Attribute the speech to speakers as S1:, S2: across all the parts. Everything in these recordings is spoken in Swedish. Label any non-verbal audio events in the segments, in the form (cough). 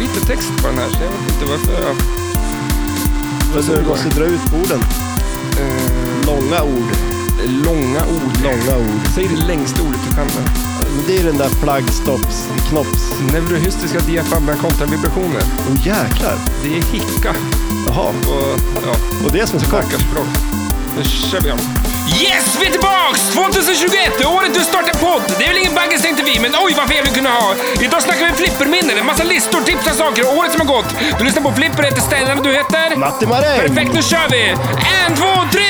S1: lite text på den här, så jag vet inte varför jag...
S2: Men du måste dra ut orden.
S1: Eh,
S2: Långa ord.
S1: långa ord.
S2: Långa ord.
S1: Säg det längsta ordet du kan. då.
S2: Men Det är den där flaggstopps... Knopps...
S1: Neurohystiska diafragma kontravibrationer.
S2: Åh jäklar.
S1: Det är hicka
S2: Jaha.
S1: och ja,
S2: Och det är som är så kort.
S1: tackarspråk. Nu kör vi om.
S3: Yes, vi är tillbaks! 2021 är året du startar podd. Det är väl ingen baggis tänkte vi, men oj vad fel vi kunde ha. Idag snackar vi flipperminnen, en massa listor, tips och saker och året som har gått. Du lyssnar på Flipper, heter Stellan och du heter?
S2: Matti Maräng!
S3: Perfekt, nu kör vi! En, två, tre!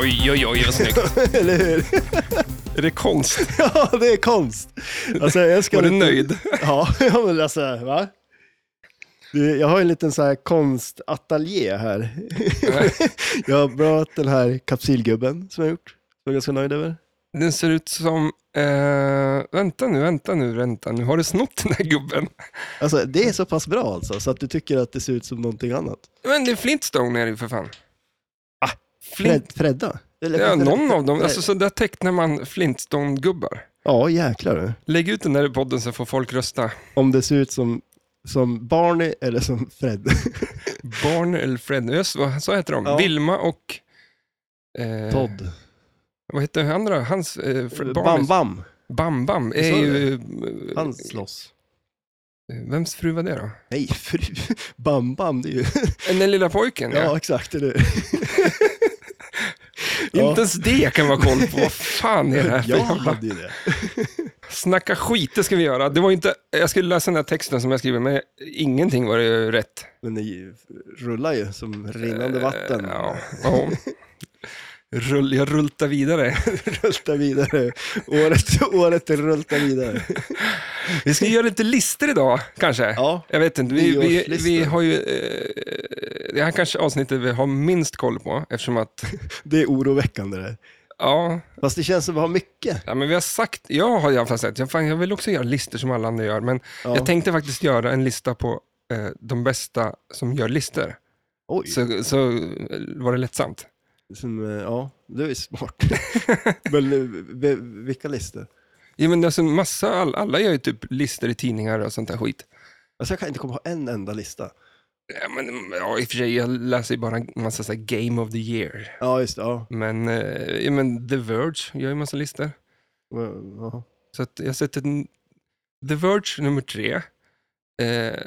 S3: Oj, oj, oj, vad snyggt.
S2: (laughs) Eller hur?
S1: Är det konst? (laughs)
S2: Ja, det är konst. Alltså, jag ska
S1: Var du
S2: inte-
S1: nöjd?
S2: (laughs) Ja, ja, men alltså, va? Du, Jag har en liten så här konstateljé här. (laughs) Jag har bra den här kapsylgubben som jag gjort. Som jag är ganska nöjd över.
S1: Den ser ut som... Eh, vänta nu, vänta nu, vänta nu. Har du snott den här gubben?
S2: Alltså, det är så pass bra alltså, så att du tycker att det ser ut som någonting annat.
S1: Men det är Flintstone är det ju för fan.
S2: Ah,
S1: Flint,
S2: Fred, Fredda? Eller,
S1: ja,
S2: Fred-
S1: någon av dem.
S2: Fred-
S1: Alltså, så där tecknar man Flintstone-gubbar.
S2: Ja, jäklar du.
S1: Lägg ut den där i podden så får folk rösta.
S2: Om det ser ut som, som Barney eller som Fred.
S1: Barn eller Fred. Just, vad- så heter de.
S2: Ja.
S1: Vilma och... Eh,
S2: (laughs) Todd.
S1: Vad heter han andra? Hans... Eh, Fred,
S2: Bam
S1: Barnes-
S2: Bam.
S1: Bam Bam. Är
S2: Så är
S1: ju, eh,
S2: Han slåss.
S1: vems fru var det då?
S2: Nej, fru. Bam Bam, det är ju...
S1: Eh, Den lilla pojken, ja.
S2: Ja, exakt. Eller hur?
S1: (laughs)
S2: ja.
S1: Inte ens det kan vara koll på. Vad fan är det här för
S2: Jag
S1: jävla...
S2: hade ju det.
S1: Snacka skit, det ska vi göra. Det var inte, jag skulle läsa den här texten som jag skriver, men ingenting var ju rätt.
S2: Men det ju- rullar ju som rinnande vatten.
S1: Eh, Ja, ja. Rull, jag rultar vidare.
S2: (laughs) Rultar vidare. Året, året rultar vidare.
S1: Vi ska göra lite listor idag, kanske.
S2: Ja,
S1: Jag vet inte, vi, vi,
S2: Nyårslistor.
S1: vi har ju... Eh, det här kanske är avsnittet vi har minst koll på, eftersom att...
S2: det är oroväckande det.
S1: Ja,
S2: Fast det känns som att vi har mycket.
S1: ja men vi har sagt... Jag har i alla fall sagt, jag, fan, jag vill också göra listor som alla andra gör, men
S2: Ja.
S1: jag tänkte faktiskt göra en lista på eh, de bästa som gör listor.
S2: Oj,
S1: Så, så var det lättsamt.
S2: som, eh, ja, du
S1: (laughs)
S2: är smart. Men eh, ve- vilka listor?
S1: Ja, men alltså massa, all, alla gör ju typ listor i tidningar och sånt där skit.
S2: Alltså jag kan inte komma på en enda lista.
S1: Ja, men, ja, i och för sig, jag läser ju bara en massa så här, Game of the Year.
S2: Ja, just det. Ja.
S1: Men, eh, ja, men The Verge gör ju massa listor.
S2: Ja.
S1: Så att jag sätter en- The Verge nummer tre. Eh,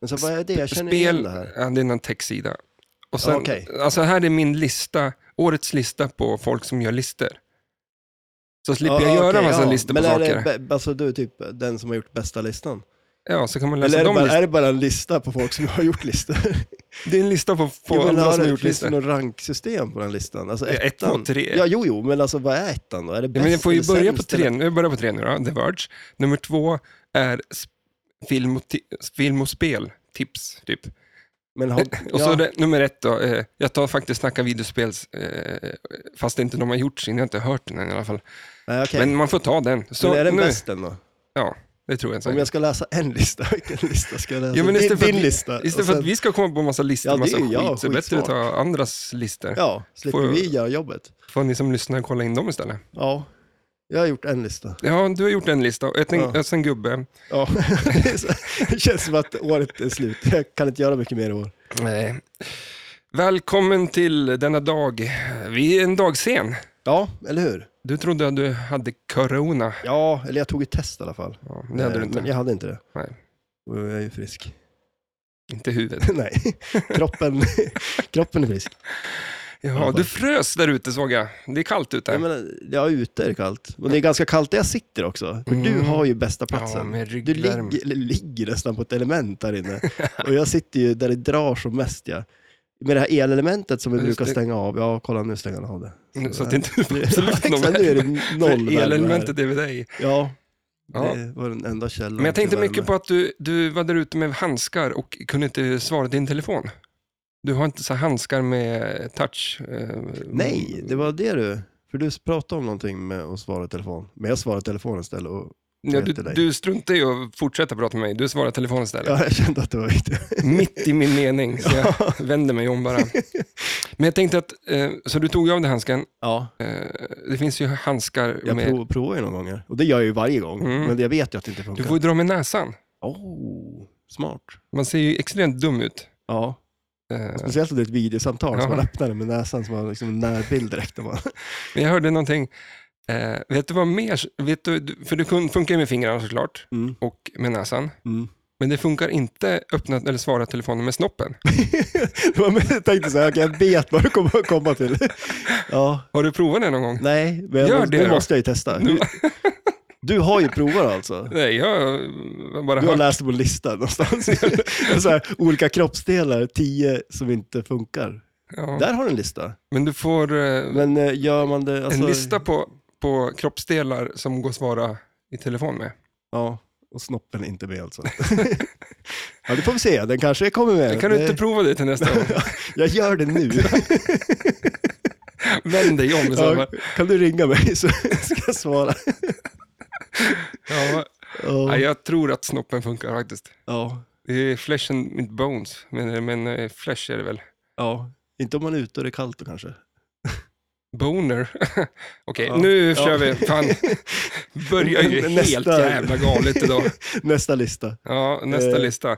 S2: Men så vad är det? Jag känner igen
S1: spel,
S2: det här.
S1: ja, det är någon textsida. Och sen,
S2: Okej.
S1: alltså här är min lista, årets lista på folk som gör listor. Så slipper
S2: Ja,
S1: jag göra
S2: okej,
S1: massa
S2: ja.
S1: listor
S2: Men
S1: på
S2: är
S1: saker.
S2: det bä- alltså du är typ den som har gjort bästa listan?
S1: Ja, så kan man
S2: Eller
S1: läsa
S2: är det,
S1: alltså, de
S2: bara,
S1: listorna.
S2: är det bara en lista på folk som har
S1: (laughs)
S2: gjort listor? (laughs)
S1: Det är en lista på, på
S2: Jo, men
S1: alla
S2: har
S1: som
S2: det-
S1: har gjort
S2: finns det
S1: listor.
S2: något ranksystem på den listan? Alltså
S1: Ja, ett, två,
S2: ettan?
S1: tre.
S2: Ja, jo, jo, men alltså vad är ettan då? Är det bäst
S1: Ja, men jag får ju
S2: eller
S1: börja på
S2: sämst
S1: tre,
S2: eller-
S1: nu börjar på tre nu då, The Verge. Nummer två är sp- film och, ti- film och spel, tips typ.
S2: Men har,
S1: (laughs) Och så
S2: ja,
S1: är det nummer ett då, eh, jag tar faktiskt Snacka videospels, eh, fast det inte de har gjort sin, jag har inte hört den än i alla fall.
S2: nej, okej.
S1: Men man får ta den. Så
S2: men är den
S1: nu,
S2: bäst den då?
S1: Ja, det tror jag
S2: Om
S1: säkert.
S2: jag ska läsa en lista, (laughs) vilken lista ska jag läsa?
S1: Ja, men
S2: din
S1: istället för att
S2: din
S1: vi-
S2: lista. och
S1: Istället för att
S2: sen-
S1: vi ska komma på massa listor,
S2: Ja,
S1: och
S2: det
S1: massa
S2: är ju-
S1: skit,
S2: ja,
S1: så är det bättre att ta
S2: skitsmart.
S1: andras listor.
S2: Ja, slipper
S1: får-
S2: vi göra jobbet.
S1: Får ni som lyssnar kolla in dem istället.
S2: Ja, jag har gjort en lista.
S1: Ja, du har gjort en lista, och ett,
S2: Ja.
S1: en gubbe.
S2: Ja. (laughs) det känns som att året är slut. Jag kan inte göra mycket mer i år.
S1: Nej. Välkommen till denna dag. Vi är en dag sen.
S2: Ja, eller hur?
S1: Du trodde att du hade corona.
S2: Ja, eller jag tog ett test i alla fall.
S1: Ja, det hade du
S2: Eh,
S1: inte.
S2: Men jag hade inte det.
S1: Nej.
S2: Och jag är ju frisk. (laughs)
S1: Inte huvudet.
S2: Nej, kroppen, (laughs) kroppen är frisk.
S1: Ja, du frös där ute såg jag. Det är kallt ute.
S2: Jag menar, ja, ute är det kallt. Och det är ganska kallt där jag sitter också. För du
S1: Mm.
S2: har ju bästa
S1: ja,
S2: platsen.
S1: med
S2: du
S1: ryggvärme.
S2: ligger, eller ligger nästan på ett element
S1: (laughs)
S2: där inne. Och jag sitter ju där det drar som mest. Ja. Med det här elelementet som vi
S1: Just
S2: brukar
S1: det.
S2: stänga av. Ja, kolla nu stänger han av det.
S1: (laughs) Så att det inte
S2: (laughs)
S1: är absolut någon
S2: Exakt, nu är det
S1: (laughs)
S2: noll
S1: värme.
S2: värme här.
S1: Elelementet är vid dig.
S2: Ja,
S1: Ja.
S2: det var den enda källan
S1: Men jag tänkte
S2: till värme.
S1: mycket på att du, du var där ute med handskar och kunde inte svara din telefon. Du har inte så handskar med touch? eh,
S2: Nej, det var det du. För du pratade om någonting med att svara i telefon. Men jag svarade i telefon istället. Och,
S1: Ja, du,
S2: till dig.
S1: du struntar ju att fortsätta prata med mig. Du svarar telefonen istället.
S2: ja, jag kände att det var
S1: (laughs)
S2: viktigt.
S1: Mitt i min mening, så jag vänder mig
S2: (laughs)
S1: om bara. Men jag tänkte att, eh, så du tog ju av dig handsken.
S2: Ja,
S1: Eh, Det finns ju handskar
S2: jag
S1: med...
S2: prov, provar ju någon gånger. Och det gör jag ju varje gång.
S1: Mm.
S2: Men jag vet ju att det inte
S1: Du
S2: funkar.
S1: får ju dra med näsan.
S2: Oh, smart.
S1: Man ser ju extremt dum ut.
S2: Ja,
S1: Eh,
S2: speciellt om det är ett videosamtal
S1: Ja.
S2: som man öppnar det med näsan som har liksom en närbild direkt. när Man.
S1: Men jag hörde någonting, eh, vet du vad mer, vet du, du- för det kun- funkar ju med fingrarna såklart
S2: Mm,
S1: och med näsan. (laughs)
S2: mm.
S1: Men det funkar inte öppna eller svara telefonen med snoppen.
S2: Det var med- Jag tänkte så här, okej, jag vet vad du kommer att komma till. Ja,
S1: Har du provat det någon gång?
S2: nej, men
S1: Gör
S2: jag, måste-
S1: det
S2: det
S1: då.
S2: måste jag ju testa. Du, du har ju provat alltså.
S1: Nej, jag har bara
S2: Du har
S1: hört.
S2: läst på en lista
S1: (laughs)
S2: någonstans. så här, olika kroppsdelar, tio som inte funkar.
S1: Ja.
S2: Där har du en lista.
S1: Men du får eh,
S2: Men eh, gör man det... Alltså,
S1: en lista på, på kroppsdelar som går att svara i telefon med.
S2: Ja, och snoppen är inte med alltså. (laughs) ja, det får vi se. Den kanske kommer med.
S1: Kan du
S2: Det-
S1: inte prova det till nästa
S2: (laughs)
S1: gång?
S2: Jag gör det nu.
S1: (laughs) Vänd dig om i så
S2: ja,
S1: fall.
S2: kan du ringa mig så (laughs) ska jag svara.
S1: Ja.
S2: Ja,
S1: Nej, jag tror att snoppen funkar faktiskt.
S2: ja,
S1: Det är flesh and inte bones, men, men eh, flesh är det väl?
S2: ja. Inte om man är ute och det är kallt då kanske.
S1: Boner. (laughs) Okej,
S2: Ja.
S1: nu
S2: Ja.
S1: kör vi.
S2: (laughs)
S1: Fan, börjar (laughs) ju
S2: Nästa.
S1: helt jävla galet idag.
S2: Nästa lista.
S1: Ja, nästa
S2: Eh.
S1: lista.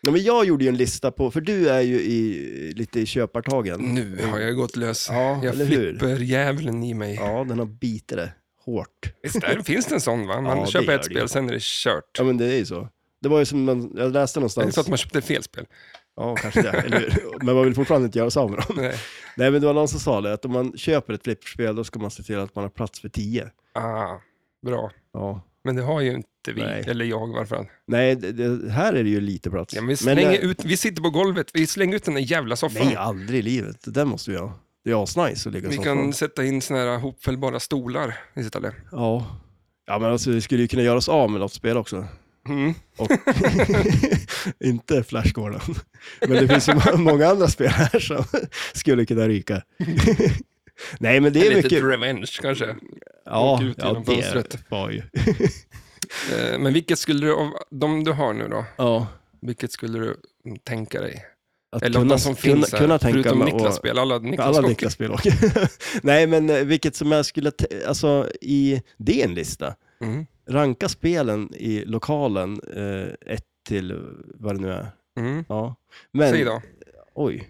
S2: Ja, men jag gjorde ju en lista på, för du är ju i, lite i köpartagen.
S1: Nu har jag gått lös.
S2: Ja,
S1: jag
S2: eller hur?
S1: flipper djävulen i mig.
S2: Ja, den har bitit det hårt.
S1: Visst där finns det en sån va? Man
S2: Ja, det
S1: köper
S2: gör
S1: ett
S2: det.
S1: spel, sen är det kört.
S2: Ja, men det är ju så. Det var ju som, man, jag läste
S1: Det är
S2: någonstans.
S1: så att man köpte fel spel.
S2: Ja, kanske det. Eller hur? Men man vill fortfarande inte göra sig av med dem.
S1: Nej.
S2: Nej, men det var någon som sa det, att om man köper ett flipperspel, då ska man se till att man har plats för tio.
S1: Ah, bra.
S2: Ja.
S1: Men det har ju inte vi,
S2: Nej.
S1: eller jag i varje fall.
S2: Nej, det, det, här är det ju lite plats.
S1: Ja, men vi, slänger
S2: eh,
S1: ut, vi sitter på golvet, vi slänger ut den där jävla soffan.
S2: Nej, alltså, aldrig i livet. Det där måste vi ha. Det är asnice att ligga
S1: vi
S2: i
S1: kan
S2: soffan.
S1: sätta in såna här hopfällbara stolar istället.
S2: Ja. ja, men alltså vi skulle ju kunna göra oss av med något spel också.
S1: Mm.
S2: Och... (laughs) Inte Flash Gordon. Men det finns ju må- många andra spel här som skulle kunna ryka. (laughs) Nej, men det är
S1: Lite
S2: mycket...
S1: revenge kanske.
S2: Ja,
S1: åka ut
S2: ja
S1: genom fönstret.
S2: det var ju...
S1: Eh, Men vilket skulle du, av de du har nu då,
S2: Ja.
S1: vilket skulle du tänka dig?
S2: Att
S1: Eller av de som
S2: kunna,
S1: finns här,
S2: kunna tänka
S1: förutom
S2: mig att-
S1: Niklas spel, alla Niklas
S2: Alla
S1: Kock.
S2: Niklas-spel åker. (laughs) Nej, men eh, vilket som jag skulle... te- Alltså, i... det är en lista.
S1: Mm.
S2: ranka spelen i lokalen, eh, ett till vad det nu är.
S1: Mm.
S2: Ja. Men,
S1: Säg då.
S2: Oj.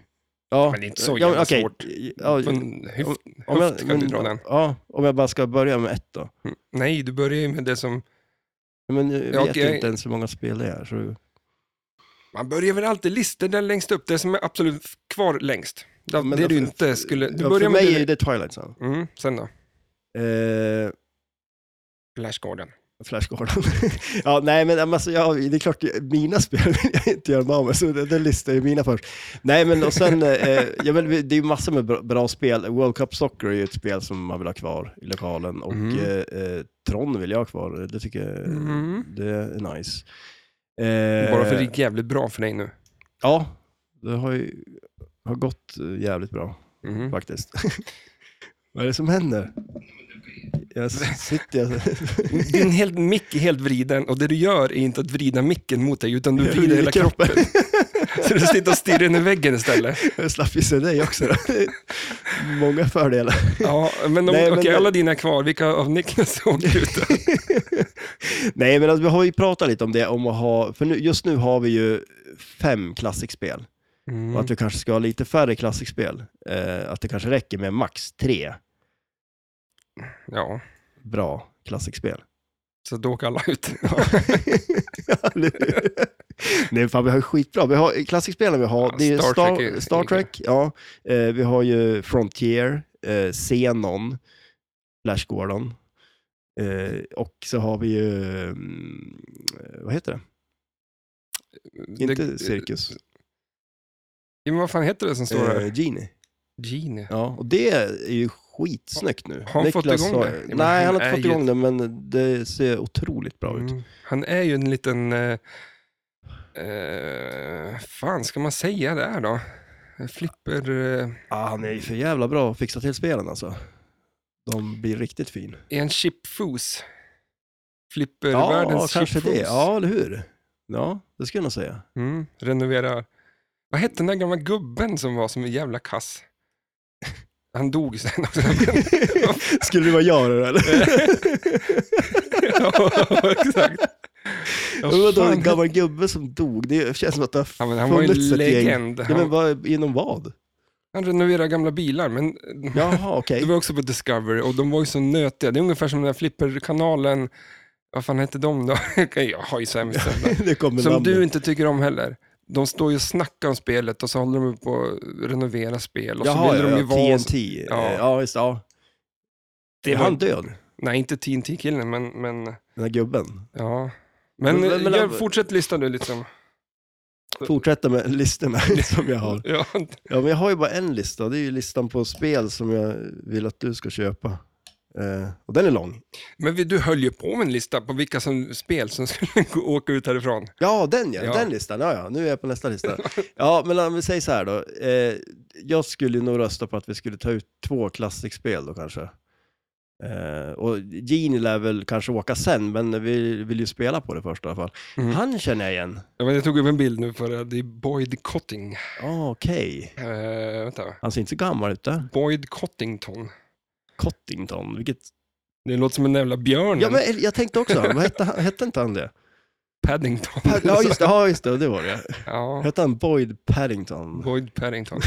S2: Ja.
S1: Men det är inte så
S2: ja,
S1: jävla
S2: okej.
S1: svårt.
S2: Ja,
S1: Men hyft,
S2: om jag,
S1: höft kan du
S2: men-
S1: dra den.
S2: Ja, om jag bara ska börja med ett då.
S1: Mm. Nej, du börjar ju med det som...
S2: Men jag
S1: Ja,
S2: vet
S1: okej.
S2: inte ens hur många spel det är. Så...
S1: Man börjar väl alltid listor där längst upp, det som är absolut kvar längst. Det,
S2: Men
S1: det du
S2: för-
S1: inte skulle... Du
S2: ja,
S1: börjar
S2: för
S1: med
S2: mig
S1: det.
S2: är det Twilight Zone.
S1: Mm. Sen då?
S2: Eh,
S1: Flash Gordon.
S2: Flash Gordon. (laughs) ja, nej, men alltså, ja, det är klart, mina spel vill jag inte göra mig av med, så det, det listar ju mina först. Nej, men och sen, eh, ja, men det är ju massor med bra, bra spel. World Cup Soccer är ju ett spel som man vill ha kvar i lokalen och
S1: Mm.
S2: eh, eh, Tron vill jag ha kvar. Det tycker jag
S1: Mm.
S2: det är nice. Eh,
S1: Bara för det gick jävligt bra för dig nu.
S2: Ja, det har ju har gått eh, jävligt bra
S1: Mm.
S2: faktiskt. (laughs) Vad är det som händer? Jag s- sitter... Jag...
S1: (laughs) Din helt, mick är helt vriden och det du gör är inte att vrida micken mot dig,
S2: (laughs)
S1: utan du vrider hela kroppen. Så du sitter och stirrar in i väggen
S2: (laughs)
S1: istället.
S2: Jag slapp ju se dig också. Då. (laughs) Många fördelar.
S1: Ja, men om,
S2: Nej, men
S1: okej,
S2: det-
S1: alla dina är kvar, vilka av (laughs) Niklas åker ut?
S2: Nej, men alltså, vi har ju pratat lite om det, om att ha, för nu, just nu har vi ju fem klassikspel. Och
S1: Mm.
S2: att vi kanske ska ha lite färre klassikspel. Eh, att det kanske räcker med max tre
S1: Ja,
S2: bra klassikspel.
S1: så då åker alla ut.
S2: Ja, eller hur? Nej, fan vi har ju skitbra. Vi har, klassikspelen vi har,
S1: Ja,
S2: det är
S1: Star
S2: Star, Star
S1: Trek är-
S2: Trek, ja. Eh, vi har ju Frontier, eh, Xenon, Flash Gordon. Eh, och så har vi ju, mm, eh, vad heter det? (laughs) Inte Cirkus.
S1: Ja, men vad fan heter det som står här?
S2: Eh, Genie.
S1: Genie.
S2: Ja, och det är ju skitsnyggt nu.
S1: Har han fått igång
S2: har-
S1: det? Ja, men han
S2: Nej, han har
S1: är
S2: inte fått
S1: ju-
S2: igång det, men det ser otroligt bra ut.
S1: Mm. Han är ju en liten... Eh, eh, fan ska man säga det här då? Flipper... eh,
S2: Ah, han är ju för jävla bra att fixa till spelen alltså. De blir riktigt fin.
S1: Är en chipfos?
S2: Ja,
S1: Flipper-världens
S2: kanske
S1: chipfos?
S2: det. Ja, eller hur? Ja, det skulle jag nog säga.
S1: Mm, renovera. Vad hette den där gamla gubben som var som en jävla kass? (laughs) Han dog sen också.
S2: (laughs)
S1: (laughs)
S2: skulle det vara jag det där, eller? (laughs)
S1: ja, exakt. Ja,
S2: Det var då
S1: fan.
S2: en gammal gubbe som dog. Det känns som att det har
S1: Ja, men han var ju
S2: funnits
S1: en
S2: ett gäng.
S1: legend.
S2: Ja, men
S1: Han,
S2: vad, inom vad?
S1: han renoverade gamla bilar, men
S2: Jaha, okej.
S1: det var också på Discovery och de var ju så nötiga. Det är ungefär som den där flipperkanalen, vad fan hette de då? (laughs) Jag har ju sämst.
S2: (laughs) Det kommer
S1: Som
S2: namnet.
S1: du inte tycker om heller. De står ju och snackar om spelet och så håller de på att renovera spel. Och så
S2: Jaha,
S1: vill
S2: ja,
S1: de ju
S2: ja,
S1: vara...
S2: TNT.
S1: Ja.
S2: Ja, ja just det, ja.
S1: Det
S2: är
S1: var-
S2: han död,
S1: Nej, inte TNT-killen, men, men
S2: den här gubben?
S1: ja. Men,
S2: Men- men-
S1: gör, fortsätt lista nu liksom.
S2: Fortsätta med listorna (laughs) som jag har.
S1: Ja, (laughs)
S2: Ja, men jag har ju bara en lista. Det är ju listan på spel som jag vill att du ska köpa. Eh, och den är lång.
S1: men vi, du höll ju på med en lista på vilka som, spel som (laughs) skulle gå- åka ut härifrån.
S2: Ja, den ja,
S1: Ja.
S2: den listan. Ja, ja, nu är jag på nästa lista. Ja, men om vi säger så här då. Eh, jag skulle nog rösta på att vi skulle ta ut två klassikspel då kanske. Eh, och Genie lär väl kanske åka sen, men vi vill ju spela på det först i alla fall.
S1: Mm.
S2: Han känner jag igen.
S1: Ja, men jag tog upp en bild nu för det. Det är Boyd Cotting.
S2: Ah, Okej.
S1: Eh, vänta.
S2: Han ser inte så gammal ut där.
S1: Boyd Cottington.
S2: Cottington, vilket...
S1: Det låter som en jävla björn.
S2: Ja, men jag tänkte också, vad hette, han- hette inte han det?
S1: Paddington.
S2: Pa- Ja, just det, ja, just det, det var det.
S1: (laughs) Ja,
S2: Hette han Boyd Paddington?
S1: Boyd Paddington.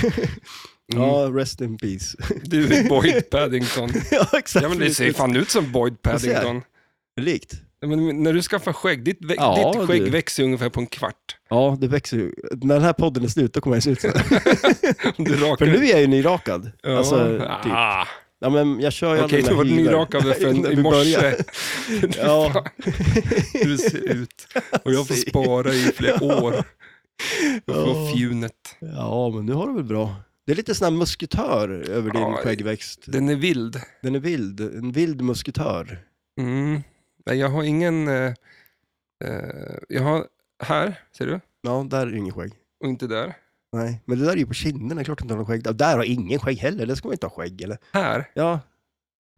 S1: Mm.
S2: Ja, rest in peace. (laughs)
S1: Du är Boyd Paddington.
S2: ja, exakt.
S1: Ja, men det ser fan ut som Boyd
S2: Jag ser.
S1: Paddington.
S2: Likt.
S1: Ja, Men när du skaffar skägg, ditt, vä-
S2: Ja,
S1: ditt skägg
S2: du.
S1: växer ungefär på en kvart. (laughs)
S2: Ja, det växer ju. När den här podden är slut, då kommer jag se ut så. här.
S1: Om Du rakar
S2: För nu är jag ju nyrakad.
S1: Ja.
S2: Alltså, typ.
S1: ah.
S2: Ja, men jag kör ju
S1: Okej,
S2: alla
S1: du var
S2: mina hyvlar.
S1: nyrakad
S2: (laughs)
S1: förrän
S2: När
S1: i
S2: vi
S1: morse.
S2: börjar. Ja. (laughs)
S1: Du ser ut. Och jag får
S2: Ser.
S1: spara i flera år. Jag får
S2: Ja.
S1: fjunet.
S2: ja, men nu har du väl bra. Det är lite sån här musketör över din
S1: Ja,
S2: skäggväxt.
S1: Den är vild.
S2: Den är vild. En vild musketör.
S1: Mm. Nej, jag har ingen... Eh, eh, jag har här, ser du?
S2: Ja, där är ju ingen skägg.
S1: Och inte där.
S2: Nej, men det där är ju på kinderna, klart du inte har någon skägg. Ja, Där har ingen skägg heller, det ska man inte ha skägg eller?
S1: Här.
S2: Ja,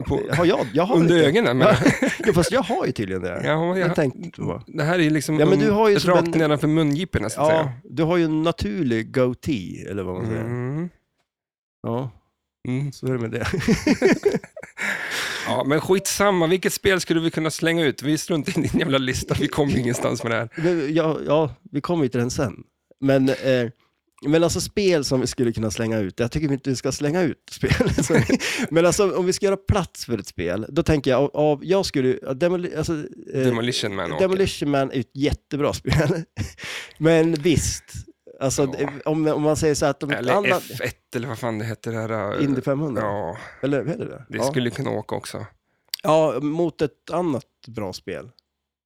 S1: På,
S2: har jag? jag har
S1: under
S2: lite.
S1: ögonen. Men,
S2: (laughs) Ja, fast jag har ju tydligen det.
S1: ja,
S2: jag
S1: jag,
S2: tänkte på.
S1: det här är liksom
S2: Ja, men du har ju som
S1: rakt
S2: en-
S1: nedanför mungiporna, så att
S2: Ja,
S1: säga.
S2: du har ju en naturlig goatee, eller vad man säger.
S1: Mm.
S2: Ja,
S1: Mm.
S2: så är det med det.
S1: Ja, men skitsamma. Vilket spel skulle vi kunna slänga ut? Vi struntar i din jävla lista. Vi kommer ingenstans med det här.
S2: Men, ja, ja, vi kommer ju till den sen. Men, eh, men alltså spel som vi skulle kunna slänga ut, jag tycker vi inte vi ska slänga ut (laughs) spel. Så- men alltså om vi ska göra plats för ett spel, då tänker jag, av, av, jag skulle, ja, demoli, alltså, eh,
S1: Demolition Man. åker.
S2: Demolition Man är ett jättebra spel. (laughs) men visst, alltså,
S1: Ja.
S2: det- om, om man säger så här att de
S1: Eller
S2: andra-
S1: F1 eller vad fan det heter. Det här, eh,
S2: Indy 500,
S1: ja,
S2: eller vad är det? Det,
S1: det
S2: ja.
S1: skulle kunna åka också.
S2: ja, mot ett annat bra spel.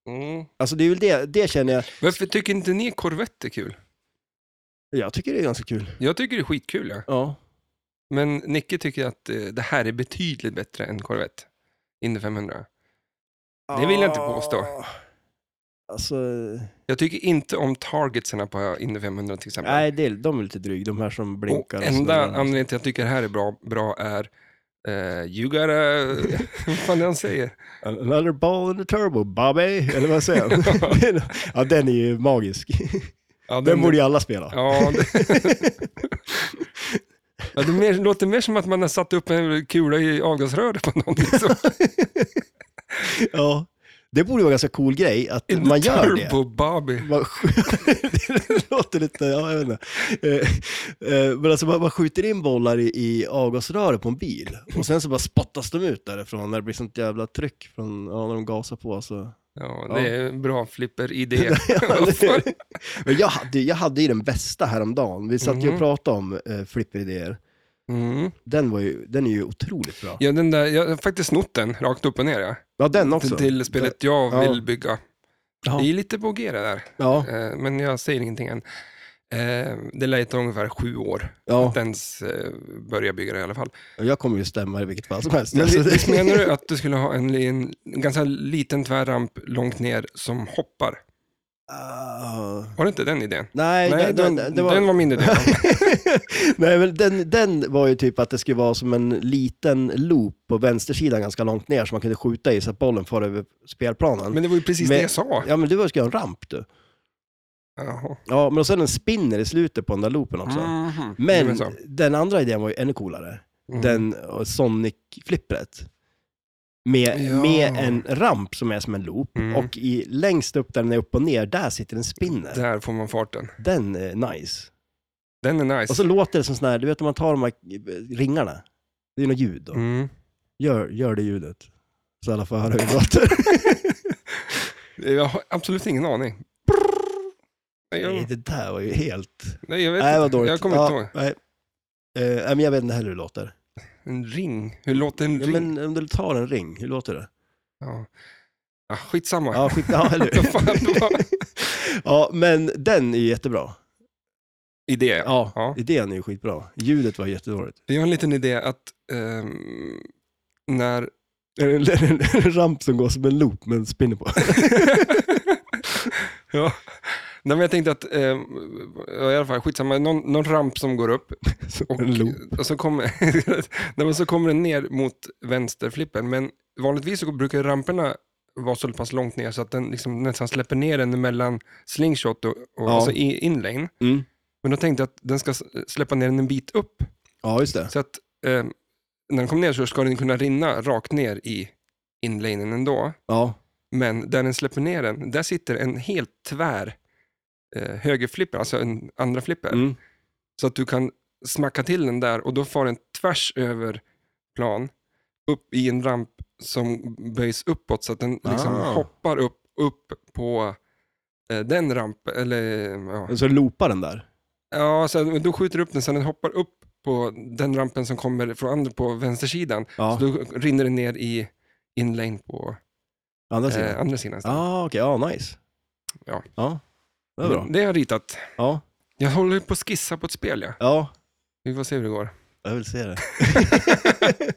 S1: Mm.
S2: Alltså det är väl det, det känner jag,
S1: Varför tycker inte ni Corvette är kul?
S2: jag tycker det är ganska kul.
S1: Jag tycker det är skitkul. Ja.
S2: Ja.
S1: Men Nicke tycker att eh, det här är betydligt bättre än Corvette. Indy 500. Det vill jag inte påstå.
S2: Ah. Alltså,
S1: Jag tycker inte om targetsarna på Indy 500 till exempel.
S2: nej, det, är- de är lite dryg, de här som blinkar.
S1: och
S2: så
S1: enda
S2: där.
S1: anledningen till att jag tycker det här är bra, bra är eh, You
S2: (laughs)
S1: gotta... vad fan är det han säger?
S2: Another ball in the turbo, Bobby! Eller vad säger
S1: (laughs)
S2: han? ja, den är ju magisk.
S1: Ja,
S2: Den borde ju alla spela.
S1: Ja,
S2: (laughs)
S1: det... ja, det mer, låter mer som att man har satt upp en kula i avgasröret på någon. Liksom.
S2: Ja. Det borde vara en ganska cool grej att
S1: In the
S2: (laughs) man gör det.
S1: Turbo Bobby.
S2: Man (laughs) sk- det låter lite, ja jag vet inte. Eh, eh, Men alltså man, man skjuter in bollar i, i avgasröret på en bil och sen så bara spottas de ut därifrån när det blir sånt jävla tryck från, ja, när de gasar på. alltså. Så.
S1: Ja,
S2: Ja.
S1: det är en bra flipper-idé.
S2: (laughs) Men jag hade, jag hade ju den bästa häromdagen. Vi satt ju
S1: Mhm.
S2: och pratade om eh, flipperidéer.
S1: Mm.
S2: Den, var ju, den är ju otroligt bra.
S1: Ja, den där, jag har faktiskt snott den rakt upp och ner. Ja.
S2: Ja, den också.
S1: Till, till spelet jag
S2: Ja.
S1: vill bygga.
S2: Ja.
S1: Det är lite på G det där,
S2: Ja,
S1: eh, men jag säger ingenting än. Eh, Det lär ta ungefär sju år
S2: ja.
S1: att ens eh, börja bygga det i alla fall.
S2: Jag kommer ju stämma i vilket fall som helst.
S1: Men
S2: (laughs) Alltså,
S1: visst
S2: det-
S1: menar du att du skulle ha en, li- en ganska liten tvärramp långt ner som hoppar?
S2: Ah.
S1: Var det inte den idén?
S2: Nej,
S1: Nej,
S2: det,
S1: den,
S2: det,
S1: den,
S2: det var...
S1: var min idé.
S2: (laughs) Nej, men den, den var ju typ att det skulle vara som en liten loop på vänstersidan ganska långt ner som man kunde skjuta i så att bollen far över spelplanen.
S1: Men det var ju precis
S2: Men-
S1: det jag sa.
S2: Ja, men du skulle ha en ramp du.
S1: Jaha.
S2: Ja, men och sen en spinner i slutet på den där loopen också.
S1: Mhm. Det var
S2: Men
S1: så.
S2: den andra idén var ju ännu coolare.
S1: Mm.
S2: Den och Sonic-flippret. Med,
S1: Ja.
S2: med en ramp som är som en loop
S1: Mm.
S2: och i, längst upp där den är upp och ner, där sitter en spinner.
S1: Där får man farten.
S2: Den är nice.
S1: Den är nice.
S2: Och så låter det som sån här, du vet om man tar de här eh, ringarna. Det är något ljud då.
S1: Mm.
S2: Gör, gör det ljudet. Så alla får höra
S1: (laughs)
S2: hur det låter.
S1: Jag har absolut ingen aning. Nej,
S2: Nej,
S1: jag,
S2: det där var ju helt...
S1: nej, jag vet
S2: Nej, vad
S1: inte.
S2: dåligt.
S1: Jag kommer inte
S2: Ja,
S1: ihåg.
S2: Nej. Eh, nej, men jag vet inte heller hur det låter.
S1: En ring. Hur låter en
S2: Ja,
S1: ring?
S2: men om du tar en ring, hur låter det?
S1: Ja. Ah, skitsamma.
S2: Ja, skit, ja, eller
S1: (laughs) Vad fan, det
S2: (laughs) hur?
S1: var-
S2: ja, men den är ju jättebra.
S1: Idé. Ja.
S2: Ja, idén är ju skitbra. Ljudet var jättedåligt.
S1: Vi har en liten idé att ehm,
S2: (laughs)
S1: när...
S2: En, en, en ramp som går som en loop men
S1: (laughs)
S2: spinner på.
S1: ja. Nej, men jag tänkte att, ehm, ja, i alla fall skitsamma, någon, någon ramp som går upp och, eh,
S2: en loop.
S1: och så, kommer, nej, men så kommer (laughs) den ner mot vänsterflippen. Men vanligtvis så brukar ramperna vara så pass långt ner så att den liksom nästan släpper ner den mellan slingshot och, och
S2: Ja.
S1: alltså i- inlane.
S2: Mm.
S1: Men då tänkte jag att den ska s- släppa ner den en bit upp
S2: Ja, just det.
S1: Så att eh, när den kommer ner så ska den kunna rinna rakt ner i inlanen ändå.
S2: Ja,
S1: Men där den släpper ner den, där sitter en helt tvär eh, högerflipper, alltså en andra flipper.
S2: mm.
S1: Så att du kan smacka till den där och då far den tvärs över plan, upp i en ramp som böjs uppåt så att den liksom
S2: Ah.
S1: hoppar upp, upp på eh, den rampen, eller ja.
S2: så loopar den där.
S1: ja så då skjuter du upp den så den hoppar upp på den rampen som kommer från andra på vänstersidan.
S2: Ja,
S1: Så då rinner det ner i inlane på
S2: andra sidan.
S1: eh, andra sidan.
S2: Ja, ah, okej. Ja, nice.
S1: Ja. Mm.
S2: Ja, det är bra.
S1: det har jag ritat.
S2: Ja,
S1: Jag håller ju på att skissa på ett spel. Ja.
S2: ja,
S1: Vi får se hur det går.
S2: jag
S1: (laughs)
S2: vill se det. ja,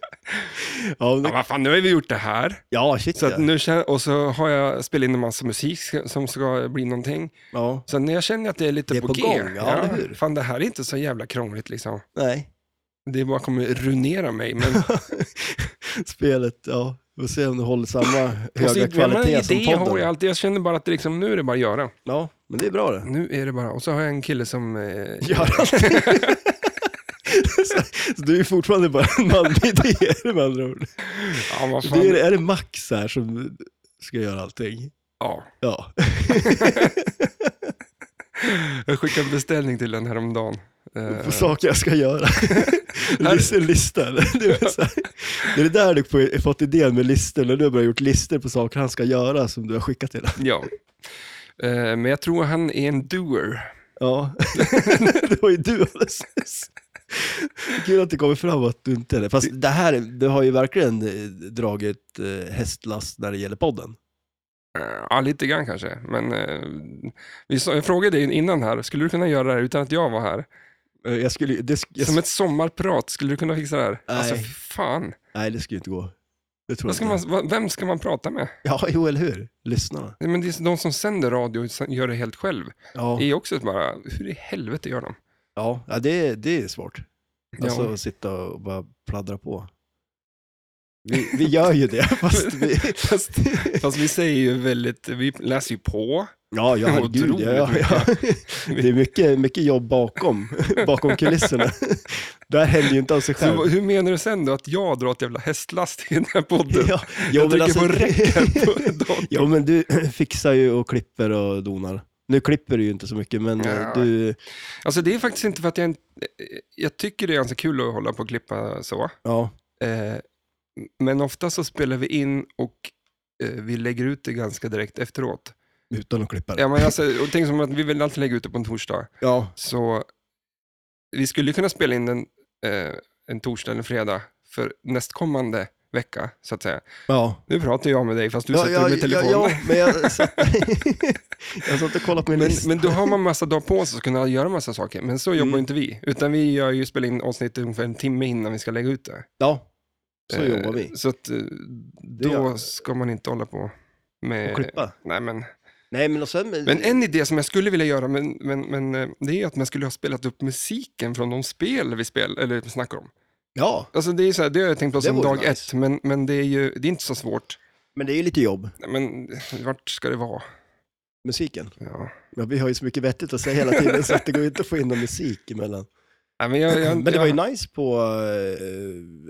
S1: Ja,
S2: men-
S1: vad fan, nu har vi gjort det här.
S2: ja, shit
S1: Så att
S2: ja.
S1: nu, kän- och så har jag spelat in en massa musik ska- som ska bli någonting.
S2: ja.
S1: Så när jag känner att det är lite
S2: Det är på
S1: G.
S2: gång, ja, eller hur?
S1: Fan, det här är inte så jävla krångligt liksom.
S2: Nej.
S1: Det bara kommer ruinera mig.
S2: (laughs)
S1: Men
S2: Spelet, ja. Vi får se om det håller samma
S1: Och så-
S2: höga
S1: jag menar,
S2: kvalitet som
S1: idé har jag
S2: podden.
S1: alltid. Jag känner bara att det liksom, nu är det bara att göra.
S2: Ja, men det är bra det.
S1: Nu är det bara, och så har jag en kille som...
S2: (laughs)
S1: Eh,
S2: Gör allting. Så- så du är fortfarande bara en man med idéer med andra ord.
S1: ja, vad fan.
S2: Det är, är det Max här som ska göra allting?
S1: Ja.
S2: Ja.
S1: Jag skickade en beställning till den häromdagen. Eh,
S2: på saker jag
S1: (laughs)
S2: ska göra. List, lista. eller? Det är, så här, det är det där du får- fått idén med listor, när du har börjat gjort listor på saker han ska göra som du har skickat till honom.
S1: Ja. Eh, Men jag tror han är en doer.
S2: Ja, (laughs) det var ju du alldeles nyss. Kul att det kommer fram att du inte är det. Fast det här, du har ju verkligen eh, dragit eh, hästlast när det gäller podden.
S1: Eh, Ja, lite grann kanske. Men eh, vi sa- jag frågade dig innan här, skulle du kunna göra det här utan att jag var här?
S2: Eh, Jag skulle, ju- det, sk- jag,
S1: Som ett sommarprat, skulle du kunna fixa det här?
S2: Nej.
S1: Alltså, fy fan.
S2: Nej, det skulle ju inte gå. Det tror
S1: Vad
S2: jag
S1: ska
S2: inte.
S1: man, vad- vem ska man prata med?
S2: Ja, jo, eller hur? Lyssnarna.
S1: Nej, Men det är de som sänder radio och sen gör det helt själv.
S2: Ja,
S1: Det är också bara, hur i helvete gör de?
S2: ja. ja det, det är svårt. Alltså
S1: Ja.
S2: att sitta och bara pladdra på. Vi, vi gör ju det, (laughs) fast vi...
S1: Fast, fast vi säger ju väldigt, vi läser ju på.
S2: (laughs) Ja, ja, herregud. Ja, ja,
S1: (laughs)
S2: ja. Det är mycket, mycket jobb bakom, bakom
S1: (laughs)
S2: kulisserna. Det här händer ju inte av sig
S1: Så,
S2: själv.
S1: vad- hur menar du sen då att jag drar ett jävla hästlast i den här podden?
S2: Ja,
S1: jag
S2: men alltså-
S1: trycker på räcken på datorn.
S2: (laughs) Jo, men du (clears throat) fixar ju och klipper och donar. Nu klipper du ju inte så mycket, men eh,
S1: Ja.
S2: du...
S1: Alltså det är faktiskt inte för att jag, jag tycker det är ganska kul att hålla på och klippa så.
S2: Ja,
S1: Eh, men ofta så spelar vi in och eh, vi lägger ut det ganska direkt efteråt.
S2: utan att klippa det.
S1: Ja, men alltså, och tänk som att vi vill alltid lägga ut det på en torsdag.
S2: Ja,
S1: Så vi skulle kunna spela in den eh, en torsdag eller en fredag för nästkommande vecka, så att säga.
S2: ja.
S1: Nu pratar jag med dig fast du
S2: ja,
S1: sitter
S2: ja,
S1: med telefonen.
S2: Ja, (laughs) ja,
S1: (laughs)
S2: men jag satt, jag satt och kollade på min
S1: Men,
S2: lista.
S1: men då har man massa dagar på sig att kunna göra massa saker, men så jobbar
S2: Mm.
S1: inte vi. Utan vi gör ju spelar in avsnittet ungefär en timme innan vi ska lägga ut det.
S2: Ja, så
S1: Eh,
S2: jobbar vi.
S1: Så att eh, då
S2: gör-
S1: ska man inte hålla på med...
S2: Och klippa.
S1: Nej, men
S2: Nej, men och sen...
S1: Men en idé som jag skulle vilja göra, men, men, men eh, det är att man skulle ha spelat upp musiken från de spel vi spel, eller snackar om.
S2: Ja,
S1: Alltså det är så här, det har jag tänkt på
S2: Det
S1: som
S2: vore
S1: dag ett,
S2: nice.
S1: men, men det är ju det är inte så svårt.
S2: men det är ju lite jobb,
S1: Nej, Men vart ska det vara?
S2: musiken.
S1: Ja.
S2: Ja, vi har ju så mycket vettigt att säga hela tiden så att det går ju inte att få in någon musik emellan.
S1: Nej, men jag, jag,
S2: Men det var ju
S1: jag,
S2: nice på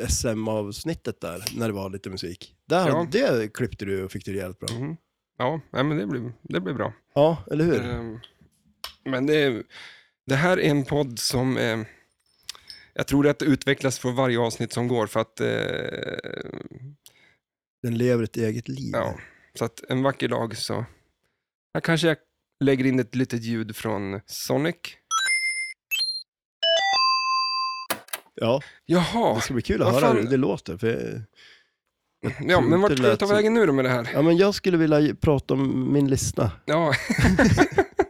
S2: eh, SM-avsnittet där, när det var lite musik. Där,
S1: Ja.
S2: Det klippte du och fick det rejält bra.
S1: Mhm. Ja, nej, men det blir, det blir bra.
S2: Ja, eller hur?
S1: Ehm, Men det, det här är en podd som eh, jag tror att det utvecklas för varje avsnitt som går. För att, eh,
S2: Den lever ett eget liv.
S1: ja, så att en vacker dag så här kanske jag lägger in ett litet ljud från Sonic.
S2: Ja,
S1: Jaha,
S2: det ska bli kul att
S1: Vad
S2: höra
S1: fan?
S2: hur det låter. För, jag-
S1: ja, men vart ska jag ta vägen nu då med det här?
S2: ja, men jag skulle vilja ju- prata om min lista.
S1: Ja.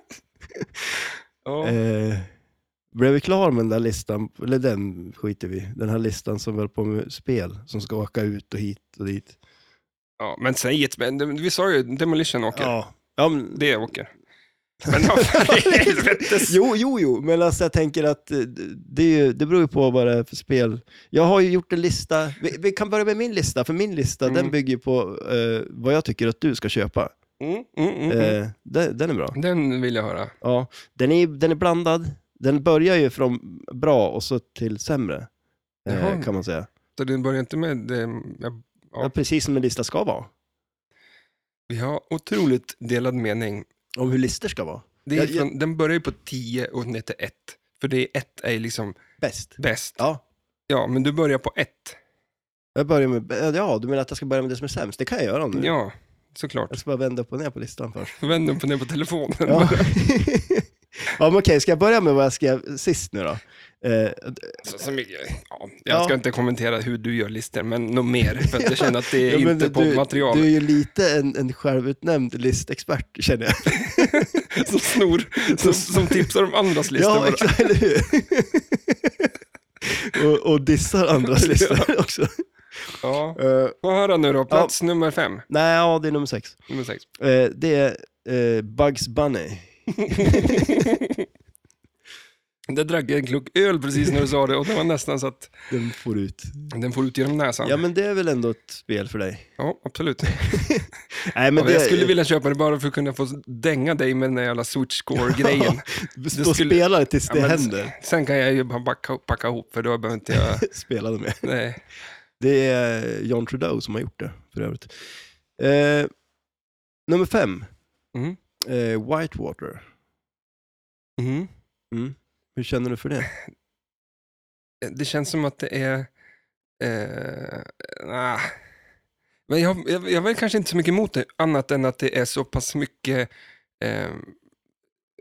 S2: (laughs)
S1: ja.
S2: Eh, blev vi klar med den där listan, eller den skiter vi i. den här listan som höll på med spel, som ska åka ut och hit och dit.
S1: ja, men säg ett, men vi sa ju Demolition åker.
S2: Ja, ja men
S1: (laughs) Det åker.
S2: (laughs)
S1: Men ja, för i helvete.
S2: Jo, jo, jo, men alltså jag tänker att eh, det, är ju, det beror ju på vad det är för spel. Jag har ju gjort en lista, vi, vi kan börja med min lista, för min lista
S1: Mm.
S2: den bygger ju på eh, vad jag tycker att du ska köpa.
S1: Mm, mm, mm, mm.
S2: Eh, den, den är bra.
S1: Den vill jag höra.
S2: Ja, den, är, den är blandad, den börjar ju från bra och så till sämre, eh,
S1: Jaha.
S2: kan man säga.
S1: Så den börjar inte med det. jag- Ja.
S2: Ja, precis som en lista ska vara,
S1: Vi har otroligt delad mening.
S2: om hur listor ska vara.
S1: Det är
S2: Jag- jag-
S1: från, Den börjar ju på 10 och ner till 1. För det är 1 är ju liksom
S2: Bäst.
S1: bäst.
S2: Ja,
S1: Ja, men du börjar på 1.
S2: jag börjar med, eh, ja, du menar att jag ska börja med det som är sämst? Det kan jag göra nu.
S1: Ja, såklart.
S2: Jag ska bara vända upp och ner på listan först.
S1: (laughs) Vänd upp och ner på telefonen.
S2: (laughs) Ja. ja, men okej, ska jag börja med vad jag skrev sist nu då? Eh,
S1: Så, så mycket. Ja, jag
S2: Ja.
S1: ska inte kommentera hur du gör listor, men något mer. För att jag känner att det är
S2: ja, men
S1: inte
S2: du- du,
S1: poddmaterial.
S2: Du är ju lite en, en självutnämnd listexpert, känner jag.
S1: (laughs) Som snor, som, som tipsar om andras listor.
S2: ja,
S1: bara.
S2: exakt, eller (laughs) hur? och, och dissar andras listor också.
S1: ja.
S2: Eh,
S1: Få höra nu då, plats nummer fem.
S2: nej, ja, det är nummer sex.
S1: Nummer sex.
S2: Eh, det är eh, Bugs Bunny.
S1: Där drack jag en klunk öl precis när du sa det och det var nästan så att
S2: Den får ut.
S1: den får ut genom näsan.
S2: Ja, men det är väl ändå ett spel för dig?
S1: Ja, absolut.
S2: Nej, men
S1: Men
S2: det,
S1: jag skulle vilja köpa det bara för att kunna få dänga dig med den där jävla
S2: (laughs)
S1: switchcore-grejen.
S2: stå
S1: det
S2: och
S1: skulle-
S2: spela det tills
S1: Ja,
S2: det
S1: men
S2: (laughs) händer.
S1: Sen kan jag ju bara backa, packa ihop för då behöver inte
S2: (laughs)
S1: jag...
S2: Spela det med.
S1: Nej.
S2: Det är eh, John Trudeau som har gjort det, för övrigt. Eh, nummer fem,
S1: Mm.
S2: eh, Whitewater.
S1: Mhm.
S2: Hur känner du för det?
S1: Eh, Det känns som att det är... Eh, nah. Men jag, jag, jag var kanske inte så mycket emot det, annat än att det är så pass mycket eh,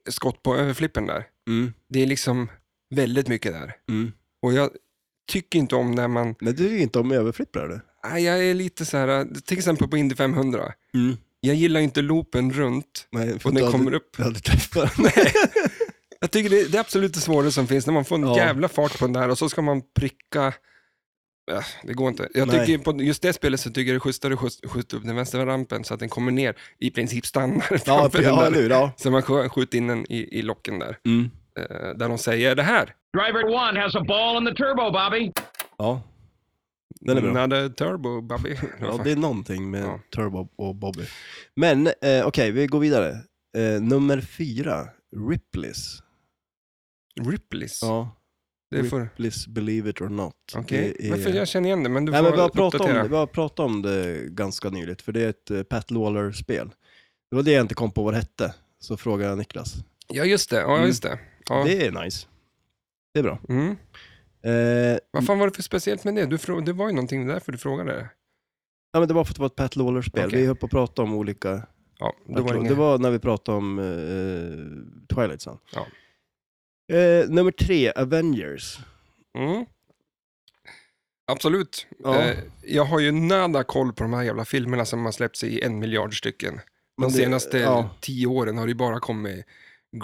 S1: skott på överflippen där.
S2: Mm,
S1: Det är liksom väldigt mycket där. Och jag tycker inte om när man...
S2: Men du är ju inte om överflipprar du.
S1: Ah, Jag är lite så här, eh, till exempel på Indy 500.
S2: Mm.
S1: Jag gillar inte loopen runt
S2: Nej, för
S1: och den
S2: du
S1: kommer
S2: hade,
S1: upp.
S2: Du
S1: (laughs)
S2: hade träffat
S1: Jag tycker det, det är absolut det svåraste som finns, när man får en
S2: Ja.
S1: jävla fart på den där och så ska man pricka. Äh, det går inte. Jag
S2: Nej.
S1: tycker på just det spelet så tycker jag det är schysstare att skjuts- skjuta upp den vänstra rampen så att den kommer ner, i princip stannar
S2: Ja,
S1: framför
S2: ja,
S1: den
S2: eller
S1: där.
S2: hur? Ja.
S1: Så man skj- skjuter in den i, i locken där,
S2: Mm.
S1: eh, där de säger det här.
S3: Driver one has a ball in the turbo, Bobby.
S2: ja. Den är bra.
S1: Another turbo, Bobby.
S2: Ja, det är någonting med
S1: Ja.
S2: Turbo och Bobby. Men eh, okej, vi går vidare. Eh, nummer fyra, Ripley's.
S1: Ripley's.
S2: Ja,
S1: det får...
S2: Ripley's Believe It Or Not.
S1: Okej,
S2: Det är-
S1: varför jag känner igen det, men du
S2: Nej,
S1: får
S2: men vi, har pratat om,
S1: uppdatera.
S2: det- vi har pratat om det ganska nyligt, för det är ett eh, Pat Lawler-spel. Det var det jag inte kom på vad det hette, så frågade jag Niklas.
S1: Ja, just det. Ja,
S2: Mm.
S1: just det. Ja.
S2: Det är nice. Det är bra.
S1: Mm.
S2: Eh,
S1: Vad fan var det för speciellt med det? Du frå... Det var ju någonting därför du frågade.
S2: ja, men det var för att det var ett Pat Lawler-spel.
S1: Okej.
S2: Vi höll på att prata om olika...
S1: Ja, det
S2: Det
S1: var
S2: var,
S1: inget.
S2: när vi pratade om eh, Twilight Sun.
S1: Ja.
S2: Eh, nummer tre, Avengers.
S1: Mm. Absolut.
S2: Ja.
S1: Eh, jag har ju nada koll på de här jävla filmerna som har släppts i en miljard stycken. De
S2: Men det-
S1: senaste
S2: ja.
S1: tio åren har det ju bara kommit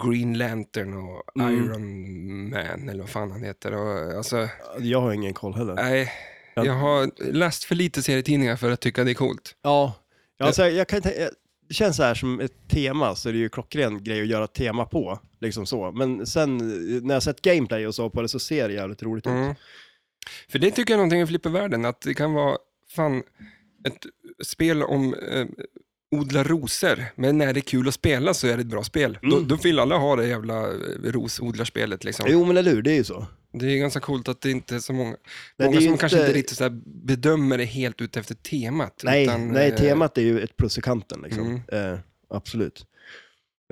S1: Green Lantern och
S2: Mm.
S1: Iron Man eller vad fan han heter. Och, alltså,
S2: Jag har ingen koll heller.
S1: nej,
S2: Ja.
S1: jag har läst för lite serietidningar för att tycka det är coolt.
S2: Ja, alltså, jag kan tänka, det känns så här som ett tema så är det ju klockren grej att göra ett tema på. Liksom så. Men sen eh, när jag sett gameplay och så på det så ser det jävligt roligt ut.
S1: Mm. För det tycker jag är någonting i flippervärlden, att det kan vara fan ett spel om eh, odla rosor, men när det är kul att spela så är det ett bra spel. Då,
S2: Mm.
S1: då vill alla ha det jävla eh, rosodlarspelet liksom.
S2: Jo men eller hur, det är ju så.
S1: Det är ganska coolt att det inte är så många,
S2: det är
S1: många som
S2: ju inte-
S1: kanske inte riktigt så här bedömer det helt ut efter temat.
S2: Nej,
S1: utan,
S2: nej
S1: eh, Mm.
S2: temat är ju ett plus i kanten liksom. Eh, absolut.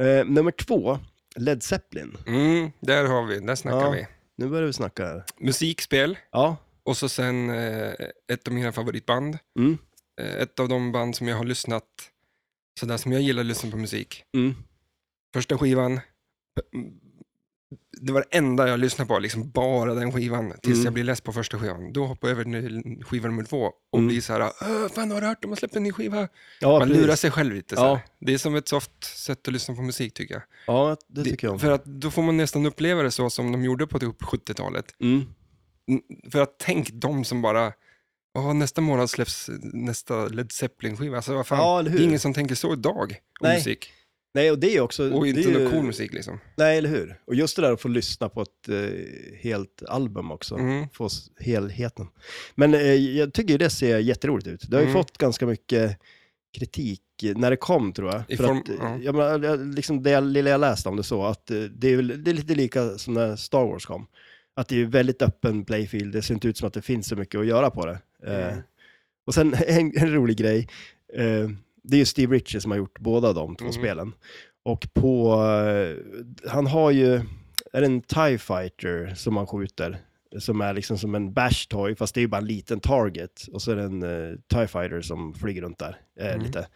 S2: Eh, nummer två, Led Zeppelin.
S1: Mm, där har vi, där snackar
S2: Ja.
S1: vi.
S2: Nu börjar vi snacka här.
S1: Musikspel
S2: Ja,
S1: och så sen eh, ett av mina favoritband.
S2: mm,
S1: Eh, ett av de band som jag har lyssnat, sådär som jag gillar att lyssna på musik.
S2: mm.
S1: Första skivan, mm, det var det enda jag lyssnade på, liksom bara den skivan, tills
S2: Mm.
S1: jag blev less på första skivan. Då hoppade jag över till skiva nummer två och
S2: Mm.
S1: blir så här, "Åh, fan har du hört, de har släppt en ny skiva.
S2: ja,
S1: Man
S2: precis.
S1: lurar sig själv lite. Så här.
S2: Ja.
S1: Det är som ett soft sätt att lyssna på musik tycker jag.
S2: ja, det tycker jag om.
S1: För att då får man nästan uppleva det så som de gjorde på typ 70-talet.
S2: Mm.
S1: N- För att tänk de som bara, Åh, nästa månad släpps nästa Led Zeppelin-skiva. Alltså, vad fan?
S2: Ja, eller
S1: det
S2: hur?
S1: är ingen som tänker så idag om
S2: Nej.
S1: musik.
S2: Nej, och det är ju också...
S1: Och
S2: det
S1: inte
S2: är ju,
S1: någon cool musik liksom.
S2: Nej, eller hur? Och just det där att få lyssna på ett eh, helt album också.
S1: Mm.
S2: Få s- helheten. Men eh, jag tycker ju det ser jätteroligt ut. Det har ju
S1: Mm.
S2: fått ganska mycket kritik när det kom tror jag.
S1: I
S2: För
S1: form-
S2: att, eh,
S1: ja.
S2: jag menar, jag- liksom det jag- lilla jag läste om det så, att eh, det är, väl, det är lite lika som när Star Wars kom. Att det är ju väldigt öppen playfield, det ser inte ut som att det finns så mycket att göra på det. Eh,
S1: Mm.
S2: och sen (laughs) en, en rolig grej, eh, det är ju Steve Ritchie som har gjort båda de två
S1: Mm.
S2: spelen. Och på, eh, han har ju, är det en TIE fighter som han skjuter? Som är liksom som en bash toy, fast det är ju bara en liten target. Och så är det en eh, TIE fighter som flyger runt där eh,
S1: Mm.
S2: lite.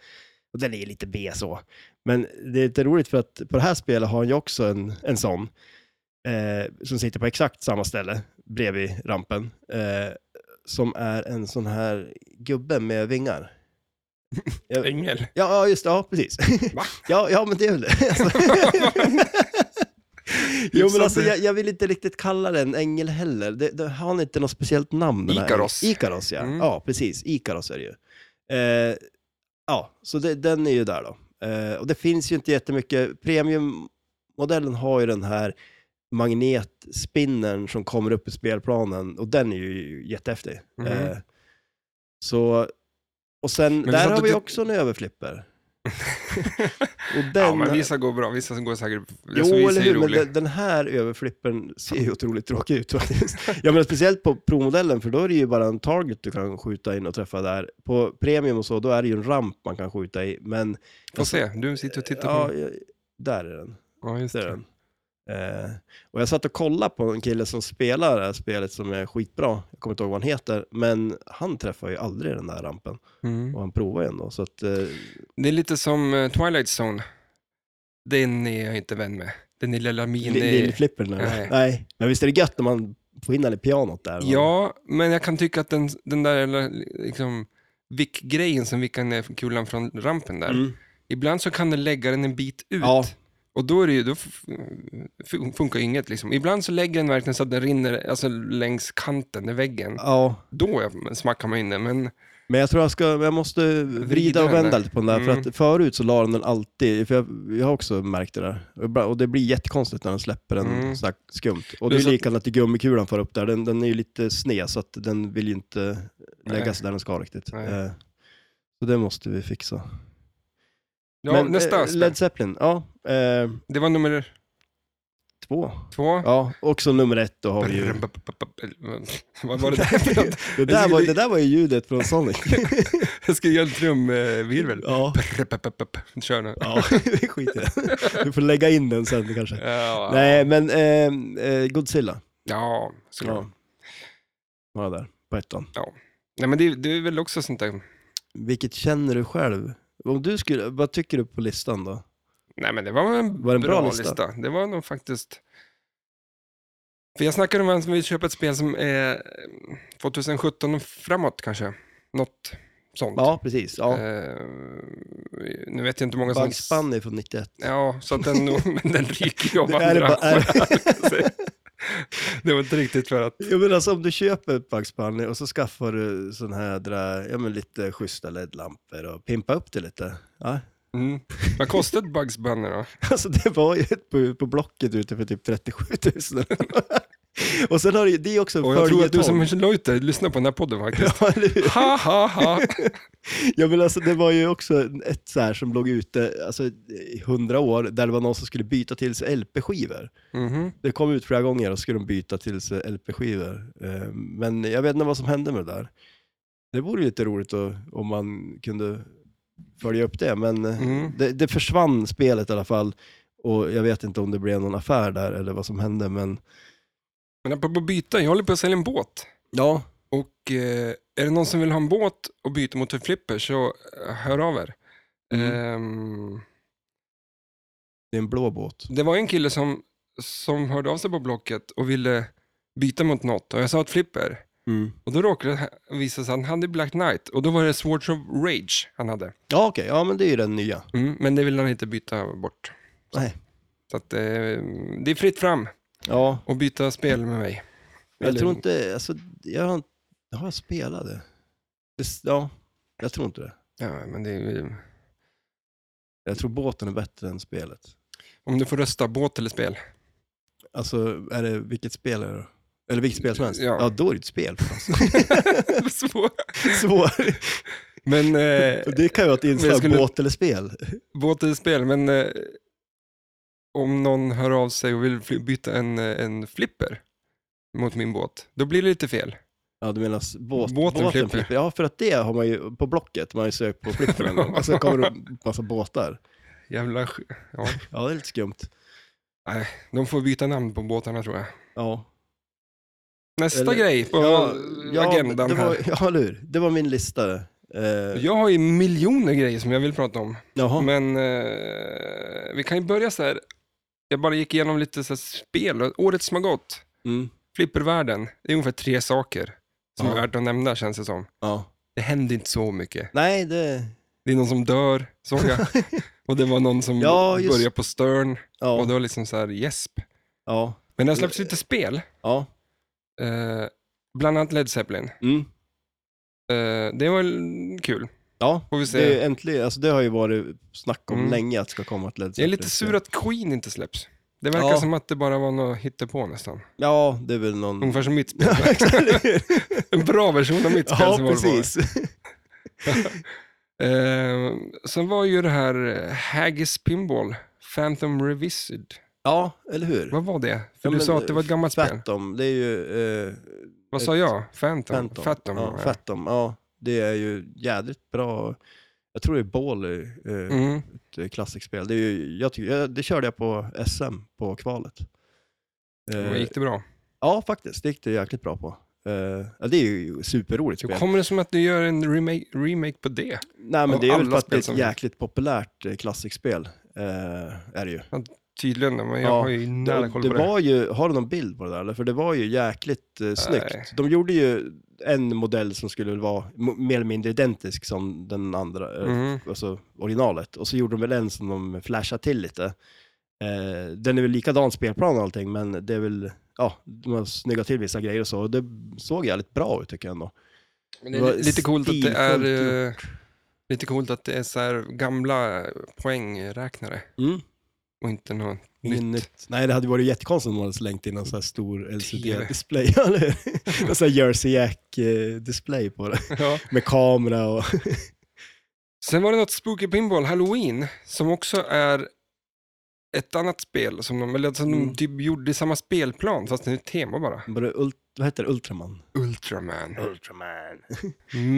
S2: Och den är ju lite B så. Men det är lite roligt för att på det här spelet har han ju också en, en sån. Eh, som sitter på exakt samma ställe bredvid rampen. Eh, som är en sån här gubbe med vingar. Jag- (laughs)
S1: Ängel.
S2: Ja, ja, just det. Ja, precis.
S1: Va?
S2: (laughs) Ja, ja men det är väl det. Alltså.
S1: (laughs)
S2: jo, men alltså, jag, jag vill inte riktigt kalla den ängel heller. Det, det, har han inte något speciellt namn? den här
S1: Ikaros.
S2: ängeln? Ikaros, ja.
S1: Mm.
S2: Ja, precis. Ikaros är det ju. Eh, ja, så det, den är ju där då. Eh, och det finns ju inte jättemycket. Premiummodellen har ju den här magnetspinnern som kommer upp i spelplanen och den är ju jättehäftig.
S1: Mhm.
S2: Eh, så, och sen,
S1: vi
S2: där
S1: satt
S2: har
S1: och
S2: vi
S1: titt-
S2: också en överflipper. Och den,
S1: ja, men vissa går bra, vissa som går säkert...
S2: Jo,
S1: alltså, vissa
S2: eller
S1: är ju
S2: hur, men
S1: roliga.
S2: den, den här överflippen ser ju otroligt tråkig ut faktiskt. ja, men speciellt på Pro-modellen, för då är det ju bara en target du kan skjuta in och träffa där. På Premium och så, då är det ju en ramp man kan skjuta i, men...
S1: Få se, du sitter och tittar på
S2: Ja,
S1: den.
S2: jag- där är den.
S1: Ja, just
S2: Där är
S1: det.
S2: den. Eh, och jag satt och kollade på en kille som spelar det här spelet som är skitbra, jag kommer inte ihåg vad han heter, men han träffar ju aldrig den där rampen.
S1: Mm.
S2: Och han provar ju ändå, så att... Eh,
S1: Det är lite som eh, Twilight Zone. Den är jag inte vän med. Den är lilla eh, mini...
S2: Lill- Lillflippern?
S1: Nej.
S2: Nej. nej. Men visst är det gött när man får in den i pianot där? va?
S1: Ja, men jag kan tycka att den, den där eller, liksom, vick-grejen som vickar ner kulan från rampen där.
S2: Mm.
S1: Ibland så kan den lägga den en bit ut.
S2: Ja.
S1: Och då, är det ju, då f- fun- funkar ju inget. Liksom. Ibland så lägger den verkligen så att den rinner alltså, längs kanten, i väggen.
S2: ja.
S1: Då är- smackar man in den, men
S2: Men jag tror jag, ska, jag måste vrida
S1: den
S2: och vända
S1: där.
S2: lite på den där,
S1: Mm.
S2: för att förut så la den den alltid, för jag, jag har också märkt det där. Och ibland- Och det blir jättekonstigt när den släpper den
S1: Mm.
S2: sådär skumt. Och
S1: Det
S2: det
S1: är
S2: är
S1: så-
S2: likadant att gummikulan far upp där, den, den är ju lite sned så att den vill ju inte lägga
S1: Nej.
S2: sig där den ska riktigt.
S1: Nej.
S2: Eh, Så det måste vi fixa.
S1: Ja,
S2: Men,
S1: nästa
S2: eh,
S1: spel.
S2: Led Zeppelin, ja. Eh,
S1: Det var nummer
S2: två.
S1: två.
S2: Ja, också nummer ett då har vi ju...
S1: Brr, b- b- b- b- (laughs) Vad var det där för något?
S2: (laughs) Det där, var, det där var ju ljudet
S1: (laughs)
S2: från Sonic.
S1: Jag ska göra en trumvirvel.
S2: ja.
S1: Brr, b- b- b- b- Kör
S2: (laughs)
S1: nu.
S2: ja, det skiter jag. Du får lägga in den sen kanske.
S1: Ja,
S2: Nej, men ehm, eh, Godzilla.
S1: ja såklart.
S2: Ja. Var där, på ettan.
S1: Nej, men det, det är väl också sånt där.
S2: Vilket känner du själv? Om du skulle, vad tycker du på listan då?
S1: Nej, men det var en,
S2: Var det en
S1: bra,
S2: bra
S1: lista?
S2: lista?
S1: Det var nog faktiskt... För jag snackade om att vi köpa ett spel som är eh, 2017 och framåt kanske. Något sånt.
S2: Ja, precis. Ja.
S1: Eh, nu vet jag inte hur många
S2: Bugs Bunny från 91.
S1: Ja, så att den, nog- (laughs) men den ryker ju av
S2: Det är det
S1: andra
S2: bara- är-
S1: skäl. (laughs) Det var inte riktigt för att...
S2: Jag menar, alltså, om du köper Bugs Bunny och så skaffar du sån här, dra, ja (laughs) men lite schyssta LED-lampor och pimpa upp det lite. Ja,
S1: Mm. Vad kostade Bugs Bunny då?
S2: Alltså det var ju ett på, på Blocket ute för typ 37 000. (laughs) och sen har det ju, det är också en
S1: Och jag tror att du som
S2: följetong.
S1: är leuter lyssnar på den här podden faktiskt.
S2: (laughs) Ja, eller hur?
S1: Ha, ha, ha.
S2: ja, men alltså, det var ju också ett så här som låg ute alltså, i hundra år, där det var någon som skulle byta till sig LP-skivor.
S1: Mhm.
S2: Det kom ut flera gånger och skulle de byta till sig LP-skivor. Eh, Men jag vet inte vad som hände med det där. Det vore ju lite roligt att, om man kunde följa upp det, men eh,
S1: Mm.
S2: det, det försvann spelet i alla fall. Och jag vet inte om det blev någon affär där eller vad som hände, men
S1: Men apropå byta, jag håller på att sälja en båt.
S2: ja,
S1: Och eh, är det någon som vill ha en båt och byta mot en flipper så eh, hör av er.
S2: Mm.
S1: Ehm,
S2: det är en blå båt.
S1: det var en kille som, som hörde av sig på Blocket och ville byta mot något och jag sa ett flipper.
S2: Mm.
S1: Och då råkade det här- visa sig att han hade Black Knight och då var det Swords of Rage han hade.
S2: Ja, okej, ja men det är ju den nya.
S1: Mm, men det vill han inte byta bort.
S2: Nej.
S1: Så att, eh, det är fritt fram
S2: Ja,
S1: att byta spel med mig.
S2: jag
S1: Eller-
S2: tror inte, alltså, jag har, har jag spelat det? det? s- Ja, jag tror inte det.
S1: Ja, men det är, ju-
S2: Jag tror båten är bättre än spelet.
S1: om du får rösta båt eller spel.
S2: Alltså, är det, vilket spel är det då? Eller vilket spel som helst? Ja,
S1: Ja.
S2: då är det ett spel. (laughs) förstås.
S1: Vad svårt.
S2: (laughs) Svår.
S1: men eh,
S2: Och Det kan ju vara ett inslag,
S1: jag skulle-
S2: båt eller spel.
S1: båt eller spel, men eh, om någon hör av sig och vill fly- byta en, eh, en flipper mot min båt, då blir det lite fel.
S2: Ja, du menar s- båt,
S1: Båten flipper.
S2: Ja, för att det har man ju på Blocket, man har ju sökt på flipper en gång. Och så kommer det en massa båtar.
S1: Jävla sk- ja.
S2: Ja, det är lite skumt.
S1: De får byta namn på båtarna tror jag.
S2: Ja.
S1: Nästa
S2: Eller-
S1: grej på agendan
S2: det var,
S1: här.
S2: Ja, eller hur? Det var min lista. det. Eh,
S1: Jag har ju miljoner grejer som jag vill prata om.
S2: jaha.
S1: Men eh, vi kan ju börja så här. Jag bara gick igenom lite så här spel. Året som har gått,
S2: Mm.
S1: flippervärlden, det är ungefär tre saker som
S2: Ja.
S1: är värt att nämna känns det som.
S2: Ja.
S1: Det hände inte så mycket.
S2: Nej, det...
S1: Det är någon som dör, såg
S2: (laughs)
S1: jag. och det var någon som
S2: Ja, just-
S1: började på Stern. Och
S2: Ja.
S1: det var liksom så här gäsp.
S2: Ja.
S1: Men det har släppts lite spel.
S2: Ja.
S1: Eh, bland annat Led Zeppelin.
S2: Mm.
S1: Eh, det var l- kul.
S2: Ja.
S1: Får vi se.
S2: Det, är äntligen, alltså det har ju varit snack om
S1: Mm.
S2: länge att det ska komma ett Led
S1: Jag är
S2: Zeppelin.
S1: lite sur att Queen inte släpps. Det verkar
S2: Ja. Mm.
S1: som att det bara var något hittepå nästan.
S2: Ja, det är väl någon... (laughs)
S1: Ungefär som mitt spel. (laughs) en bra version av mitt spel
S2: ja,
S1: som var det
S2: precis.
S1: bara. Eh, sen var ju det här eh, Haggis Pinball, Phantom Revisited.
S2: Ja, eller hur?
S1: Vad var det? För
S2: Ja,
S1: du
S2: men, eh,
S1: sa att det var ett gammalt spel.
S2: Phantom, det är ju... Eh,
S1: Vad sa jag? Phantom?
S2: Phantom.
S1: Phantom.
S2: ja,
S1: ja.
S2: Phantom, ja. Det är ju jädrigt bra. Jag tror det är Ball, eh,
S1: Mm.
S2: ett klassikspel. Det, är ju, jag tycker, jag, det körde jag på SM, på kvalet.
S1: Och
S2: Eh,
S1: gick det bra?
S2: ja, faktiskt. Det gick det jäkligt bra på. Eh, ja, det är ju superroligt
S1: Hur
S2: spel.
S1: kommer det som att du gör en remake, remake på det?
S2: Nej, men
S1: av
S2: det är väl
S1: alla
S2: för att det
S1: spel
S2: är ett
S1: som-
S2: jäkligt populärt eh, klassikspel. Eh, är det ju.
S1: Tydligen, men jag
S2: Ja,
S1: har ju nära koll
S2: det
S1: på det.
S2: var ju, har du någon bild på det där eller? För det var ju jäkligt eh,
S1: Nej.
S2: snyggt. De gjorde ju en modell som skulle väl vara mo- mer eller mindre identisk som den andra, eh,
S1: Mhm.
S2: alltså originalet. Och så gjorde de väl en som de flashade till lite. Eh, den är väl likadan spelplan och allting, men det är väl, ja, de har snyggat till vissa grejer och så. Och det såg jävligt bra ut tycker jag ändå.
S1: Men det
S2: Det
S1: är
S2: var
S1: li- lite coolt att det är
S2: stilfullt
S1: eh, lite coolt att det är så här gamla poängräknare
S2: Mm.
S1: och inte något
S2: Inget
S1: nytt.
S2: nytt. Nej, det hade varit jättekonstigt om de hade slängt in en sån här stor (laughs) LCD-display. en sån här Jersey Jack-display på det.
S1: (laughs) Ja.
S2: Med kamera (laughs) och...
S1: Sen var det något Spooky Pinball, Halloween, som också är ett annat spel som de, eller som
S2: Mm.
S1: de typ gjorde i samma spelplan fast det är ett tema bara.
S2: Var det ult... Vad heter det? Ultraman?
S1: Ultraman.
S2: Ultraman.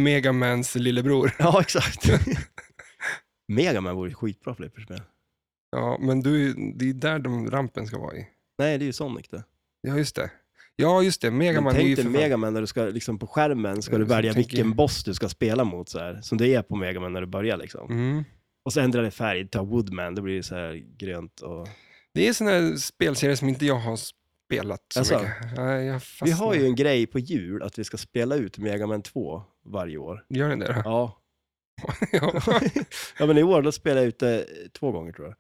S1: Megamans lillebror.
S2: (laughs) Ja, exakt. (laughs) Megaman vore ju skitbra flipperspel.
S1: Ja, men du, det är där de rampen ska vara i.
S2: Nej, det är ju Sonic det.
S1: Ja, just det. Ja, just det.
S2: Men
S1: Megaman är ju
S2: tänk
S1: för
S2: dig
S1: fan-
S2: Megaman när du ska, liksom på skärmen ska
S1: Ja,
S2: du
S1: så
S2: välja
S1: tänker
S2: vilken
S1: jag.
S2: boss du ska spela mot så här. Som det är på Megaman när du börjar liksom.
S1: Mm.
S2: Och så ändrar det färg, ta Woodman, då blir det så här grönt och...
S1: Det är sådana här spelserier som inte jag har spelat så
S2: Alltså,
S1: mycket. Nej, jag fastnar.
S2: Vi har ju en grej på jul att vi ska spela ut Megaman 2 varje år.
S1: Gör den det då?
S2: (laughs) Ja.
S1: (laughs) Ja.
S2: ja, men i år då spelade jag ut det två gånger tror jag.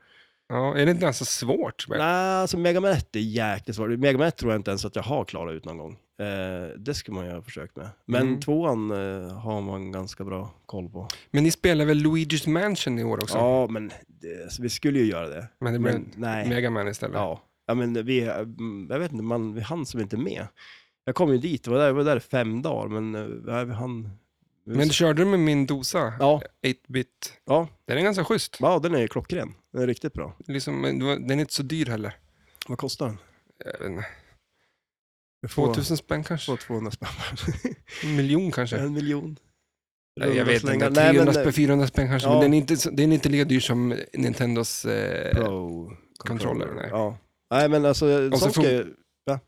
S1: Ja, är det inte ganska svårt? Men?
S2: Nej, alltså Mega Man 1 är jäkligt svårt. Mega Man 1 tror jag inte ens att jag har klarat ut någon gång. Eh, det skulle man ju ha försökt med. Men
S1: Mm.
S2: tvåan eh, har man ganska bra koll på.
S1: men ni spelar väl Luigi's Mansion i år också?
S2: Ja, men det, så vi skulle ju göra det.
S1: Men det blir
S2: Men nej.
S1: Mega Man istället?
S2: Ja. ja, men vi, mm, jag vet inte, man, vi hann som inte med. Jag kom ju dit, jag var där, jag var där i fem dagar, men eh, nej, vi hann...
S1: Men körde du med min dosa?
S2: Ja,
S1: 8-bit.
S2: ja,
S1: Den är ganska schysst.
S2: ja, den är ju klockren. Den är riktigt bra.
S1: Liksom, men det var- den är inte så dyr heller.
S2: Vad kostar den?
S1: Jag vet inte.
S2: Jag får-
S1: 2000 spänn kanske?
S2: får 200 spänn.
S1: En miljon kanske?
S2: en miljon.
S1: Nej, jag
S2: Runda
S1: vet
S2: slängar.
S1: inte.
S2: Nej,
S1: 300
S2: men, eh,
S1: spänn, 400 spänn kanske.
S2: ja.
S1: Men den är, inte, så- den är inte lika dyr som Nintendos... Eh,
S2: Pro
S1: controller, nej.
S2: Ja. Nej, men alltså,
S1: så
S2: sånt
S1: fun-
S2: ska ju...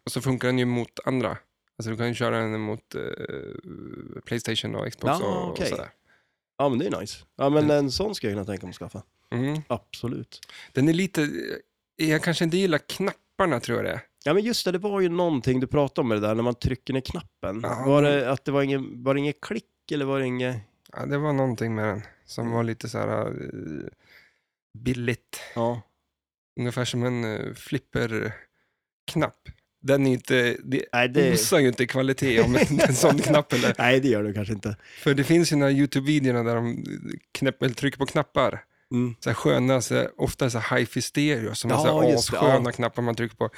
S1: och så funkar den ju mot andra. Alltså du kan ju köra den mot eh, Playstation och Xbox
S2: Ja,
S1: och,
S2: okej.
S1: och sådär.
S2: Ja, men det är nice. Ja, men
S1: Mm.
S2: en sån ska jag kunna tänka mig att skaffa.
S1: Mm.
S2: Absolut.
S1: Den är lite... eh, Jag kanske inte gillar knapparna tror jag det är.
S2: Ja, men just det, det var ju någonting du pratade om med det där när man trycker ner knappen.
S1: Ja.
S2: Var det att det var ingen, var det ingen klick eller var det ingen...
S1: Ja, det var någonting med den
S2: Mm.
S1: som var lite så här eh, billigt.
S2: Ja.
S1: Ungefär som en eh, flipperknapp. Den är ju inte, det
S2: Nej, det...
S1: osar ju inte i kvalitet
S2: (laughs)
S1: om en en sån knapp eller.
S2: Nej, det gör det kanske inte.
S1: För det finns ju de här YouTube-videorna där de knäpp, eller trycker på knappar.
S2: Mm.
S1: Så här sköna, så här, ofta så här hi-fi stereo som
S2: Ja,
S1: är så här
S2: just det,
S1: assköna knappar man trycker på.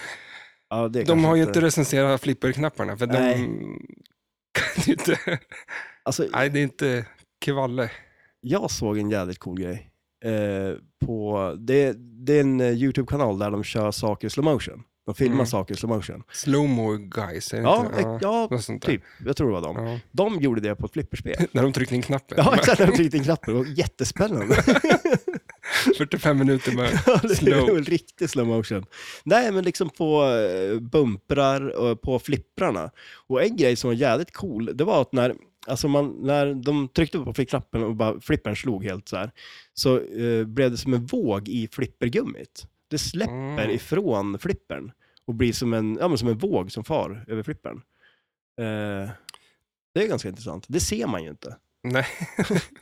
S2: Ja, det
S1: De
S2: kanske
S1: har ju inte recenserat flipperknapparna för de
S2: Nej.
S1: kan ju inte,
S2: Alltså,
S1: nej det är inte kvalle.
S2: jag såg en jävligt cool grej. Eh, på... det, det är en eh, YouTube-kanal där de kör saker i slow motion. De filmar
S1: Mm.
S2: saker i slow motion.
S1: Slowmo guys, är det
S2: Ja,
S1: inte?
S2: ja, ja,
S1: något sånt där.
S2: typ. Jag tror det var dem.
S1: Ja.
S2: De gjorde det på ett flipperspel.
S1: När de tryckte in knappen.
S2: (laughs) Ja, exakt. När de tryckte in knappen. Det var jättespännande.
S1: 45 minuter bara.
S2: (laughs) det
S1: Slow.
S2: var en riktig slow motion. Nej, men liksom på eh, bumprar och på flipprarna. Och en grej som var jävligt cool, det var att när, alltså man, när de tryckte på flippknappen och bara flippern slog helt så här, så eh, blev det som en våg i flippergummit. Det släpper
S1: Mm.
S2: ifrån flippern och blir som en, ja, men som en våg som far över flippern. Eh, det är ganska intressant. Det ser man ju inte.
S1: Nej.
S2: (laughs)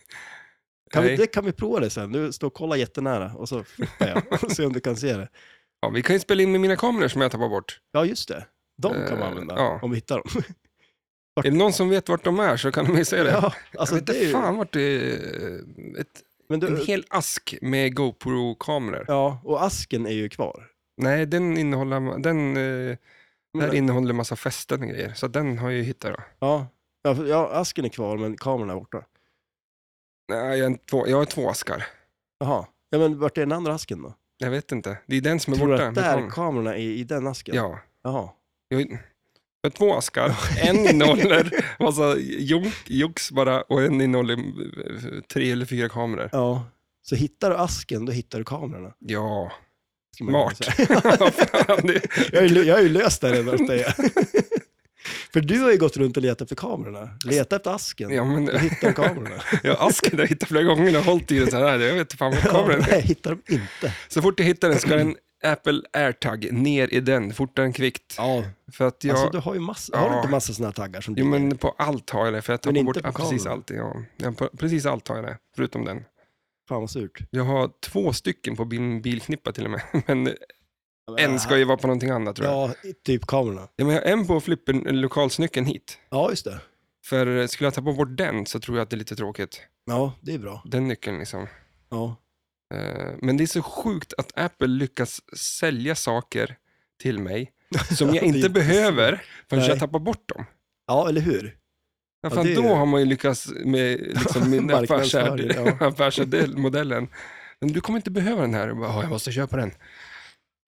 S2: Kan vi,
S1: Nej.
S2: det kan vi prova det sen. Du står och kollar jättenära och så flippar jag och se om du kan se det.
S1: Ja, vi kan ju spela in med mina kameror som jag tappar bort.
S2: Ja, just det. De kan man
S1: Eh,
S2: använda
S1: ja.
S2: om vi hittar dem.
S1: Är det någon som vet vart de är så kan de ju säga det.
S2: (laughs) Ja,
S1: jag
S2: alltså
S1: vet
S2: det är
S1: inte
S2: ju,
S1: fan vart det är. Ett,
S2: men
S1: en
S2: du,
S1: hel ask med GoPro-kameror.
S2: Ja, och asken är ju kvar.
S1: Nej, den innehåller, den, eh,
S2: Men-
S1: där innehåller massa fästen och grejer. Så den har jag ju hittat då.
S2: Ja, ja, för- ja asken är kvar men kameran är borta.
S1: Nej, jag, har en- två, jag har två askar.
S2: Jaha. Ja, men vart är den andra asken då?
S1: Jag vet inte. Det är den som är
S2: Tror du
S1: borta.
S2: att
S1: med
S2: där
S1: kameran.
S2: kamerorna är i den asken?
S1: Ja.
S2: Jaha.
S1: Jag, jag har två askar.
S2: (laughs)
S1: En innehåller massa junk- jox bara och en innehåller eh, tre eller fyra kameror.
S2: Ja. Så hittar du asken, då hittar du kamerorna.
S1: Ja, (laughs)
S2: Ska man
S1: smart.
S2: kunna säga. (laughs)
S1: Vad fan, det-
S2: Jag har ju, jag har ju löst det redan. måste
S1: (laughs)
S2: jag säga. För du har ju gått runt och letat efter kamerorna. Leta efter asken.
S1: ja, men,
S2: Då hittar
S1: (laughs)
S2: du kamerorna.
S1: jag asken har jag hittat flera gånger och hållit i den så här. Jag vet inte fan var kameran är.
S2: Nej, hittar de inte.
S1: Så fort jag hittar den ska den Apple AirTag ner i den, fortare än kvickt.
S2: Ja,
S1: För att jag,
S2: Alltså du har ju massa, har du
S1: Ja.
S2: inte massa sådana här taggar som
S1: jo,
S2: du
S1: men på allt har jag det, för jag tappar
S2: inte
S1: bort
S2: på
S1: ja, precis
S2: kameran.
S1: allt. Ja. Ja, på, precis allt har jag det, förutom den.
S2: Fan vad surt.
S1: Jag har två stycken på min bilknippa till och med, (laughs) men en ska ju vara på någonting annat tror jag.
S2: Ja, typ kamerorna.
S1: Ja, men jag har en på flippen, eller lokalsnyckeln hit.
S2: Ja, just det.
S1: För eh, skulle jag tappa bort den så tror jag att det är lite tråkigt.
S2: Ja, det är bra.
S1: Den nyckeln liksom.
S2: Ja.
S1: Eh, Men det är så sjukt att Apple lyckas sälja saker till mig som
S2: Ja,
S1: jag
S2: (laughs) det är
S1: inte
S2: inte
S1: behöver förrän
S2: Nej.
S1: jag tappar bort dem.
S2: ja, eller hur?
S1: Ja,
S2: Ja,
S1: fan,
S2: det är
S1: då
S2: ju-
S1: har man ju lyckats med liksom, min
S2: (laughs) Marknadsföring,
S1: affärsad- (laughs) affärsmodellen. Men du kommer inte behöva den här. Jag, bara, "Ja, jag måste köpa den.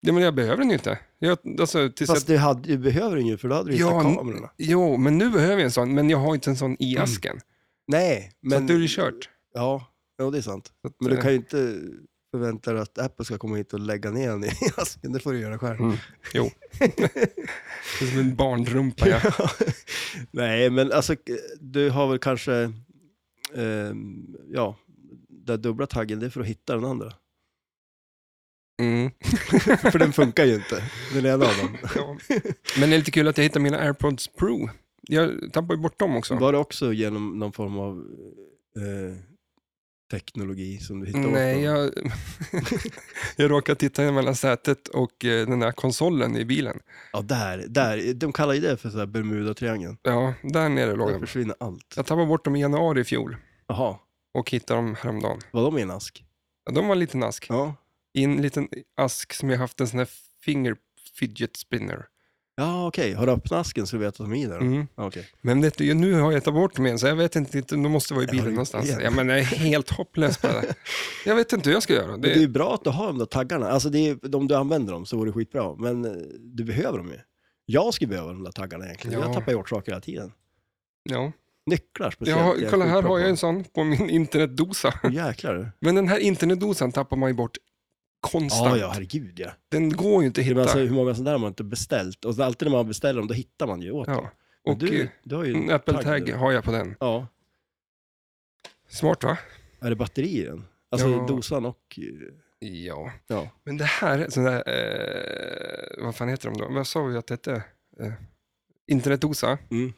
S1: Ja, men jag behöver den ju inte. Jag, alltså, tills
S2: Fast du, hade, du behöver den ju för då hade du
S1: jag,
S2: hittat
S1: ja,
S2: kamerorna.
S1: Jo, men nu behöver jag en sån, men jag har inte en sån i asken.
S2: Nej, Mm. men...
S1: Så att då är det kört.
S2: Ja, ja, det är sant.
S1: Så att,
S2: Men du
S1: eh,
S2: kan ju inte förvänta dig att Apple ska komma hit och lägga ner den i (laughs) asken. Det får du göra själv. (laughs)
S1: Mm. Jo. det är eh, som en barnrumpa.
S2: (laughs)
S1: Ja.
S2: Nej, men alltså du har väl kanske... ehm, ja, den dubbla taggen, det är för att hitta den andra. (laughs)
S1: Mm.
S2: för den funkar ju inte, den ena av dem.
S1: Ja. Men det är lite kul att jag hittar mina AirPods Pro. Jag tappar ju bort dem också.
S2: Var det också genom någon form av eh, teknologi som du hittar åt
S1: Nej,
S2: dem.
S1: jag, (laughs) jag råkade titta mellan sätet och eh, den här konsolen i bilen.
S2: Ja, där, där. De kallar ju det för så här Bermuda-triangeln.
S1: Ja, där nere låg
S2: Där
S1: den.
S2: försvinner allt.
S1: Jag tappade bort dem i januari i fjol
S2: Jaha,
S1: och hittade dem häromdagen.
S2: var de i en ask?
S1: Ja, de var en liten ask.
S2: Ja.
S1: I en liten ask som jag haft en sån här finger fidget spinner.
S2: Ja, okej. Har du öppnat asken så vet du att de är i där?
S1: Mm.
S2: Ja, okej.
S1: Men vet du, nu har jag tagit bort dem igen, så jag vet inte, de måste vara i
S2: Ja,
S1: bilen
S2: det-
S1: någonstans.
S2: igen.
S1: Ja, men jag är helt hopplös på det där. Jag vet inte hur jag ska göra.
S2: Men det är
S1: Det,
S2: ju bra att du har de där taggarna. Alltså, det är, om du använder dem så vore det skitbra. Men eh, du behöver dem ju. Jag skulle behöva de där taggarna egentligen.
S1: Ja.
S2: Jag tappar ju bort saker hela tiden.
S1: ja.
S2: Nycklar
S1: jag
S2: speciellt.
S1: har,
S2: är
S1: kolla, här
S2: skitbra
S1: har jag
S2: på.
S1: en sån på min internetdosa.
S2: Åh, Jäklar.
S1: Men den här internetdosan tappar man ju bort konstant.
S2: Ja, ja, herregud ja.
S1: Den går ju inte att
S2: Men
S1: hitta.
S2: alltså, hur många sådana där har man inte beställt? Och så alltid när man beställer dem, då hittar man ju åt dem.
S1: ja.
S2: Men
S1: Och
S2: du,
S1: eh,
S2: du har ju
S1: en Apple
S2: tagg
S1: Tag
S2: nu.
S1: har jag på den.
S2: Ja.
S1: Smart va?
S2: Är det batteri i den? Alltså
S1: Ja.
S2: dosan och... eh,
S1: Ja.
S2: Ja.
S1: Men det här, sån där, eh, vad fan heter de då? Vad sa vi att det hette? Eh, internetdosa.
S2: Mm.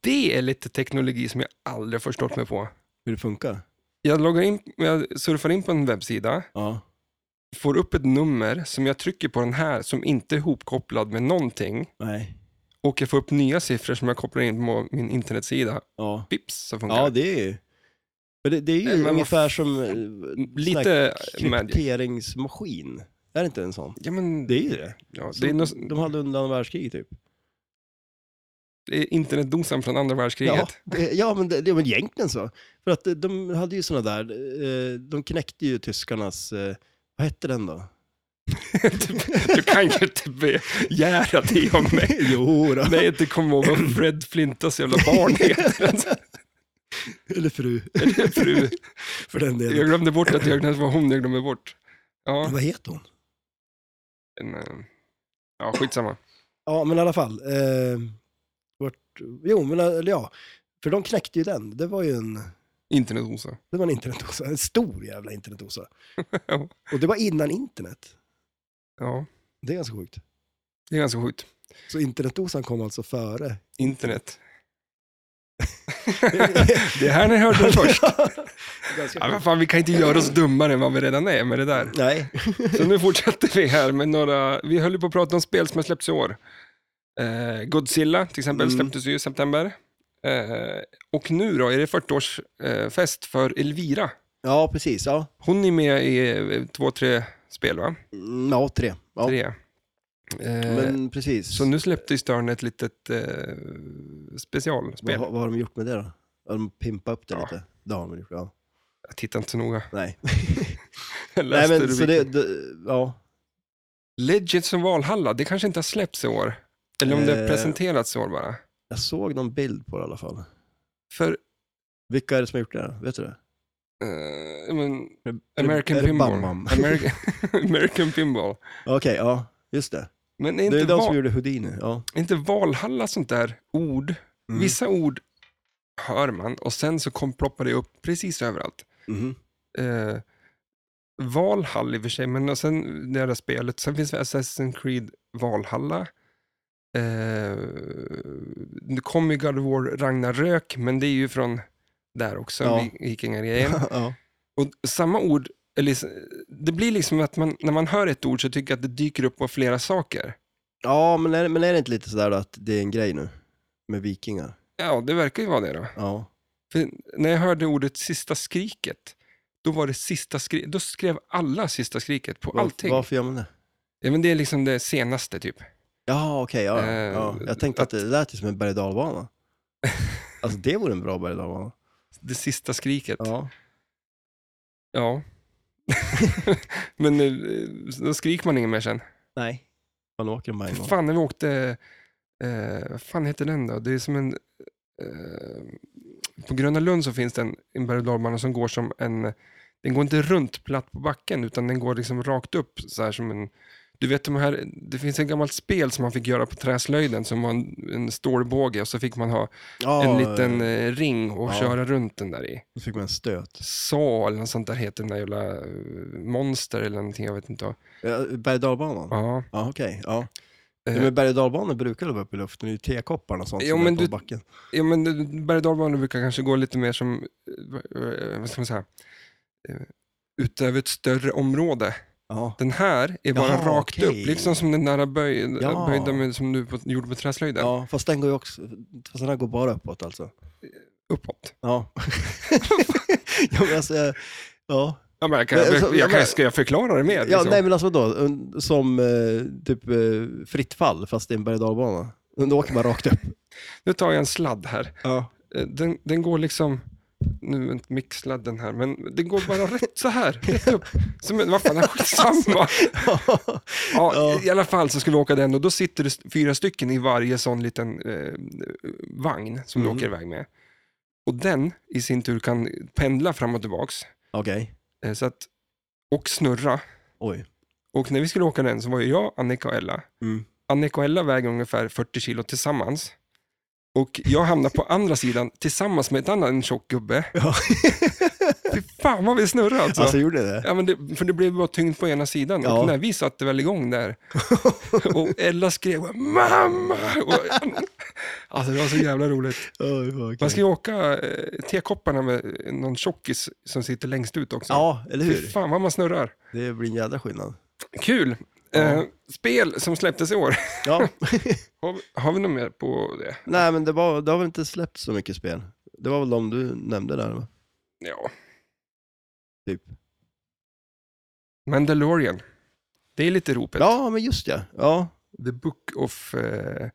S1: Det är lite teknologi som jag aldrig förstått mig på.
S2: Hur det funkar?
S1: Jag, loggar in, jag surfar in på en webbsida,
S2: Ja.
S1: får upp ett nummer som jag trycker på den här som inte är ihopkopplad med någonting
S2: Nej.
S1: och jag får upp nya siffror som jag kopplar in på min internetsida.
S2: Ja.
S1: Vips så funkar
S2: Ja,
S1: det.
S2: det är ju... Men det, det är ju
S1: Nej, men vad
S2: ungefär
S1: f-
S2: som eh,
S1: Lite
S2: sån här
S1: magic.
S2: krypteringsmaskin. Är det inte en sån?
S1: Ja, men
S2: Det är ju det.
S1: Ja, det,
S2: Som
S1: är nå-
S2: De hade under andra världskriget typ.
S1: det är internetdosan från andra världskriget.
S2: Ja, det, ja men, det, det, men egentligen så. För att eh, de hade ju såna där, eh, de knäckte ju tyskarnas, eh, vad hette
S1: (laughs)
S2: den då?
S1: Du kan ju inte begära det av mig.
S2: (laughs) jo då.
S1: Nej, det kommer ihåg vad Fred Flintas jävla barn heter.
S2: (laughs) Eller fru,
S1: Eller Fru.
S2: för den delen.
S1: Jag glömde bort att jag det var hon jag glömde bort. Ja,
S2: Vad heter hon?
S1: en, eh, ja skitsamma.
S2: Ja, men i alla fall. Eh, vart, jo, men eh, eller ja. För de knäckte ju den. Det var ju en,
S1: Internetdosa.
S2: det var en internetdosa. En stor
S1: (laughs)
S2: jävla internetdosa.
S1: Ja.
S2: Och det var innan internet.
S1: Ja,
S2: Det är ganska sjukt.
S1: det är ganska sjukt.
S2: Så internetdosan kom alltså före.
S1: Internet. (laughs) Det är här ni hörde det
S2: (laughs)
S1: först.
S2: ganska
S1: Ja, vad
S2: sjukt.
S1: fan, vi kan inte göra oss dummare än vad vi redan är med det där.
S2: Nej.
S1: Så nu fortsätter vi här med några, vi höll ju på att prata om spel som har släppts i år. Eh, Godzilla till exempel
S2: Mm.
S1: släpptes ju i september. Eh, och nu då är det 40-årsfest för Elvira.
S2: Ja, precis. Ja,
S1: Hon är med i eh, två, tre spel va?
S2: Mm, ja tre. Ja.
S1: Tre. Eh,
S2: Men precis.
S1: Så nu släppte ju Stern ett litet eh, specialspel.
S2: vad, vad har de gjort med det då? Har de pimpat upp det
S1: Ja.
S2: lite? Det har de gjort, ja.
S1: Jag tittar inte så noga. (laughs)
S2: Nej.
S1: Jag
S2: Nej,
S1: läste
S2: men så det,
S1: rubriken.
S2: det, ja.
S1: Legends of Valhalla, det kanske inte har släppts i år. Eller om det har
S2: Eh.
S1: presenterats i år bara.
S2: Jag såg någon bild på det i alla fall.
S1: För
S2: Vilka är det som har gjort det? Vet du det?
S1: Eh, men,
S2: Är det-
S1: American
S2: är det
S1: Pinball.
S2: Bam Bam?
S1: (laughs) American, American Pinball.
S2: (laughs) Okej, ja, just det.
S1: Men är
S2: Det
S1: inte,
S2: är de
S1: val,
S2: som gjorde Houdini. Ja.
S1: är inte Valhalla sånt där ord?
S2: Mm.
S1: Vissa ord hör man och sen så kom, ploppar det upp precis överallt. (laughs)
S2: Mhm.
S1: Eh, Valhall i och för sig, men och sen det här spelet. Sen finns det Assassin's Creed Valhalla. Eh, nu kommer ju God of War Ragnarök, men det är ju från där också,
S2: Ja.
S1: ja.
S2: (laughs)
S1: vikingagrejen.
S2: ja.
S1: Och samma ord, eller, s- det blir liksom att man, när man hör ett ord så tycker jag att det dyker upp på flera saker.
S2: ja, men är, men är det inte lite sådär då att det är en grej nu? Med vikingar?
S1: Ja, det verkar ju vara det då.
S2: Ja.
S1: För när jag hörde ordet sista skriket, då var det sista skri- då skrev alla sista skriket på allting.
S2: Varför gör man det?
S1: Ja, men det är liksom det senaste typ.
S2: Ja, okej. ja, ja,
S1: Eh,
S2: ja. Jag tänkte att det lät ju som en berg
S1: (laughs)
S2: och dalbana. Alltså det vore en bra berg och dalbana.
S1: Det sista skriket. Ja.
S2: Ja.
S1: (laughs) men eh, då skriker man inget mer sen.
S2: Nej. Man åker en berg och
S1: Fan, när vi åkte, eh, vad fan heter den då? Det är som en, eh, på Gröna Lund så finns det en, en berg och dalbana som går som en, den går inte runt platt på backen utan den går liksom rakt upp så här som en, du vet de här, det finns ett gammalt spel som man fick göra på träslöjden som var en, en stålbåge och så fick man ha
S2: ja,
S1: en liten eh, ring och
S2: Ja.
S1: köra runt den där i.
S2: Då fick man en stöt.
S1: Sa eller något sånt där heter den där jävla eh, monster eller någonting, jag vet inte.
S2: Ja, berg och dalbanan?
S1: Ja, Eh.
S2: Ja, okej. Ja. Ja, men berg och dalbanor brukar väl vara uppe i luften, det är ju tekoppar och sånt
S1: Jo,
S2: som
S1: men
S2: är på
S1: du-
S2: backen.
S1: Ja, men eh, berg och dalbanor brukar kanske gå lite mer som, eh, vad ska man säga, eh, utöver ett större område.
S2: Ja.
S1: Den här är bara
S2: Jaha,
S1: rakt
S2: okej.
S1: upp, liksom som den där böj,
S2: Ja.
S1: böjda med, som du på, gjorde på träslöjden,
S2: ja, fast den går ju också, fast den här går bara uppåt alltså.
S1: uppåt.
S2: Ja. (laughs) ja, men alltså, eh, ja.
S1: Ja, men jag, kan,
S2: Men,
S1: jag,
S2: alltså,
S1: jag,
S2: jag
S1: kan,
S2: menar-
S1: ska jag förklara det mer?
S2: ja
S1: liksom?
S2: nej men alltså då, en- som eh, typ eh, fritt fall fast det är en berg och dalbana. Då åker man rakt upp.
S1: Nu tar jag en sladd här.
S2: Ja.
S1: Eh, Den, den går liksom, nu är inte mixsladden här, men den går bara rätt så här, rätt upp. Som, en- vad fan, skitsamma. Ja,
S2: Ja.
S1: I alla fall så ska vi åka den och då sitter det s- fyra stycken i varje sån liten eh, vagn som
S2: Mm.
S1: du åker iväg med. Och den i sin tur kan pendla fram och tillbaks
S2: (laughs) Okej,
S1: eh, så att, och snurra.
S2: oj.
S1: Och när vi skulle åka den så var ju jag, Annika och Ella.
S2: Mm.
S1: Annika och Ella väger ungefär 40 kilo tillsammans. Och jag hamnar på andra sidan tillsammans med ett annat en tjock gubbe.
S2: Ja.
S1: Fy fan vad vi snurrade alltså.
S2: Alltså gjorde det?
S1: Ja, men det, för det blev bara tyngd på ena sidan
S2: Ja.
S1: och när vi satte väl igång
S2: (laughs)
S1: där och Ella skrev ”Mamma!” och, Alltså det var så jävla roligt.
S2: Oj, vad
S1: Man
S2: kul.
S1: ska ju åka eh, tekopparna med någon tjockis som sitter längst ut också.
S2: Ja, eller
S1: Fy
S2: hur?
S1: fan vad man snurrar.
S2: Det blir en jädra skillnad.
S1: Kul! Eh, spel som släpptes i år.
S2: Ja. (laughs)
S1: Har, vi- har vi något mer på det?
S2: Nej, men det, var, det har väl inte släppts så mycket spel? Det var väl de du nämnde där? va?
S1: Ja.
S2: Typ.
S1: Mandalorian. Det är lite ropet.
S2: Ja, men just ja. Ja.
S1: The Book of... Eh, Jag har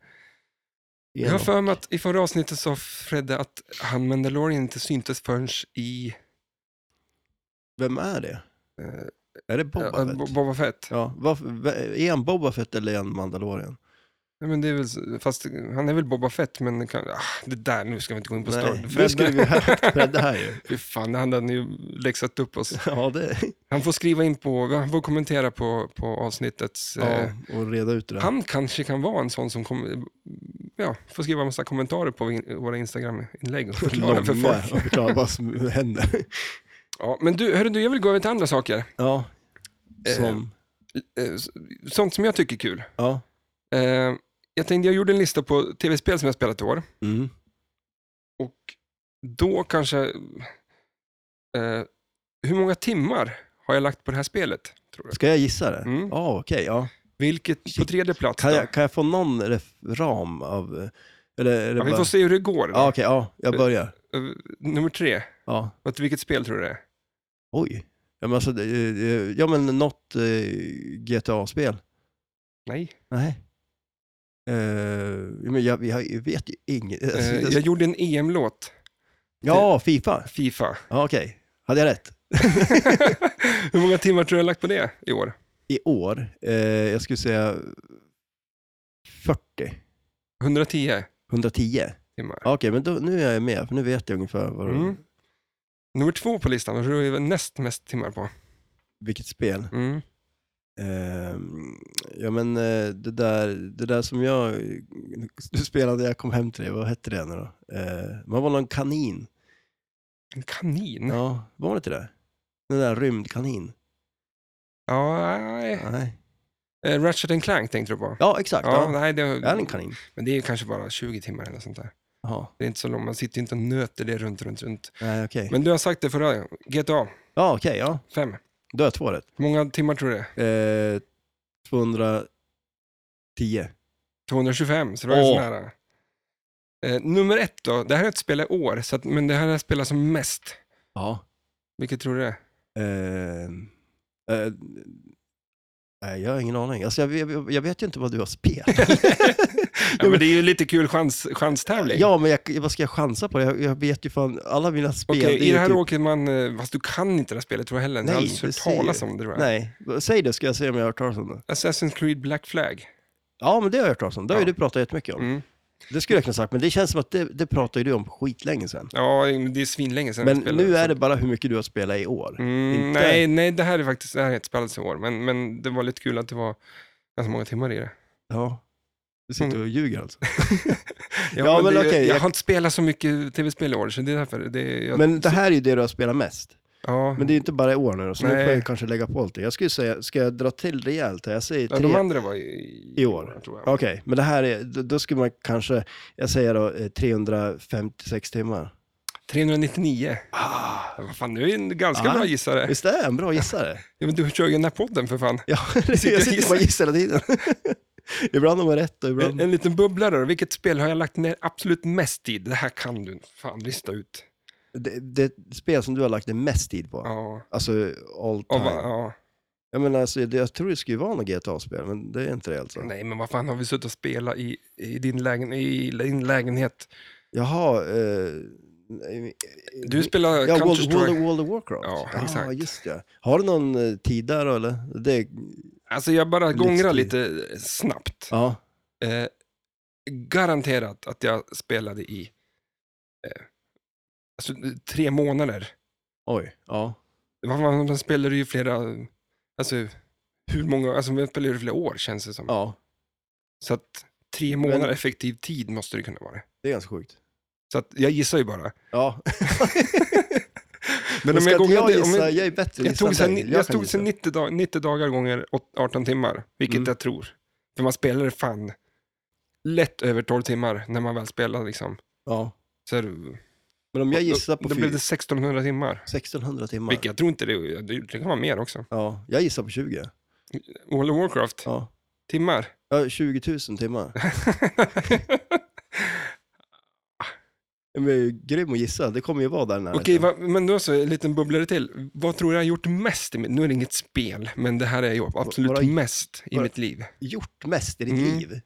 S2: Genom.
S1: för mig att i förra avsnittet sa Fredde att han Mandalorian inte syntes förrän i
S2: Vem är det?
S1: eh,
S2: Är det Boba
S1: Boba,
S2: Fett?
S1: Boba Fett.
S2: Ja, varför, v- är han Boba Fett eller är han Mandalorian?
S1: Nej, men det är väl, s- fast han är väl Boba Fett, men kan, ah, det där, nu ska vi inte gå in på
S2: Nej,
S1: Star
S2: nu skulle
S1: Fredde,
S2: vi ha Fredde här ju.
S1: fy fan, han hade ju läxat upp oss.
S2: Ja, det,
S1: Han får skriva in på, han får kommentera på, på avsnittets...
S2: ja,
S1: Eh,
S2: och reda ut det där.
S1: han kanske kan vara en sån som kommer, ja, får skriva en massa kommentarer på in, våra Instagram-inlägg och förklara för
S2: Långa
S1: folk.
S2: och förklara vad som händer.
S1: Ja, men du, hörru, du, jag vill gå över till andra saker.
S2: Ja, som,
S1: Eh, s- Sånt som jag tycker är kul.
S2: ja.
S1: Eh, jag tänkte, jag gjorde en lista på tv-spel som jag spelat i år.
S2: Mm.
S1: Och då kanske... Eh, hur många timmar har jag lagt på det här spelet? Tror du?
S2: Ska jag gissa det?
S1: Mm.
S2: Ja, okej. ja.
S1: Vilket på
S2: Shit.
S1: tredje plats
S2: Kan,
S1: då?
S2: jag, kan jag få någon ref- ram av... eh, Eller är det
S1: ja, vi
S2: bara...
S1: får se hur det går.
S2: Ja, okej. ja, jag börjar.
S1: Eh, Nummer tre,
S2: Ja.
S1: Vad- vilket spel tror du det är?
S2: Oj. Ja, men, alltså, det- eh, ja, men något eh, GTA-spel.
S1: Nej.
S2: Nej. Eh, ja, men jag, jag vet ju inget. (laughs) Alltså,
S1: Eh,
S2: det-
S1: jag gjorde en EM-låt,
S2: ja, Fifa. (laughs)
S1: Fifa.
S2: Ja, okej. Hade jag rätt?
S1: hur många timmar tror du jag har lagt på det i år?
S2: I år, eh, jag skulle säga 40,
S1: 110
S2: 110.
S1: timmar.
S2: Ja, okej, men då, nu är jag med, för nu vet jag ungefär vad,
S1: Mm. Nummer två på listan, vad tror du är näst mest timmar på?
S2: vilket spel.
S1: Mm.
S2: Ehm, ja, men eh, det där, det där som jag du spelade när jag kom hem till dig, vad hette det nu då? Eh, man var någon kanin.
S1: En kanin? Ja,
S2: Ja, var det inte det? Den där rymdkanin.
S1: nej.
S2: Nej.
S1: Eh, Ratchet and Clank tänkte du på?
S2: Ja, exakt.
S1: Ja,
S2: Ja,
S1: nej, det,
S2: Är det en kanin?
S1: Men det är ju kanske bara 20 timmar eller sånt där.
S2: Jaha.
S1: Det är inte så långt, man sitter ju inte och nöter det runt, runt, runt.
S2: Nej, okej.
S1: Men du har sagt det förra, GTA
S2: Ja, okej, ja.
S1: 5.
S2: Då har jag två rätt.
S1: Hur många timmar tror du det är?
S2: Eh, 210.
S1: 225, så det var ju
S2: Åh.
S1: så nära. Eh, nummer ett då, det här är ett spel i år, så att, men det här är spelat som mest.
S2: Ja.
S1: Vilket tror du det är?
S2: Ehm, eh, nej, jag har ingen aning. Alltså, jag, jag, jag vet ju inte vad du
S1: (laughs)
S2: har spelat.
S1: Ja, men det är ju lite kul chans, chanstävling.
S2: ja, men jag, vad ska jag chansa på? Jag, jag vet ju fan alla mina spel.
S1: Okej,
S2: det är
S1: i
S2: ju
S1: det här
S2: typ,
S1: åker man, eh, fast du kan inte det här spelet tror jag heller. Nej,
S2: Nej,
S1: jag har aldrig hört
S2: det ser
S1: talas
S2: jag.
S1: om det tror jag.
S2: Nej, säg det ska jag se om jag har hört talas om det.
S1: Assassin's Creed Black Flag.
S2: Ja, men det har jag hört talas om. Det har ju
S1: Ja.
S2: du pratat jättemycket om.
S1: Mm.
S2: Det skulle jag kunna sagt, men det känns som att det, det pratade ju du om skitlänge sedan.
S1: Ja, det är svinlänge sedan
S2: Men
S1: jag spelade,
S2: nu
S1: så-
S2: är det bara hur mycket du har spelat i år.
S1: Mm,
S2: Inte-
S1: nej, nej, det här är faktiskt det här är ett spel i år, men, men det var lite kul att det var ganska många timmar i det.
S2: Ja. Du
S1: Mm.
S2: sitter och ljuger alltså.
S1: Ja,
S2: Ja, men
S1: det,
S2: okej,
S1: jag,
S2: jag-
S1: har inte spelat så mycket tv-spel i år, så det är därför. Det, jag,
S2: Men det här är ju det du har spelat mest.
S1: Ja.
S2: Men det är ju inte bara i år nu då, så nu
S1: Nej.
S2: får jag kanske lägga på lite. Jag skulle säga, ska jag dra till rejält här? Jag säger
S1: ja,
S2: tre.
S1: de andra var i,
S2: I år.
S1: tror jag.
S2: Okej, men det här är, då, då skulle man kanske, jag säger då eh, 356 timmar.
S1: 399.
S2: Ah,
S1: Ja, Vad fan, du är en ganska
S2: Ja.
S1: bra gissare.
S2: visst är jag en
S1: (laughs)
S2: bra gissare?
S1: Ja, men du kör ju den här podden för fan.
S2: Ja, (laughs) jag
S1: Sitter och
S2: sitter och bara gissar hela tiden. (laughs) ibland har man rätt och
S1: En,
S2: ibland...
S1: en liten bubblare då. Vilket spel har jag lagt ner absolut mest tid? Det här kan du fan lista ut.
S2: Det, det är ett spel som du har lagt ner mest tid på.
S1: Ja.
S2: Alltså all
S1: Och
S2: time.
S1: va, ja.
S2: Jag menar, alltså, det, jag tror det skulle vara något GTA-spel, men det är inte det alltså.
S1: Nej, men vad fan har vi suttit och spelat i, i, din, lägen, i din lägenhet?
S2: Jaha, eh,
S1: Du spelar
S2: ja, World, World,
S1: Counter-Strike.
S2: of- World of Warcraft.
S1: Ja,
S2: ah,
S1: exakt.
S2: just det. Har du någon eh, tid där då, eller? Det,
S1: Alltså jag bara gångrar
S2: Livsstil.
S1: lite snabbt.
S2: ja.
S1: Eh, garanterat att jag spelade i eh, alltså, tre månader.
S2: Oj, ja.
S1: Vad fan, Man spelade ju flera, alltså hur många, alltså man spelade ju flera år känns det som.
S2: ja.
S1: Så att tre månader
S2: Men-
S1: effektiv tid måste det kunna vara.
S2: Det är ganska sjukt.
S1: Så att jag gissar ju
S2: (laughs)
S1: bara.
S2: Ja.
S1: Men
S2: Men
S1: om
S2: ska
S1: jag
S2: jag inte jag
S1: gånglade, om
S2: gissa?
S1: jag,
S2: Jag, är bättre
S1: jag tog
S2: gissa
S1: sen,
S2: än dig.
S1: jag
S2: kan
S1: tog sen
S2: gissa.
S1: 90, dag, 90 dagar gånger åt- 18 timmar, vilket
S2: Mm.
S1: jag tror. För man spelade fan lätt över 12 timmar när man väl spelade liksom.
S2: Ja.
S1: Så är det-
S2: Men om jag gissar
S1: då,
S2: på
S1: då blev det
S2: fyra-
S1: 1600 timmar.
S2: 1600 timmar.
S1: Vilket jag tror inte det, det det kan vara mer också.
S2: Ja, jag gissar på 20.
S1: World of Warcraft,
S2: Ja. (laughs)
S1: timmar.
S2: ja 20 000 timmar.
S1: (laughs)
S2: Men jag är ju grym att gissa. Det kommer ju vara där nära.
S1: (laughs) Okej, va, men då så, en liten bubblare till. Vad tror du jag har gjort mest i mitt, nu är det inget spel, men det här är jag absolut
S2: Bara-
S1: mest i
S2: bara-
S1: mitt liv.
S2: Gjort mest i ditt
S1: Mm.
S2: liv?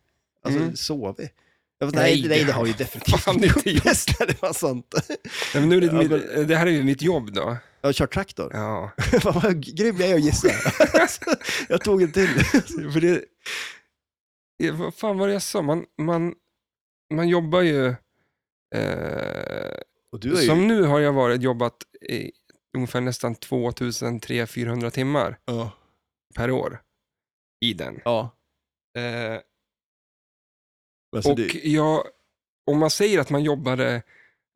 S2: Alltså,
S1: Mm.
S2: sovit? Jag vet,
S1: Nej,
S2: nej, nej, det har
S1: (laughs)
S2: ju
S1: fan,
S2: definitivt
S1: det är inte
S2: gjort mest när det
S1: (laughs)
S2: var sånt.
S1: Nej, men nu är det,
S2: Ja,
S1: mitt,
S2: men-
S1: det här är ju mitt jobb då.
S2: Jag har kört traktor. (laughs)
S1: Ja. (laughs)
S2: Fan vad grym jag är att gissa. Alltså, jag tog
S1: (laughs)
S2: en till.
S1: För det... Ja, Vad fan var det jag sa? Man, man, man jobbar ju... Eh,
S2: Och du är ju...
S1: som nu har jag varit, jobbat i ungefär nästan 2300-400 timmar
S2: Ja.
S1: per år i den.
S2: ja.
S1: Eh,
S2: Alltså,
S1: och
S2: du...
S1: jag, om man säger att man jobbade,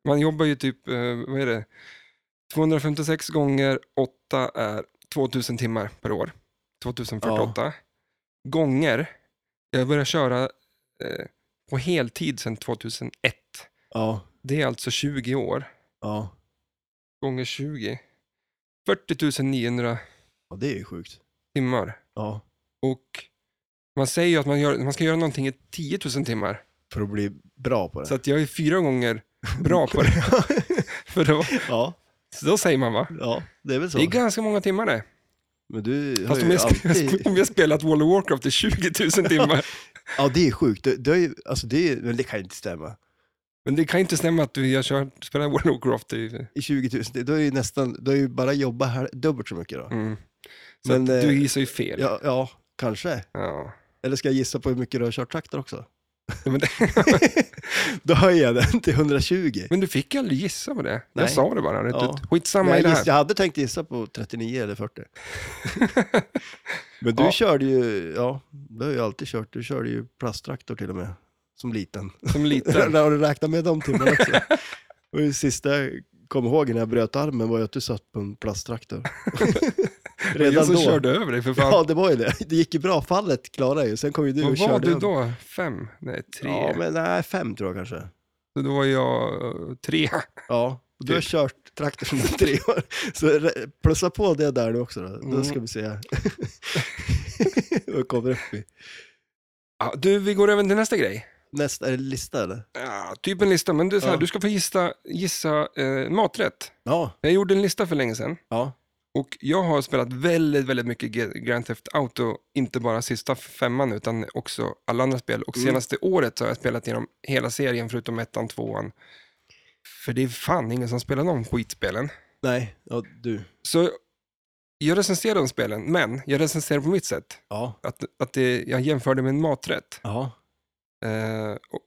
S1: man jobbar ju typ, eh, vad är det, 256 gånger 8 är 2000 timmar per år. 2048. Gånger, jag började köra eh, på heltid sedan 2001.
S2: Ja.
S1: Det är alltså 20 år,
S2: Ja.
S1: gånger 20. 40 900
S2: ja, det är ju sjukt.
S1: timmar.
S2: Ja.
S1: Och man säger ju att man, gör, man ska göra någonting i 10 000 timmar.
S2: För att bli bra på det.
S1: Så att jag är fyra gånger bra på det. (laughs) För då,
S2: (laughs) ja,
S1: Så då säger man va?
S2: ja, det är väl så.
S1: Det är ganska många timmar det.
S2: Men du har
S1: Fast om
S2: ju
S1: jag, (laughs)
S2: alltid...
S1: om jag spelat World of Warcraft i 20
S2: (laughs)
S1: 000 timmar.
S2: Ja, det är sjukt. Du, du har ju... Alltså, det, är... men det kan ju inte stämma.
S1: Men det kan inte stämma att du jag kör, spelar World of Warcraft i...
S2: I 20 000, det- då är ju nästan... Du har ju bara jobbat här dubbelt så mycket då.
S1: Mm. Så
S2: Men,
S1: att
S2: eh,
S1: du gissar ju fel. Ja.
S2: Ja, ja, kanske. Eller ska jag gissa på hur mycket du har kört traktor också?
S1: Men, det,
S2: Då höjer jag den till 120.
S1: men du fick ju aldrig gissa på det. Jag
S2: Nej.
S1: sa det bara. Rätt
S2: Ja.
S1: ut. Skitsamma i
S2: jag,
S1: det
S2: giss,
S1: här.
S2: jag hade tänkt gissa på 39
S1: (laughs)
S2: eller 40. Men du
S1: Ja.
S2: körde ju, ja, du har ju alltid kört, du körde ju plasttraktor till och med, som liten.
S1: Som
S2: (laughs)
S1: liten.
S2: Där har du räknat med de timmarna också.
S1: (laughs)
S2: och det sista jag kom ihåg när jag bröt armen var ju att du satt på
S1: (laughs)
S2: en plasttraktor.
S1: Redan jag
S2: Redan
S1: som
S2: då.
S1: körde över dig för fan.
S2: Ja, det var ju det. Det gick ju bra, fallet klarade jag ju. Sen kom ju du och
S1: Vad var
S2: körde
S1: du
S2: över.
S1: då? Fem? Nej, tre.
S2: Ja, men nej, fem tror jag kanske.
S1: Så då var jag eh, tre.
S2: Ja, och du har
S1: Typ.
S2: kört traktor sedan du är (laughs) tre år. Så re- plussa på det där nu också då. Då ska
S1: Mm.
S2: vi se (laughs) vad vi kommer upp i.
S1: Ja, du, vi går över till nästa grej.
S2: Nästa, är det lista eller?
S1: Ja, typ en lista, men du, så här,
S2: Ja.
S1: du ska få gissa, gissa eh, maträtt.
S2: Ja.
S1: Jag gjorde en lista för länge sedan.
S2: Ja.
S1: Och jag har spelat väldigt, väldigt mycket Ge- Grand Theft Auto, inte bara sista femman utan också alla andra spel. Och
S2: Mm.
S1: senaste året så har jag spelat igenom hela serien förutom ettan, tvåan. För det är fan ingen som spelar de skitspelen.
S2: Nej, ja du.
S1: Så jag recenserar de spelen, men jag recenserar på mitt sätt.
S2: Ja.
S1: Att, att det, jag jämförde med en maträtt.
S2: Ja.
S1: Eh, och,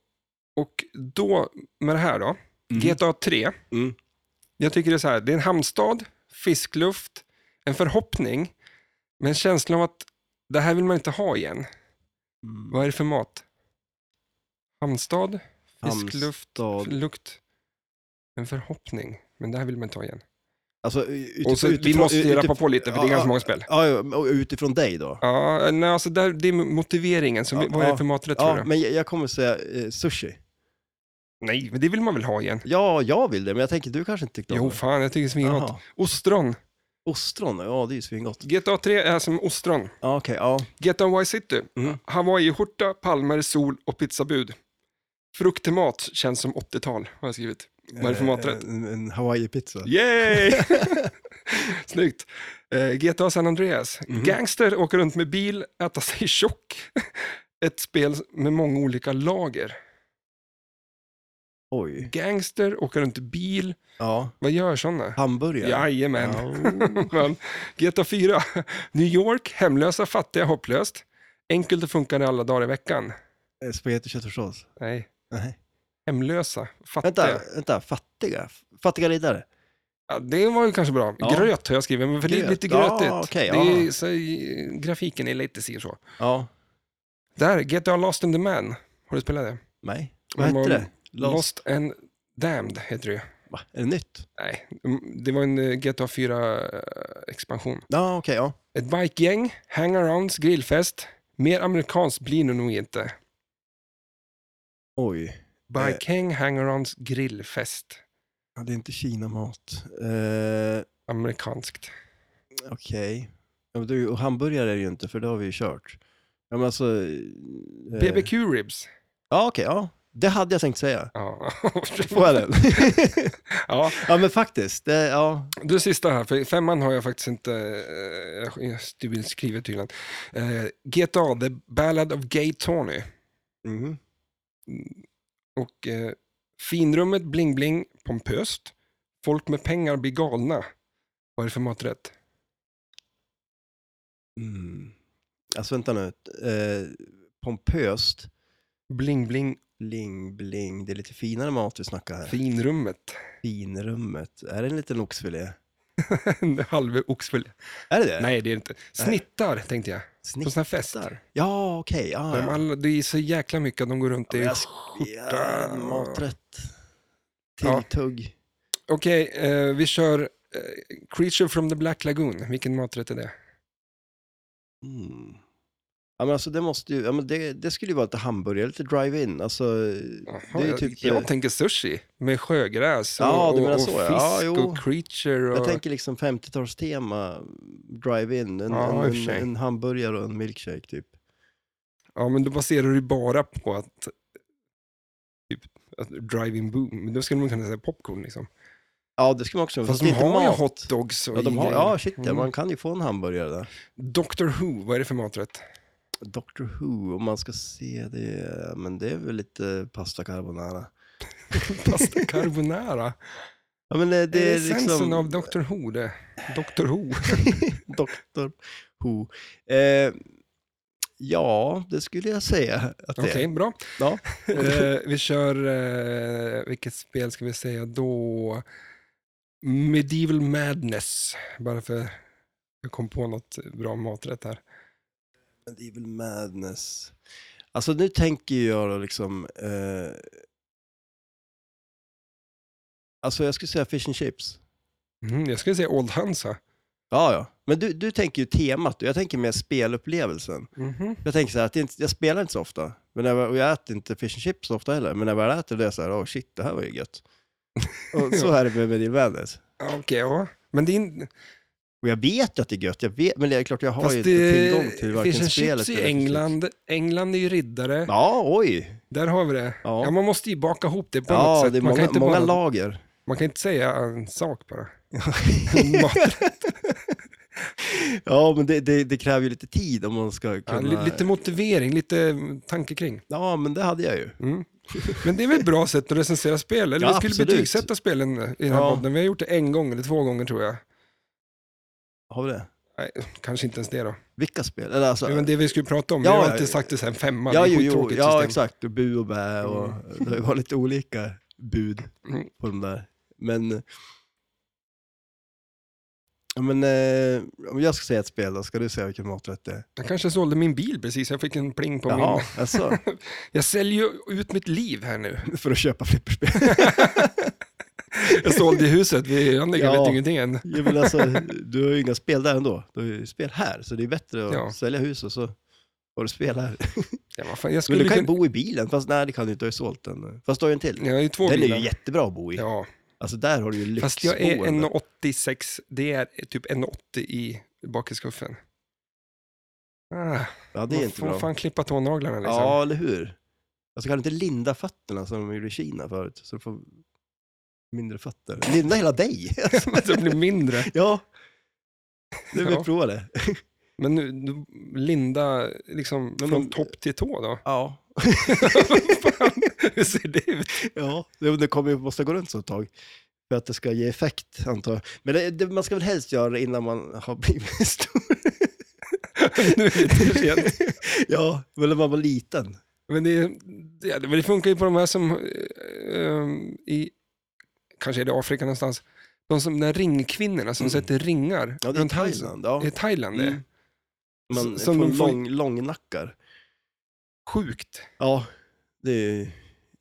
S1: och då, med det här då, GTA 3.
S2: Mm.
S1: Jag tycker det är så här, det är en hamnstad, fiskluft, en förhoppning, men känslan av att det här vill man inte ha igen.
S2: Mm.
S1: Vad är det för mat? Hamnstad, fiskluft,
S2: Hamnstad.
S1: lukt, en förhoppning, men det här vill man inte ha igen.
S2: Alltså, utifrån,
S1: Och så, vi måste ju rappa på lite, för det är ganska många spel.
S2: Ja, ja, och utifrån dig då?
S1: Ja, nej, alltså där, det är motiveringen. Så
S2: Ja,
S1: vad är
S2: ja.
S1: det för maträtt tror
S2: Ja,
S1: du?
S2: men jag, jag kommer säga eh, sushi.
S1: Nej, men det vill man väl ha igen?
S2: Ja, jag vill det, men jag tänker du kanske inte tyckte om
S1: Jo,
S2: det.
S1: fan, jag tycker det är svingott.
S2: Jaha.
S1: Ostron.
S2: Ostron, ja det är ju svingott.
S1: GTA 3 är som ostron.
S2: Ja, okej, ja.
S1: GTA Y City.
S2: Mm.
S1: Hawaii-skjorta, palmer, sol och pizzabud. Frukt till mat känns som 80-tal, har jag skrivit. Vad är det för maträtt?
S2: Eh, En, en hawaii-pizza. (laughs)
S1: Yay! (laughs) Snyggt. Eh, GTA San Andreas.
S2: Mhm.
S1: Gangster åker runt med bil, äta sig tjock. (laughs) Ett spel med många olika lager.
S2: Oj.
S1: Gangster åker runt i bil.
S2: Ja,
S1: Vad gör sådana?
S2: hamburgare.
S1: Jajamän. (laughs)
S2: Ja. oh.
S1: Men GTA 4. New York, hemlösa, fattiga, hopplöst. Enkelt och funkar alla dagar i veckan.
S2: Eh, Spagetti och köttfärssås.
S1: Nej, (laughs)
S2: Nej.
S1: hemlösa, fattiga.
S2: Vänta, vänta, fattiga? Fattiga riddare?
S1: Ja, det var ju kanske bra.
S2: Ja.
S1: Gröt har jag skrivit, men för det är
S2: Gröt.
S1: lite
S2: Ja,
S1: grötigt.
S2: okej,
S1: det är,
S2: ja.
S1: så, grafiken är lite si och så.
S2: Ja.
S1: Där, GTA Lost and the Man. Har du spelat det?
S2: Nej. Vad
S1: Men
S2: hette
S1: vad-
S2: det?
S1: Lost,
S2: Lost.
S1: and Damned heter det ju.
S2: Va? Är det nytt?
S1: Nej, mm, det var en eh, GTA 4-expansion.
S2: Ja, okej, ja.
S1: eh, Ett bikegäng, hangarounds, grillfest. Mer amerikanskt blir det nog inte.
S2: Oj.
S1: Bikehang, hangarounds, grillfest.
S2: Ja, det är inte Kina-mat. Eh,
S1: Amerikanskt.
S2: okej. Ja, men du, och hamburgare är det ju inte, för det har vi ju kört. Ja, men alltså... eh,
S1: BBQ ribs.
S2: Ja, okej, ja. Det hade jag
S1: (laughs)
S2: tänkt säga. (laughs)
S1: Ja.
S2: Får jag den?
S1: ja,
S2: ja, men faktiskt. Det, ja.
S1: Du sista här, för femman har jag faktiskt inte eh, jag har skrivit tydligen. Eh, GTA, The Ballad of Gay Tony.
S2: Mhm.
S1: Och eh, finrummet bling-bling, pompöst. Folk med pengar blir galna. Vad är det för maträtt?
S2: Mm. Alltså, vänta nu. Eh, pompöst.
S1: Bling-bling,
S2: Bling, bling. Det är lite finare mat vi snackar här.
S1: finrummet. (laughs)
S2: Finrummet. Är det en liten oxfilé?
S1: En halv oxfilé.
S2: Är det det?
S1: Nej, det är det inte.
S2: Äh.
S1: Snittar, tänkte jag.
S2: Snitt.
S1: På sån här fest.
S2: Ja, okej. Ja,
S1: De
S2: ja.
S1: alla, det är så jäkla mycket att de går runt i.
S2: Jag sk- ja, maträtt.
S1: Ja.
S2: Tilltugg.
S1: Okej, eh, vi kör eh, Creature from the Black Lagoon. Vilken maträtt är det?
S2: Mm. Ja, men alltså det måste ju, ja, men det, det skulle ju vara lite hamburgare, lite drive-in. Alltså, det
S1: Jaha,
S2: är ju
S1: jag-
S2: typ,
S1: jag
S2: jag,
S1: tänker sushi med sjögräs och,
S2: Ja, du menar
S1: och, och
S2: så,
S1: fisk
S2: ja. Ja, jo.
S1: och creature. Och,
S2: tänker liksom 50-talstema, drive-in, en,
S1: Ja, i och för
S2: en,
S1: sig.
S2: en, en hamburgare och en milkshake typ.
S1: Ja, men då baserar du bara på att, typ, att drive-in boom. Men då skulle man kunna säga popcorn liksom.
S2: Ja, det skulle man också
S1: Fast,
S2: det
S1: de
S2: är inte
S1: har ju
S2: mat.
S1: hotdogs och
S2: Ja, de har,
S1: grejer.
S2: ja, shit, ja,
S1: Mm.
S2: man kan ju få en hamburgare där.
S1: Doctor Who, vad är det för maträtt?
S2: Doctor Who, om man ska se det, men det är väl lite pasta carbonara. (laughs)
S1: Pasta carbonara.
S2: Ja, men eh,
S1: det är essensen
S2: liksom... (laughs)
S1: av Doctor Who det. Doctor Who.
S2: Doktor Who. Eh, ja, det skulle jag säga att det
S1: Okej,
S2: är.
S1: bra.
S2: Ja.
S1: Eh, vi kör, eh, vilket spel ska vi säga då? Medieval Madness. Bara för jag kom på något bra maträtt här.
S2: Medieval Madness. Alltså nu tänker jag då liksom... Eh, alltså jag skulle säga Fish and Chips.
S1: Mm, jag skulle säga Old Hansa.
S2: Ja, ja. Men du, du tänker ju temat, jag tänker mer spelupplevelsen.
S1: Mhm.
S2: Jag tänker så här, att det är inte, jag spelar inte så ofta. Men när jag, och jag äter inte fish and chips så ofta heller. Men när jag väl äter det är jag så här, åh shit, det här var ju
S1: (laughs)
S2: gött. Och så är det med Medieval Madness.
S1: Ja, Okej, ja. Men det är, in-
S2: Och jag vet ju att det är gött, jag vet, men det är klart jag har ju
S1: fast
S2: inte
S1: det
S2: tillgång till varken
S1: finns en
S2: spelet
S1: chips i
S2: eller
S1: England. England är ju riddare.
S2: Ja, oj.
S1: Där har vi det. Ja.
S2: Ja,
S1: man måste ju baka ihop det på något
S2: ja
S1: sätt.
S2: det är
S1: man, kan
S2: många,
S1: inte
S2: många
S1: bara,
S2: lager.
S1: man kan inte säga en sak
S2: (laughs)
S1: bara. (laughs) Mat-
S2: Ja, men det, det, det kräver ju lite tid om man ska
S1: ja,
S2: kunna...
S1: li- lite motivering, lite tanke kring.
S2: Ja, men det hade jag ju.
S1: Mm. Men det är väl ett bra sätt att recensera spel? Eller
S2: Ja,
S1: vi skulle
S2: absolut.
S1: betygsätta spelen i den här
S2: Ja.
S1: podden. Vi har gjort det en gång eller två gånger tror jag.
S2: Har vi det?
S1: Nej, kanske inte ens det då.
S2: Vilka spel? Eller alltså...
S1: Men det vi skulle prata om,
S2: Ja,
S1: vi har
S2: ja,
S1: alltid
S2: ja.
S1: sagt det sen femma.
S2: ja,
S1: det är
S2: jo, jo,
S1: skittråkigt
S2: ja,
S1: system.
S2: exakt. Och bu och bä och det var lite olika bud
S1: Mm.
S2: på de där. Men... Ja, men eh, om jag ska säga ett spel då, ska du säga vilken maträtt det är?
S1: Jag kanske sålde min bil precis, jag fick en pling på min. (laughs)
S2: alltså.
S1: Jag säljer ju ut mitt liv här nu. (laughs)
S2: för att köpa flipperspel.
S1: Jag sålde ju huset, vi anlägger
S2: Ja.
S1: vet ingenting än.
S2: Jo, men alltså, du har ju inga spel där ändå. Du har ju spel här, så det är bättre att
S1: Ja.
S2: sälja hus och så har du spel här.
S1: Ja, vad fan, jag
S2: Men
S1: skulle
S2: du kan ju
S1: kunna...
S2: bo i bilen, fast nej det kan du inte, du har ju sålt den. Fast du har ju en till.
S1: Jag har ju två
S2: Den är
S1: bilar.
S2: ju jättebra att bo i.
S1: Ja,
S2: Alltså där har du ju lyxboende.
S1: fast jag är 1,86. Det är typ 1,80 i bakiskuffen. Ah,
S2: Ja, det är
S1: man
S2: inte
S1: får
S2: bra.
S1: fan klippa tånaglarna liksom. (laughs)
S2: Ja, eller hur? Alltså kan du inte linda fötterna som de gjorde i Kina förut? Så du får mindre fötter. Linda hela dig! (laughs)
S1: Så det blir mindre.
S2: ja, nu vill
S1: Ja.
S2: vi prova det.
S1: Men nu, nu, linda liksom
S2: Men
S1: från
S2: de-
S1: topp till tå
S2: (laughs)
S1: då? (laughs)
S2: Ja.
S1: Fan, Hur ser det ut?
S2: Ja, det det kommer ju måste gå runt så ett tag. För att det ska ge effekt, antar jag. Men det, det, man ska väl helst göra det innan man har (laughs) blivit stor.
S1: nu är det för sent.
S2: ja, men när man var liten.
S1: Men det, det, men det funkar ju på de här som, eh, ehm, i, kanske är det Afrika någonstans, de som, de här ringkvinnorna som
S2: Mm.
S1: sätter ringar
S2: Ja, det är
S1: runt halsen.
S2: Thailand. Ja.
S1: Det är Thailand det.
S2: Mm. Man
S1: som
S2: får
S1: de får-
S2: lång, långnackar.
S1: Sjukt.
S2: Ja, det är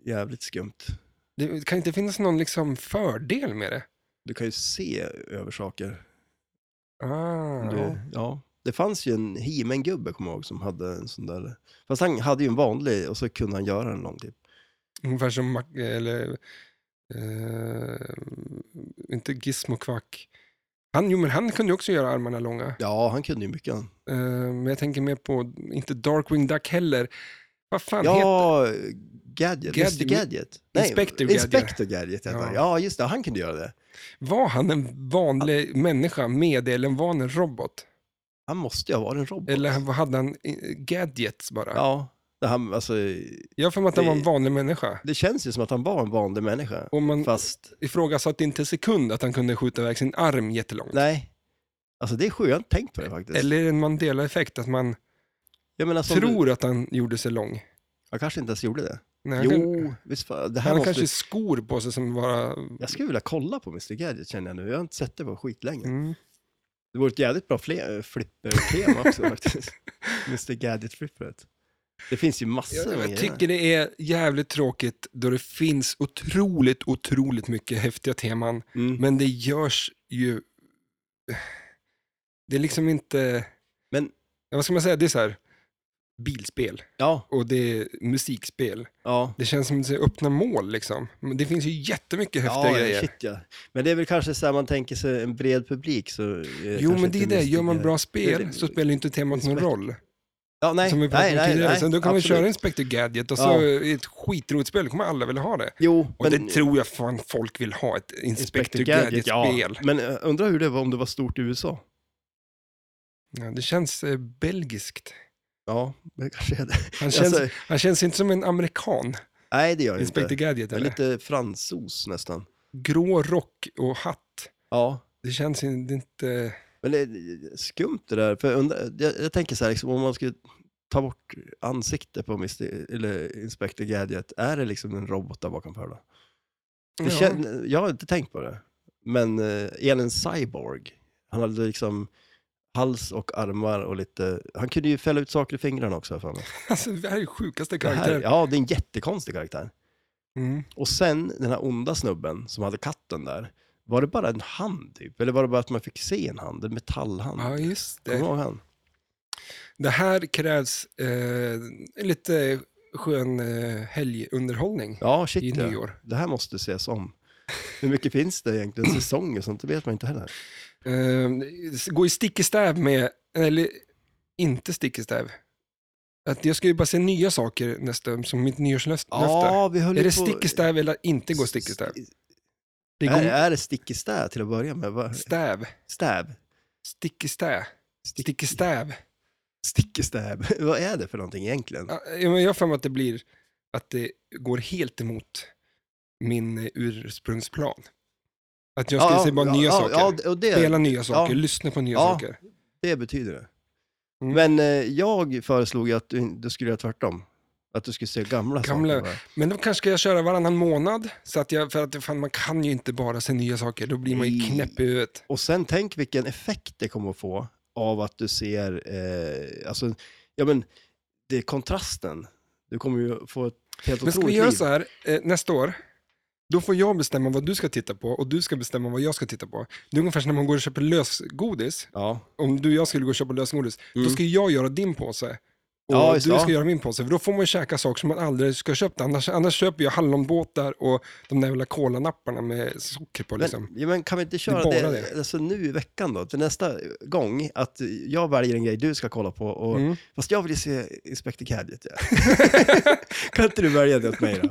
S2: jävligt skumt.
S1: Det kan inte finnas någon liksom fördel med det.
S2: Du kan ju se över saker.
S1: Ah,
S2: Du, ja. Det fanns ju en He-Man-gubbe, kommer jag ihåg, som hade en sån där. Fast han hade ju en vanlig och så kunde han göra en lång typ.
S1: Ungefär som, Mac- eller, eh, inte Gizmo Quack. Han, jo, men han kunde ju också göra armarna långa.
S2: Ja, han kunde ju mycket. Han.
S1: Eh, men jag tänker mer på, inte Darkwing Duck heller. Vad fan heter
S2: Ja, Gadget.
S1: Gadget.
S2: Gadget. Mr Gadget.
S1: Inspector Gadget.
S2: Gadget. Inspector Gadget heter han.
S1: Ja.
S2: Ja, just det. Han kunde göra det.
S1: Var han en vanlig människa med det, eller var han en robot?
S2: Han måste ju ha varit en robot.
S1: Eller han- hade han eh, gadgets bara?
S2: Ja. Det, han, alltså,
S1: Jag har för mig att han var en
S2: Det-
S1: vanlig människa.
S2: det känns ju som att han var en vanlig människa.
S1: Och man
S2: Fast,
S1: ifrågasatte inte en sekund att han kunde skjuta iväg sin arm jättelångt.
S2: nej. Alltså det är sjukt, jag har inte tänkt på det faktiskt.
S1: Eller är det en Mandela-effekt, att man
S2: jag menar, som Du,
S1: tror att han gjorde sig lång?
S2: jag kanske inte ens gjorde det.
S1: Nej, han kan-
S2: jo, visst fan, det här
S1: han har
S2: måste...
S1: kanske skor på sig som bara...
S2: Jag skulle vilja kolla på Mr Gadget känner jag nu. Jag har inte sett det på skitlänge.
S1: Mm.
S2: Det vore ett jävligt bra
S1: (laughs)
S2: fle- flipper-tema också faktiskt. Mr Gadget-flippret. Det finns ju massor
S1: Jag,
S2: med
S1: jag
S2: grejer.
S1: tycker det är jävligt tråkigt då det finns otroligt, otroligt mycket häftiga teman
S2: Mm.
S1: Men det görs ju... Det är liksom inte...
S2: Men-
S1: Ja, Vad ska man säga? Det är så här, bilspel
S2: Ja,
S1: och det är musikspel.
S2: ja.
S1: Det känns som att det är öppna mål liksom. Men det finns ju jättemycket häftiga
S2: ja,
S1: grejer.
S2: Shit, ja. Men det är väl kanske så här man tänker sig en bred publik. Så är
S1: Jo,
S2: kanske
S1: men det är
S2: inte
S1: det.
S2: Mr.
S1: Gör man bra
S2: Det är-
S1: spel så spelar inte temat någon
S2: Inspector-
S1: roll.
S2: Ja, nej,
S1: Som vi pratade
S2: nej,
S1: om
S2: nej,
S1: tidigare.
S2: nej,
S1: Sen då kan man
S2: absolut.
S1: köra Inspector Gadget och så
S2: Ja.
S1: är det ett skitroligt spel. Då kommer alla vilja ha det.
S2: Jo,
S1: Och det tror jag fan folk vill ha, ett Inspector
S2: ja.
S1: Gadget-spel. Ja.
S2: Men eh, undrar hur det var om det var stort i USA.
S1: det känns eh, belgiskt.
S2: Ja, det kanske är det.
S1: Han känns,
S2: Alltså,
S1: han känns inte som en amerikan.
S2: nej, det gör det
S1: Inspector
S2: inte.
S1: Gadget
S2: Det är
S1: eller?
S2: lite fransos nästan.
S1: Grå rock och hatt.
S2: Ja,
S1: Det känns in- det är inte...
S2: men det är skumt det där. För undra, jag, jag tänker så här, liksom, om man skulle ta bort ansikte på Mr. eller Inspector Gadget, är det liksom en robot där bakom för då? Det
S1: ja.
S2: kän- jag har inte tänkt på det. Men eh, är han en cyborg? Han hade liksom hals och armar och lite... Han kunde ju fälla ut saker i fingrarna också. har jag För mig.
S1: (laughs) Alltså, det här är sjukaste
S2: Det här,
S1: karaktären.
S2: ja, det är en jättekonstig karaktär.
S1: Mm.
S2: Och sen den här onda snubben som hade katten där. Var det bara en hand typ? Eller var det bara att man fick se en hand? En metallhand?
S1: Ja, just
S2: Kommer du
S1: det.
S2: ihåg han?
S1: Det här krävs eh, lite skön eh, helgunderhållning
S2: Ja,
S1: i
S2: shit ja.
S1: nyår.
S2: Det här måste ses om. Hur mycket finns det
S1: (clears throat)
S2: egentligen? Säsonger? Sånt det vet man inte heller.
S1: Eh, gå i stick i stäv med, eller inte stick i stäv. Att jag ska ju bara se nya saker nästa, som mitt nyårslöfte.
S2: Ja, vi
S1: är
S2: höll ju
S1: det
S2: på-
S1: stick i stäv eller inte gå stick i stäv? Det
S2: Är,
S1: går
S2: är det stick i stäv till att börja med? Vad-
S1: stäv,
S2: Stäv?
S1: stick i stäv, stick i stäv.
S2: Stick i stäv. (laughs) Vad är det för någonting egentligen?
S1: Ja, men jag har för mig att det blir att det går helt emot min eh, ursprungsplan. Att jag ska se bara nya
S2: ja,
S1: saker,
S2: Ja, d- och det,
S1: spela nya saker,
S2: ja.
S1: lyssna på nya
S2: Ja.
S1: saker.
S2: det betyder det.
S1: Mm.
S2: Men eh, jag föreslog ju att du, du skulle göra tvärtom. Att du skulle se gamla,
S1: Gamla-
S2: saker. bara.
S1: Men då kanske ska jag köra varannan månad, så att jag, för att fan, man kan ju inte bara se nya saker, då blir man ju
S2: Nej.
S1: knäpp i huvudet.
S2: Och sen tänk vilken effekt det kommer att få av att du ser, eh, alltså, ja men, det är kontrasten. Du kommer ju få ett helt
S1: Men ska
S2: otroligt
S1: vi göra
S2: liv.
S1: så här eh, nästa år? Då får jag bestämma vad du ska titta på och du ska bestämma vad jag ska titta på. Det är ungefär som när man går och köper lösgodis.
S2: Ja.
S1: Om du och jag skulle gå och köpa lösgodis, då
S2: Mm.
S1: ska jag göra din påse. Och
S2: Ja,
S1: du
S2: just det,
S1: ska
S2: ja.
S1: göra min påse, för då får man ju käka saker som man aldrig ska ha köpt. Annars, annars köper jag hallonbåtar och de där jävla kolanapparna med socker på. Liksom.
S2: Men, ja, men kan vi inte köra
S1: bara
S2: det,
S1: det.
S2: Alltså, nu i veckan då? Till nästa gång, att jag väljer en grej du ska kolla på. Och,
S1: Mm.
S2: Fast jag vill ju se Inspector Gadget.
S1: (laughs)
S2: Ja. kan inte du välja det åt mig då?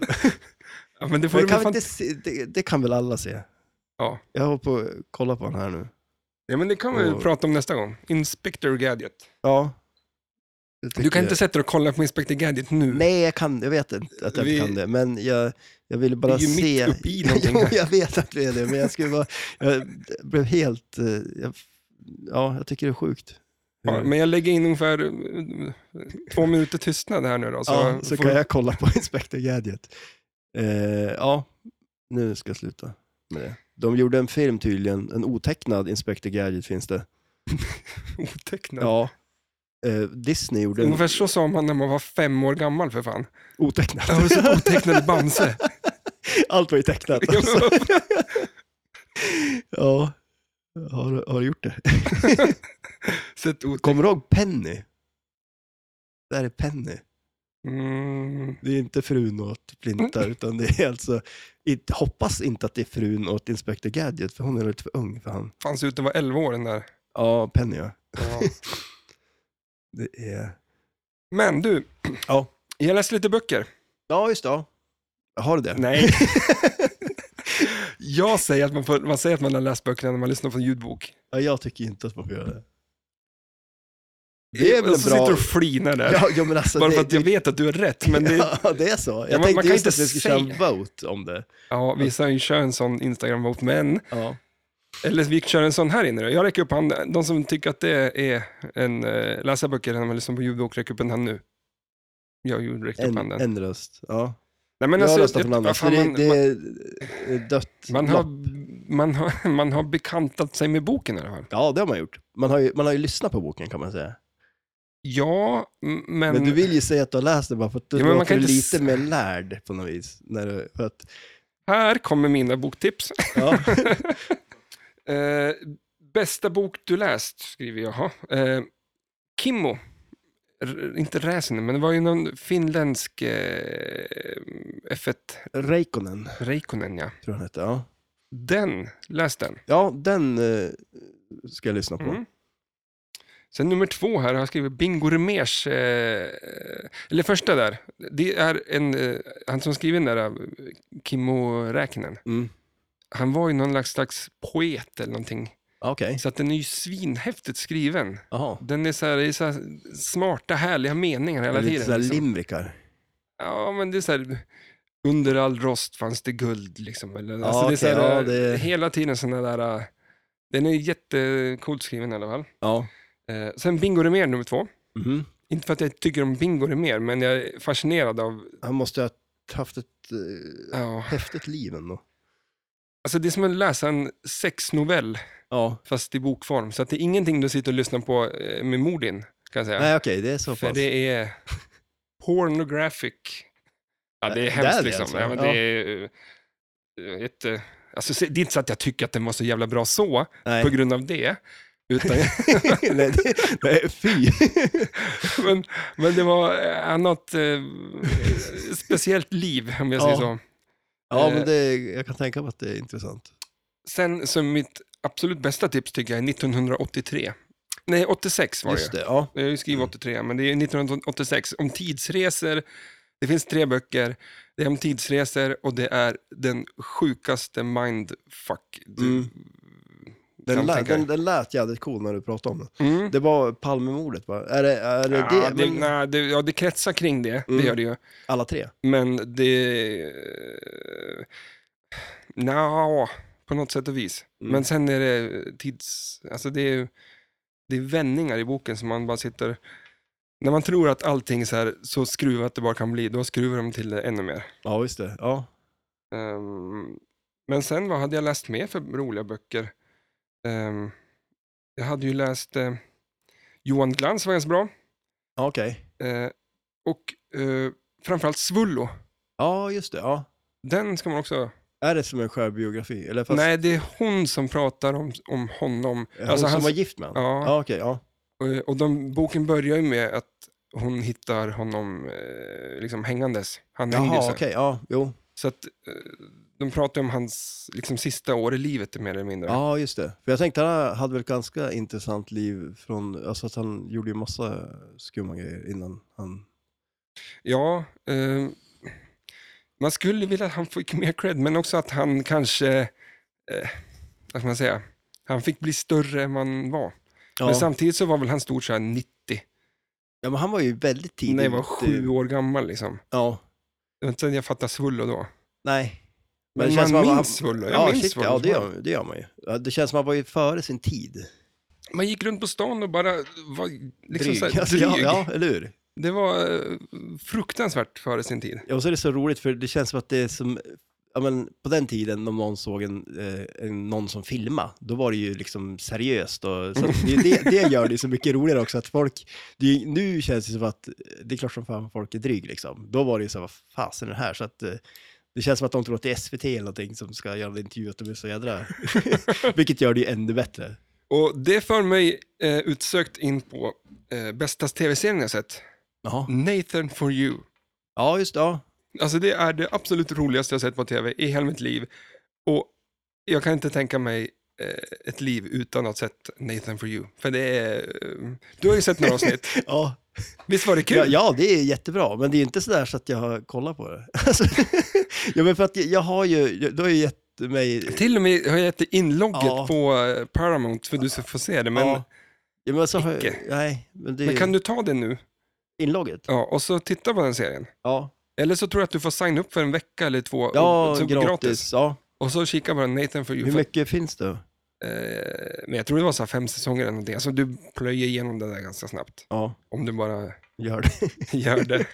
S1: Ja, men det får
S2: Men
S1: du
S2: kan
S1: väl fan...
S2: vi inte se, det, det kan väl alla se?
S1: Ja.
S2: Jag håller på att kolla på den här nu.
S1: ja, men det kan vi
S2: Och-
S1: prata om nästa gång. Inspector Gadget.
S2: Ja.
S1: Du kan inte sätta dig och kolla på Inspector Gadget nu.
S2: Nej, jag, kan, jag vet inte att jag
S1: Vi-
S2: inte kan det, men jag, jag ville
S1: Vi
S2: bara
S1: är ju
S2: se...
S1: mitt
S2: (laughs)
S1: uppe i någonting
S2: jo,
S1: här.
S2: jag vet att vi är det, men jag skulle bara... Jag blev helt... eh, Jag, ja, jag tycker det är sjukt. Eh,
S1: Ja, men jag lägger in ungefär eh, två minuter tystnad här nu då. Så,
S2: ja, så
S1: får-
S2: kan jag kolla på (laughs) Inspector Gadget. Eh, ja, nu ska jag sluta med det. De gjorde en film tydligen, en otecknad Inspector Gadget finns det.
S1: Otecknad.
S2: Ja. Eh, Disney gjorde en
S1: Ungefär så sa man när man var fem år gammal för fan.
S2: otecknad.
S1: Jag har sett otecknade (laughs) Bamse.
S2: (laughs) Allt var
S1: (laughs)
S2: ju tecknat. Alltså. Ja, har, du- har du gjort det?
S1: sett otecknade.
S2: Kommer du ihåg Penny? Där är Penny.
S1: Mm.
S2: Det är inte frun åt Flinta, utan det är alltså... It, hoppas inte att det är frun åt Inspector Gadget, för hon är lite för ung för han.
S1: Fanns ut att vara 11 år den där.
S2: Ja, Penny ja.
S1: Ja.
S2: Det är...
S1: Men du,
S2: Ja.
S1: jag läste lite böcker.
S2: Ja, just det. Har du det?
S1: Nej. jag säger att man, får, man säger att man har läst böckerna när man lyssnar på en ljudbok.
S2: (laughs) Ja, jag tycker inte att man får göra det. Det är väl
S1: och
S2: en
S1: så
S2: bra...
S1: alltså, sitter du och flinar där.
S2: Ja, ja, men alltså,
S1: Bara
S2: det,
S1: för att jag
S2: det-
S1: vet att du är rätt. Men det, ja.
S2: (laughs) Ja, det är så. Jag
S1: man- man
S2: tänkte
S1: kan
S2: just
S1: inte
S2: att vi skulle
S1: säga-
S2: köra en vote om det.
S1: vi
S2: Alltså-
S1: ska ju köra en sån Instagram-vote. Men,
S2: Ja.
S1: eller vi kör en sån här inne då. Jag räcker upp handen. De som tycker att det är en eh, läsa böcker när man lyssnar på ljudbok, räcker upp en hand nu. Jag gjorde räckte upp
S2: En,
S1: handen.
S2: en röst. Ja.
S1: Nej, men
S2: jag
S1: alltså,
S2: röstar på
S1: jag-
S2: någon annan,
S1: vad
S2: för
S1: fan,
S2: det,
S1: man-
S2: det
S1: man-
S2: är eh, dött
S1: Man
S2: lopp.
S1: har, man, har, (laughs) man har bekantat sig med boken i alla fall.
S2: Ja, det har man gjort. Man har, ju, man har ju lyssnat på boken kan man säga.
S1: Ja, m- men...
S2: Men, du vill ju säga att du har läst den bara för att du
S1: Ja, men man
S2: låter
S1: kan inte
S2: lite
S1: s-
S2: mer lärd på något vis. När du, för att,
S1: Här kommer mina boktips. (laughs)
S2: ja.
S1: Eh, bästa bok du läst, skriver jag. Jaha. Eh, Kimmo. R- inte Räsinen, men det var ju någon finländsk eh, F1,
S2: Reikonen,
S1: Reikonen ja.
S2: tror jag han hette. Ja,
S1: Den, läs den.
S2: ja den eh, ska jag lyssna på.
S1: Mm. Sen nummer två här har jag skrivit Bingo Rimérs, eh, eller första där, det är en, eh, han som skriver den där, eh, Kimmo Räkinen.
S2: Mm.
S1: han var ju någon slags, slags poet eller någonting.
S2: Okej,
S1: Så att den är ju svinhäftigt skriven.
S2: jaha.
S1: Den är så här, det är så här smarta, härliga meningar hela
S2: Lite
S1: tiden.
S2: sådär
S1: Liksom.
S2: limrikar.
S1: Ja, men det är så här, under all rost fanns det guld liksom. Eller,
S2: Ja,
S1: alltså, det är så
S2: okej,
S1: här,
S2: ja, det-
S1: Hela tiden sådana där, äh, den är jättecoolt skriven i alla fall.
S2: Ja.
S1: Eh, sen Bingo Rimér nummer två.
S2: Mhm.
S1: Inte för att jag tycker om Bingo Rimér, men jag är fascinerad av,
S2: Han måste ha haft ett eh,
S1: ja.
S2: häftigt liv ändå.
S1: Alltså det är som att läsa en sexnovell,
S2: Ja.
S1: fast i bokform. Så att det är ingenting du sitter och lyssnar på eh, med Mordin, kan jag säga.
S2: Nej, okej, det är så
S1: För
S2: pass.
S1: det är pornographic. Ja, det är
S2: Det
S1: hemskt
S2: är det
S1: liksom.
S2: alltså.
S1: Ja, men
S2: Ja.
S1: det är eh, ett, eh, alltså, se- det är inte så att jag tycker att den var så jävla bra så,
S2: Nej.
S1: på grund av det. (laughs) Utan, (laughs)
S2: nej, det, nej, fy.
S1: men, men det var eh, annat eh, speciellt liv, om jag säger
S2: Ja.
S1: så.
S2: Ja,
S1: Eh.
S2: men det, jag kan tänka mig att det är intressant.
S1: Sen, så mitt absolut bästa tips tycker jag är 1983. Nej, 86 var
S2: Just det, ja.
S1: Jag har ju skrivit
S2: Mm.
S1: 83, men det är 1986. Om tidsresor. Det finns tre böcker. Det är om tidsresor och det är den sjukaste mindfuck du
S2: Mm. Den
S1: kan
S2: lät,
S1: tänka
S2: den,
S1: dig.
S2: den lät jävligt cool när du pratade om den.
S1: Mm.
S2: Det var Palmemordet va? Är det, är det,
S1: Ja,
S2: det,
S1: det,
S2: men,
S1: nej, det, ja, det kretsar kring det, det
S2: Mm.
S1: gör det ju.
S2: Alla tre?
S1: Men det... Nja, på något sätt och vis.
S2: Mm.
S1: Men sen är det tids... Alltså det är, det är vändningar i boken som man bara sitter... När man tror att allting är så, här, så skruvat det bara kan bli, då skruvar de till det ännu mer.
S2: Ja, just det. Ja.
S1: Ehm, men sen, vad hade jag läst mer för roliga böcker? Ehm, jag hade ju läst eh, Johan Glans var ganska bra.
S2: Ja, Okej.
S1: Eh, och eh, framförallt Svullo.
S2: Ja, just det. Ja.
S1: Den ska man också
S2: Är det som en självbiografi? Eller fast
S1: Nej, det är hon som pratar om, om honom.
S2: hon
S1: Alltså,
S2: som
S1: hans-
S2: var gift med honom?
S1: Ja.
S2: ja okej. ja.
S1: Och- Och de, boken börjar ju med att hon hittar honom eh, liksom hängandes. Han hängde ju
S2: Jaha,
S1: sen.
S2: okej. ja, jo.
S1: Så att, eh, de pratar ju om hans liksom, sista år i livet mer eller mindre.
S2: Ja, just det. För jag tänkte han hade väl ett ganska intressant liv från, alltså att han gjorde ju massa skumma grejer innan han...
S1: Ja, eh, man skulle vilja att han fick mer cred, men också att han kanske, eh, vad ska man säga, han fick bli större än man var.
S2: Ja,
S1: Men samtidigt så var väl han stor så här 90,
S2: ja men han var ju väldigt tidig.
S1: när jag var sju
S2: ute.
S1: år gammal liksom.
S2: Ja,
S1: Det var inte sen jag fattade svullo då.
S2: nej.
S1: Men,
S2: det
S1: man
S2: känns som han-
S1: minns svullo, jag
S2: ja,
S1: minns
S2: shit,
S1: svullo.
S2: ja,
S1: som
S2: det
S1: fan.
S2: gör, det gör man ju. Ja, det känns som att han var ju före sin tid.
S1: Man gick runt på stan och bara var liksom så här,
S2: Alltså, (laughs) ja,
S1: dryg.
S2: ja, eller hur?
S1: Det var eh, fruktansvärt före sin tid.
S2: Ja, och så är det så roligt för det känns som att det är som, ja men på den tiden om någon såg en, eh, en, någon som filmade, då var det ju liksom seriöst och så att det, det, det gör det så mycket roligare också att folk, det, är ju- nu känns det som att, eh, det är klart som fan folk är dryg liksom. Då var det ju så, vad fasen är det här? Så att eh, det känns som att de tror att det är SVT eller någonting som ska göra en intervju, att de är så jädra, (laughs) vilket gör det ju ännu bättre.
S1: Och det för mig eh, utsökt in på eh, bästa tv-serien jag sett.
S2: Jaha.
S1: Nathan for you.
S2: Ja, just det, ja.
S1: Alltså det är det absolut roligaste jag sett på tv i hela mitt liv. Och jag kan inte tänka mig eh, ett liv utan att ha sett Nathan for you. För det är... eh, Du har ju sett några
S2: (laughs)
S1: avsnitt.
S2: ja.
S1: Visst var det kul?
S2: Ja, ja, det är jättebra, men det är inte sådär så att jag har kollat på det. (laughs) Alltså, ja, men för att jag, jag har ju, jag- du har ju gett mig...
S1: Till och med har jag gett dig inlogget
S2: Ja.
S1: på eh, Paramount för du ska få se det. Men,
S2: ja, ja, men så har jag,
S1: icke.
S2: Nej, men det är
S1: men kan
S2: ju
S1: du ta det nu
S2: inlogget.
S1: ja, och så titta på den serien?
S2: Ja,
S1: Eller så tror jag att du får signa upp för en vecka eller två.
S2: ja
S1: och, så,
S2: gratis. Ja.
S1: Och så kika på den, Nathan for you.
S2: Hur
S1: För,
S2: mycket finns det?
S1: eh, men jag tror det var så här fem säsonger eller någonting. Alltså du plöjer igenom det där ganska snabbt.
S2: Ja,
S1: Om du bara
S2: gör
S1: (laughs)
S2: det. (laughs)
S1: gör det.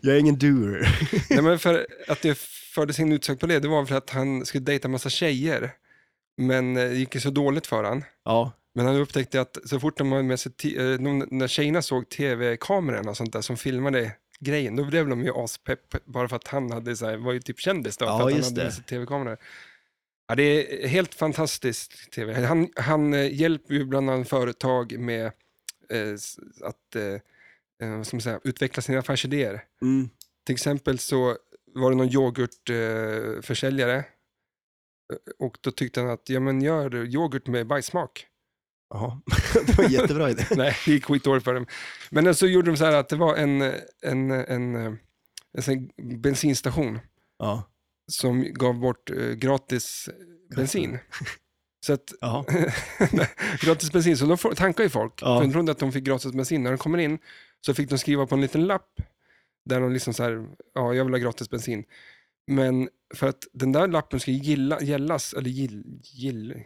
S2: Jag är ingen doer.
S1: Nej, men för att det fördes in utsökt på det, det var för att han skulle dejta massa tjejer. Men eh, det gick ju så dåligt för han.
S2: Ja,
S1: Men han upptäckte att så fort de var med sig, ti- eh, de- när tjejerna såg tv-kamerorna och sånt där som filmade grejen, då blev de ju aspepp bara för att han hade så här, var ju typ kändis då,
S2: Ja,
S1: för att han
S2: just
S1: hade
S2: det.
S1: med sig tv-kameror. Ja, det är helt fantastiskt tv. Han, han eh, hjälper ju bland annat företag med eh, s- att eh, eh, vad ska man säga, utveckla sina affärsidéer.
S2: mm.
S1: Till exempel så var det någon yoghurtförsäljare eh, försäljare. Eh, och då tyckte han att, ja men gör yoghurt med bajssmak. (laughs)
S2: Jaha. (laughs) det var en jättebra idé.
S1: Nej, det gick skitdåligt för dem. Men eh, så gjorde de så här att det var en, eh, en, eh, en, eh, en sån här bensinstation
S2: Ja,
S1: som gav bort eh, gratis bensin. Så att,
S2: ja.
S1: (laughs) gratis bensin, så de får- tankar ju folk.
S2: Ja.
S1: För de trodde att de fick gratis bensin. När de kommer in så fick de skriva på en liten lapp där de liksom så här, ja jag vill ha gratis bensin. Men för att den där lappen ska gilla, gällas, eller gill, gill,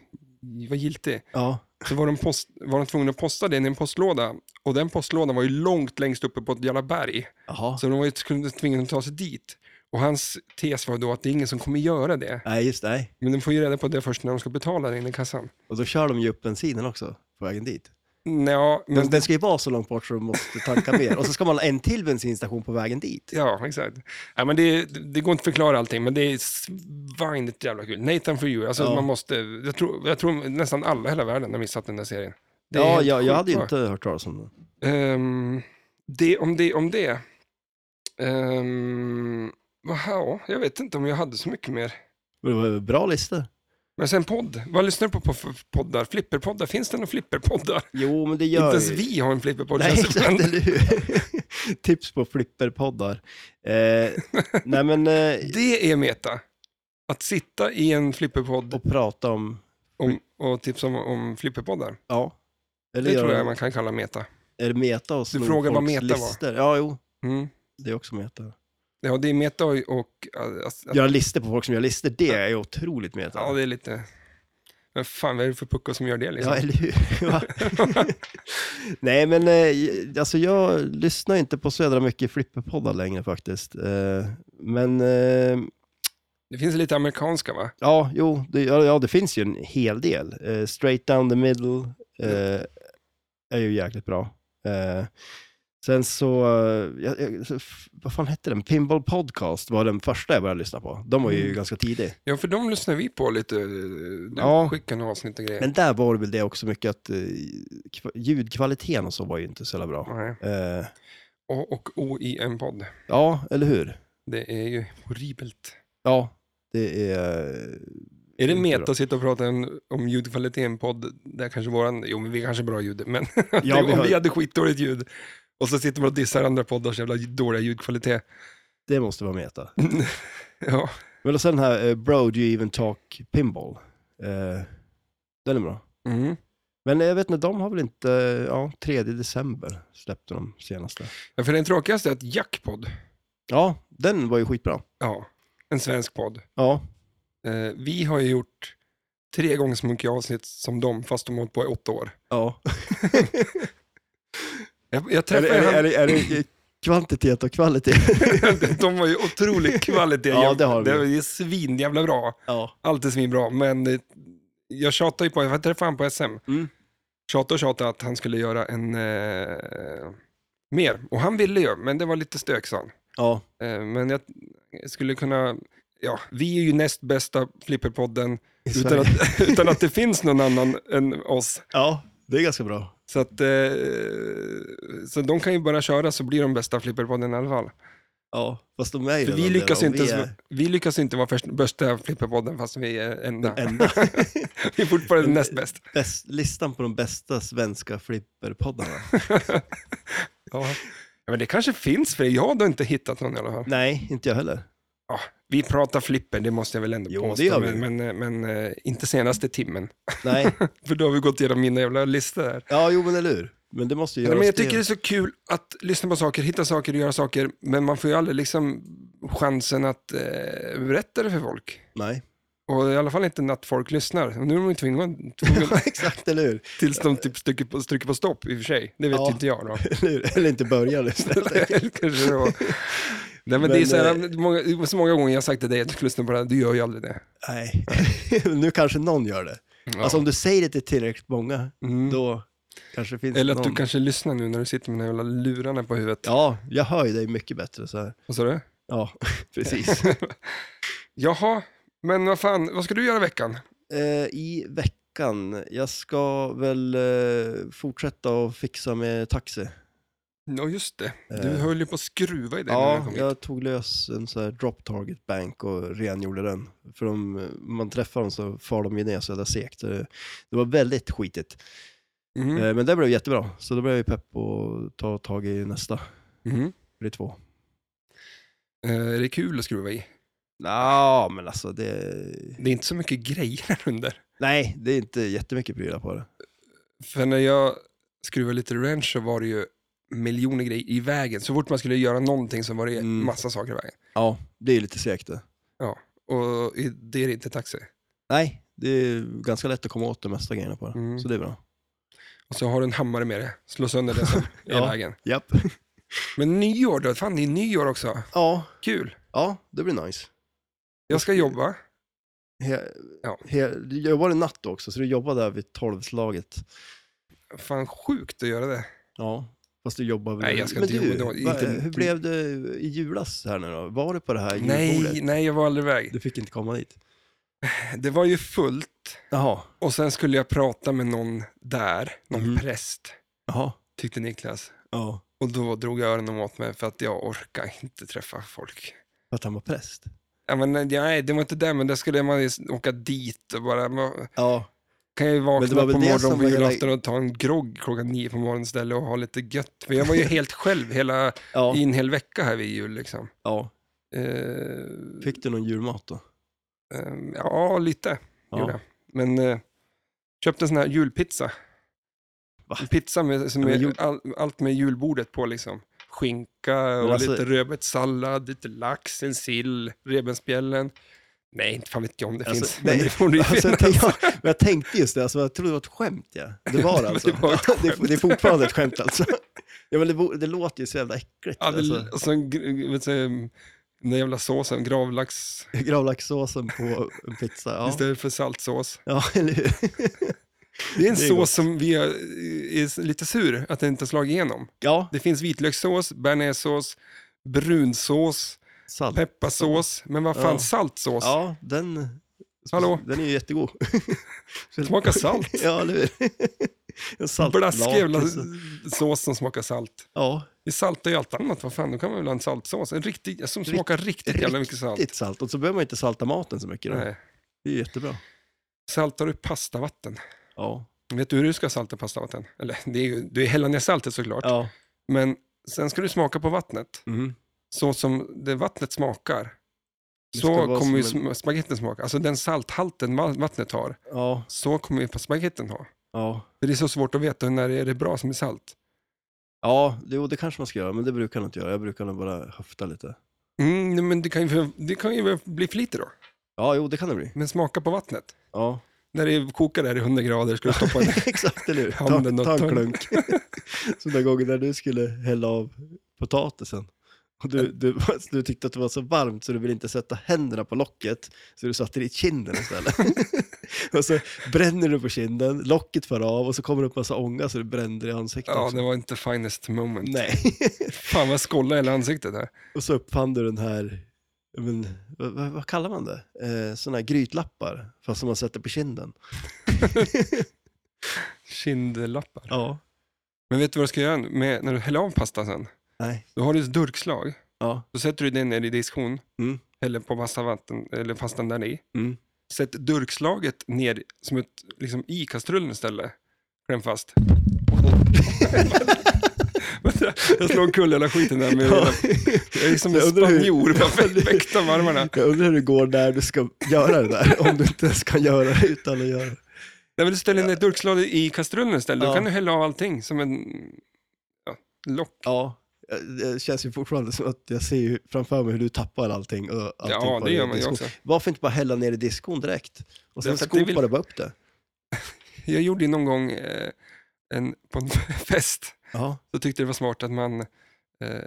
S1: vara giltig,
S2: ja.
S1: så var de, post, var de tvungna att posta den i en postlåda. Och den postlådan var ju långt längst uppe på ett jävla berg.
S2: Jaha.
S1: Så de var ju tvungna- tvungna att ta sig dit. Och hans tes var då att det är ingen som kommer göra det.
S2: Nej, just det. nej.
S1: Men de får ju reda på det först när de ska betala det in i kassan.
S2: Och då kör de ju upp bensinen också på vägen dit.
S1: Ja, men,
S2: Den, den ska ju vara så långt bort så de måste tanka mer. Och så ska man ha en till bensinstation på vägen dit.
S1: ja exakt. Ja, men det, det går inte att förklara allting, men det är svinigt jävla kul. Nathan for you, alltså
S2: Ja.
S1: man måste, jag tror, jag tror nästan alla i hela världen har missat den där serien. Det är
S2: Ja,
S1: helt
S2: jag, jag
S1: sjukt
S2: hade ju
S1: bra.
S2: inte hört talas om den.
S1: Ehm, det, om det, om det. Um, ja, jag vet inte om jag hade så mycket mer.
S2: Men Det var en bra lista.
S1: Men sen podd, vad lyssnar du på på för poddar? Flipperpoddar, finns det några flipperpoddar?
S2: Jo, men det
S1: Inte
S2: gör
S1: ens vi har en flipperpodd.
S2: (laughs) Nej,
S1: känns det som.
S2: exakt, (laughs) eller hur? Tips på flipperpoddar.
S1: (laughs)
S2: Eh, nej, men eh,
S1: det är meta. Att sitta i en flipperpodd
S2: och prata om,
S1: om, och tipsa om, om flipperpoddar.
S2: ja. Eller
S1: Det
S2: gör-
S1: tror jag man kan kalla meta.
S2: Är det meta och sno
S1: frågar vad
S2: folks
S1: meta var.
S2: listor? Ja, jo,
S1: Mm.
S2: det är också meta.
S1: Ja, det är meta och... och att- att-
S2: Göra listor på folk som gör listor, det är ju otroligt meta.
S1: ja, det är lite... Men fan, vad är det för puckar som gör det liksom?
S2: Ja, eller hur? (laughs) Va? Nej, men eh, alltså jag lyssnar inte på så jädra mycket flipperpoddar längre faktiskt. Eh, men eh,
S1: (laughs) Det finns lite amerikanska va?
S2: ja, jo, det, ja, ja, det finns ju en hel del. Eh, straight down the middle eh, är ju jäkligt bra. Eh, Sen så, eh, jag, jag, så f- vad fan hette den? Pinball Podcast var den första jag började lyssna på. De var ju
S1: Mm.
S2: ganska tidig.
S1: Ja, för de lyssnar vi på lite. Du
S2: Ja.
S1: skickar några avsnitt och grejer.
S2: Men där var det väl det också mycket att eh, kva- ljudkvaliteten och så var ju inte så jävla bra.
S1: Nej.
S2: Eh,
S1: A och O i en podd.
S2: ja, eller hur?
S1: Det är ju horribelt.
S2: Ja, det är...
S1: Är det
S2: Inte
S1: meta
S2: bra.
S1: att sitta och prata om, om ljudkvalitet i en podd? Där kanske våran, jo men vi är kanske bra ljud, men (laughs)
S2: Ja,
S1: om
S2: vi
S1: vi,
S2: har-
S1: hade skitdåligt ljud och så sitter man och dissar andra poddars jävla dåliga ljudkvalitet.
S2: Det måste vara meta.
S1: Ja,
S2: Men och sen den här eh, Bro, do you even talk pinball? Eh, den är bra.
S1: mm.
S2: Men jag vet inte, de har väl inte, ja, 3 december släppte de senaste.
S1: ja för den tråkigaste är att Jackpod,
S2: Ja, den var ju skitbra.
S1: ja, en svensk podd,
S2: Ja,
S1: eh, vi har ju gjort tre gånger så mycket avsnitt som dem, fast de har hållit på i åtta år.
S2: ja.
S1: Jag, jag
S2: Är
S1: träffade
S2: det, är, det, är,
S1: han,
S2: det, är det eh, kvantitet och kvalitet?
S1: (laughs)
S2: (laughs)
S1: de var ju otrolig kvalitet.
S2: Ja, det har vi.
S1: Det är ju svinjävla bra.
S2: Ja.
S1: Allt är svinbra, men eh, jag tjatar ju på, jag träffade han på SM.
S2: Mm.
S1: Tjatade och tjatade att han skulle göra en eh, mer. Och han ville ju, men det var lite stök sa han.
S2: Ja,
S1: Eh, men jag skulle kunna, ja, vi är ju näst bästa flipperpodden
S2: i
S1: utan
S2: Sverige.
S1: att,
S2: (laughs)
S1: utan att det finns någon annan än oss.
S2: ja, det är ganska bra.
S1: Så, att, eh, så de kan ju bara köra så blir de bästa flipperpodden i alla fall.
S2: Ja, fast de är ju
S1: För vi,
S2: redan
S1: lyckas
S2: det,
S1: ju
S2: och
S1: inte,
S2: vi är
S1: vi lyckas ju inte vara först, bästa flipperpodden fast vi är enda.
S2: den enda.
S1: (laughs) Vi är fortfarande näst bäst.
S2: Bäst, listan på de bästa svenska flipperpoddarna.
S1: Ja. men det kanske finns för jag har då inte hittat någon i alla fall.
S2: (laughs) Nej, inte jag heller.
S1: Ja, vi pratar flipper, det måste jag väl ändå
S2: Jo, det
S1: påstå,
S2: gör vi.
S1: men, men, eh, men eh, inte senaste timmen.
S2: Nej,
S1: För då har vi gått igenom mina jävla listor här.
S2: ja, jo men eller hur. Men det måste ju
S1: Men
S2: göras
S1: jag tycker det
S2: det.
S1: är så kul att lyssna på saker, hitta saker och göra saker, men man får ju aldrig liksom chansen att eh, berätta det för folk.
S2: Nej, (laughs)
S1: Och i alla fall inte när folk lyssnar. Och nu är de ju tvingade,
S2: (laughs)
S1: tvungna
S2: exakt, eller hur?
S1: tills de typ stryker på, stryker på stopp i och för sig. Det vet
S2: Ja.
S1: ju inte
S2: (laughs)
S1: jag då.
S2: Eller, hur? eller inte börja lyssna.
S1: Kanske det var. Nej, men det är
S2: Men, eh,
S1: så, här, många, det var så många gånger jag har sagt till dig att du ska lyssna på det här, du gör ju aldrig det.
S2: Nej, (laughs) nu kanske någon gör det.
S1: Ja.
S2: Alltså om du säger det till tillräckligt många,
S1: Mm.
S2: då kanske det finns
S1: Eller att
S2: någon.
S1: du kanske lyssnar nu när du sitter med de här jävla lurarna på huvudet.
S2: Ja, jag hör ju dig mycket bättre så här.
S1: Vad sa du? (laughs)
S2: Ja, precis.
S1: Jaha, men vad fan, vad ska du göra i veckan?
S2: (laughs) Eh, I veckan, jag ska väl eh, fortsätta och fixa med taxi.
S1: Ja, just det. Du
S2: Eh.
S1: höll ju på att skruva i det när jag
S2: Ja,
S1: kom hit.
S2: jag tog lös en så här drop target bank och rengjorde den. För om man träffar dem så far de ju ner så jävla segt. Så Det det var väldigt skitigt.
S1: Mhm,
S2: Eh, Men det blev jättebra, så då blev jag ju pepp och ta tag i nästa.
S1: mhm.
S2: Det är två.
S1: Eh, det är kul att skruva i.
S2: Ja, men alltså det...
S1: Det är inte så mycket grejer här under.
S2: Nej, det är inte jättemycket prylar på det.
S1: För när jag skruvade lite wrench så var det ju miljoner grejer i vägen. Så fort man skulle göra någonting så var det
S2: Mm.
S1: massa saker i vägen.
S2: Ja, det är lite segt det.
S1: Och i- det är det inte taxi.
S2: Nej, det är ganska lätt att komma åt de mesta grejerna på det.
S1: Mm.
S2: Så det är bra.
S1: Och så har du en hammare med dig, slå sönder det som är
S2: (laughs) Ja.
S1: i vägen.
S2: Japp.
S1: Men nyår då, fan det är nyår också.
S2: (laughs) Ja,
S1: Kul.
S2: ja det blir nice.
S1: Jag ska jobba.
S2: He,
S1: Ja.
S2: he, du jobbade natt då också, så du jobbade där vid tolvslaget.
S1: Fan sjukt att göra det.
S2: Ja. Fast du jobbar väl...
S1: Nej, jag ska
S2: Men
S1: inte
S2: du,
S1: jobba då,
S2: va-
S1: inte-
S2: hur blev det i julas här nu då? Var du på det här
S1: Nej,
S2: julbordet?
S1: nej, jag var aldrig iväg.
S2: Du fick inte komma dit.
S1: Det var ju fullt
S2: Jaha.
S1: och sen skulle jag prata med någon där, någon
S2: Mhm.
S1: präst,
S2: Jaha.
S1: tyckte Niklas.
S2: Ja.
S1: Och då drog jag öronen åt mig för att jag orkar inte träffa folk.
S2: För att han var präst?
S1: Ja, men, eh, nej, det var inte det, men där skulle man ju åka dit och bara, man-
S2: Ja.
S1: kan jag ju
S2: Men det
S1: vakna
S2: var
S1: på
S2: väl det
S1: morgonen
S2: som
S1: på
S2: var hela-
S1: julafton och ta en grogg klockan nio på morgonen istället och ha lite gött. För jag
S2: (laughs)
S1: var ju helt själv hela,
S2: Ja.
S1: i en hel vecka här vid jul liksom.
S2: ja.
S1: Eh,
S2: Fick du någon julmat då?
S1: Ehm, Ja, lite gjorde
S2: Ja.
S1: jag. Men eh, köpte en sån här julpizza.
S2: Va?
S1: En pizza med, som
S2: Ja, men
S1: är
S2: jul-
S1: all, allt med julbordet på liksom. Skinka och
S2: alltså-
S1: lite rödbetssallad, lite lax, en sill, revbensspjällen. Nej, inte fan vet jag om det
S2: Alltså,
S1: finns. (laughs)
S2: nej,
S1: men det borde ju
S2: Alltså, jag,
S1: finnas.
S2: tänkte, jag, men jag tänkte just det, alltså, jag trodde det var ett skämt. Ja. Det var det
S1: (laughs)
S2: alltså.
S1: Det var ett
S2: det, är, det är fortfarande ett skämt alltså. Ja, men det, vo- det låter ju så jävla äckligt.
S1: Ja, det,
S2: alltså,
S1: och sen, gr- vet du, den där jävla såsen, gravlax
S2: gravlaxsåsen på en pizza. Ja,
S1: istället för saltsås.
S2: ja eller hur?
S1: Det är en
S2: Det är
S1: sås
S2: gott.
S1: som vi har, eh, är lite sur att den inte har slagit igenom.
S2: Ja,
S1: Det finns vitlökssås, bearnaisesås, brunsås,
S2: salt.
S1: pepparsås, men vad fan
S2: Ja.
S1: saltsås?
S2: Ja, den,
S1: Hallå?
S2: den är ju jättegod. (laughs)
S1: Smakar salt.
S2: ja, eller hur? En saltlag,
S1: Blaskig jävla
S2: alltså.
S1: sås som smakar salt.
S2: Ja,
S1: Vi saltar ju allt annat, vad fan, då kan man väl ha en saltsås. En riktig, som smakar riktigt, jävla mycket salt.
S2: riktigt salt. Och så behöver man inte salta maten så mycket. Då.
S1: Nej.
S2: Det är jättebra.
S1: Saltar du pastavatten?
S2: Ja.
S1: Vet du hur du ska salta pastavatten? Eller, det är ju, du häller ner saltet såklart.
S2: ja.
S1: Men sen ska du smaka på vattnet. Så som det vattnet smakar,
S2: Det ska
S1: så
S2: vara
S1: kommer ju
S2: som en-
S1: sm- spagetten smaka. Alltså den salthalten va- vattnet har,
S2: Ja,
S1: så kommer ju spagetten ha.
S2: ja.
S1: För det är så svårt att veta när är det bra som är salt.
S2: Ja, det, jo, det kanske man ska göra, men det brukar jag inte göra. Jag brukar nog bara höfta lite.
S1: Mm, nej, men det kan, ju, det kan ju bli för lite då.
S2: Ja, jo, det kan det bli.
S1: Men smaka på vattnet.
S2: Ja,
S1: När det kokar där i 100 grader ska du stoppa en
S2: (laughs) exakt, eller hur?
S1: Handen
S2: Ta,
S1: och
S2: ta en
S1: tungan.
S2: klunk. (laughs) Som den gången när du skulle hälla av potatisen. Och du, du, (laughs) du tyckte att det var så varmt så du ville inte sätta händerna på locket, så du satte det i kinden istället. (laughs) och så bränner du på kinden, locket far av och så kommer det upp massa ånga så du brände dig i ansiktet
S1: (laughs) Ja,
S2: också.
S1: det var inte finest moment.
S2: Nej. (laughs)
S1: Fan vad jag skollade hela ansiktet där.
S2: Och så uppfann du den här, ja, men, vad, vad, vad kallar man det? Eh, Sådana här grytlappar, fast som man sätter på kinden.
S1: Kindlappar.
S2: Ja.
S1: Men vet du vad du ska göra med, när du häller av pastan sen?
S2: Nej.
S1: Då har du ett durkslag.
S2: Ja.
S1: Då sätter du den ner i diskon,
S2: Mm.
S1: häller på pasta vatten, eller pastan där i.
S2: Mm.
S1: Sätt durkslaget ner som ett, liksom, i kastrullen istället. Kläm (laughs) fast. Vänta, jag slår omkull hela skiten där. Med,
S2: Ja. (laughs)
S1: Jag är som en
S2: Jag undrar hur-
S1: spanjor,
S2: (laughs) Ja,
S1: bara
S2: det-
S1: väkta med armarna.
S2: Jag undrar hur det går där du ska göra det där, om du inte ens kan göra det utan att göra det.
S1: Nej, men du ställer ner durkslaget i kastrullen istället. Då
S2: Ja.
S1: kan du hälla av allting som en ja, lock.
S2: Ja. Det känns ju fortfarande som att jag ser ju framför mig hur du tappar allting. Och allting
S1: Ja,
S2: på
S1: det gör man ju
S2: diskon.
S1: också.
S2: Varför inte bara hälla ner i diskon direkt? Och sen
S1: Därför att det
S2: skopar
S1: vill-
S2: du bara upp det.
S1: Jag gjorde ju någon gång eh, en, på en (laughs) fest,
S2: Ja,
S1: så tyckte jag det var smart att man eh,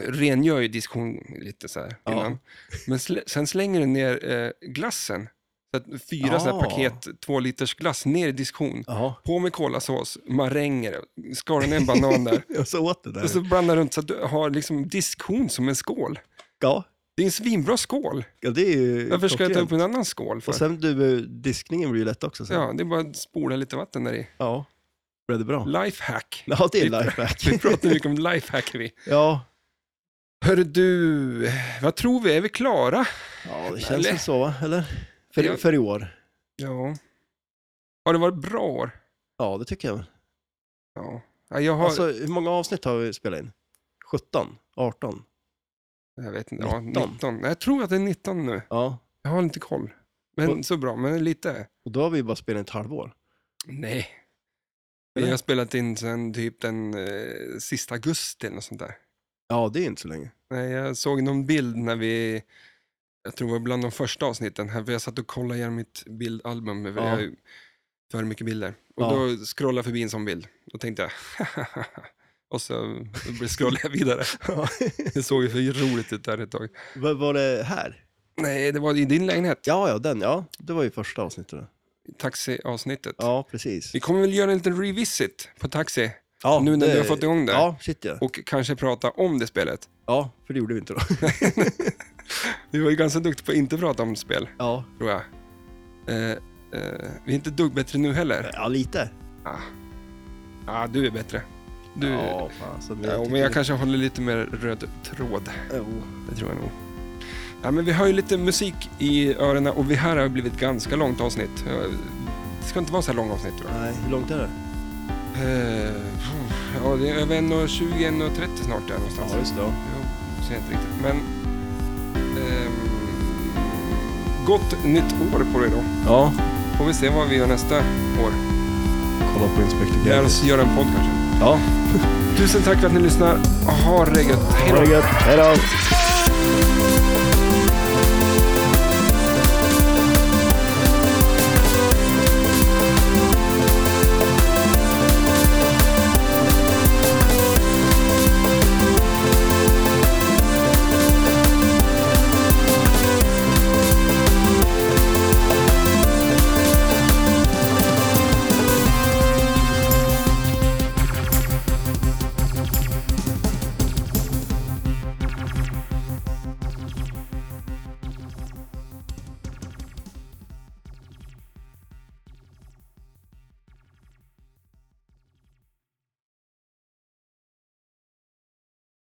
S1: rengör ju diskon lite så här
S2: Ja.
S1: innan. Men sl- sen slänger du ner eh, glassen, så att fyra så här
S2: Ja.
S1: paket två liters glass ner i diskon.
S2: ja.
S1: På med kolasås, maränger, skar ner en banan där.
S2: Jag så åt det där.
S1: Och så blandar runt så att du har liksom diskhon som en skål.
S2: Ja,
S1: Det är en svinbra skål.
S2: ja, det är ju
S1: Varför ska jag ta
S2: klockrent.
S1: upp en annan skål? För?
S2: Och sen du, diskningen blir ju lätt också. Sen.
S1: Ja, det är bara att spola lite vatten där i.
S2: Ja, blev det bra?
S1: Lifehack.
S2: Ja, det är lifehack.
S1: (laughs) Vi pratar mycket om lifehack vi.
S2: ja.
S1: Hör du, vad tror vi? Är vi klara?
S2: ja, det känns
S1: Eller?
S2: som så, va? eller? För,
S1: Jag-
S2: för i år.
S1: Ja. Har det varit bra år?
S2: Ja, det tycker jag. väl.
S1: Ja. Ja, Jag har,
S2: Alltså, hur många avsnitt har vi spelat in? 17? 18?
S1: jag vet inte, ja,
S2: 19.
S1: 19. Jag tror att det är 19 nu.
S2: Ja,
S1: Jag har inte koll. Men
S2: Och-
S1: så bra, men lite.
S2: och då har vi bara spelat in ett halvår.
S1: Nej. Vi
S2: Eller?
S1: har spelat in sen typ den eh, sista augusti eller något sånt där.
S2: Ja, det är inte så länge.
S1: Nej, jag såg någon bild när vi, jag tror det var bland de första avsnitten, här, för jag satt och kollade igenom mitt bildalbum, för
S2: Ja.
S1: jag har ju för mycket bilder. Och
S2: Ja.
S1: då scrollade jag förbi en sån bild, då tänkte jag, (laughs) och så scrollade jag
S2: (laughs)
S1: vidare. Det såg ju för roligt ut där ett tag.
S2: Vad var det här?
S1: Nej, det var i din lägenhet,
S2: Ja, ja, den. Ja, det var ju första avsnittet. då.
S1: taxiavsnittet.
S2: Ja, precis.
S1: Vi kommer väl göra en liten revisit på taxi,
S2: Ja,
S1: nu när
S2: det-
S1: du har fått igång det.
S2: Ja, shit ja.
S1: Och kanske prata om det spelet.
S2: Ja, för det gjorde vi inte då.
S1: Vi var ju ganska duktiga på att inte prata om spel,
S2: Ja,
S1: tror jag. Eh, eh, vi är inte ett dugg bättre nu heller.
S2: ja lite.
S1: Ah. ah, du är bättre. Du, ja,
S2: Ja, fan. Så
S1: men jag kanske håller lite mer röd tråd.
S2: Jo.
S1: Det tror jag nog. Ja, men vi har ju lite musik i öronen och vi här har blivit ett ganska långt avsnitt. Eh, Det ska inte vara så här långa avsnitt tror jag.
S2: Nej, hur långt är det?
S1: Eh, pff, ja, det är över 1.20, 1.30 snart där någonstans.
S2: just det. ja.
S1: Jag ser inte riktigt. Men... ehm, gott nytt år på dig då.
S2: Ja,
S1: Får vi se vad vi gör nästa år.
S2: kolla på Inspector
S1: Lär
S2: Gadget.
S1: oss göra en podd kanske.
S2: Ja,
S1: Tusen tack för att ni lyssnar. Ha det gött. Hej
S2: ha
S1: då.
S2: det gött. Hej då.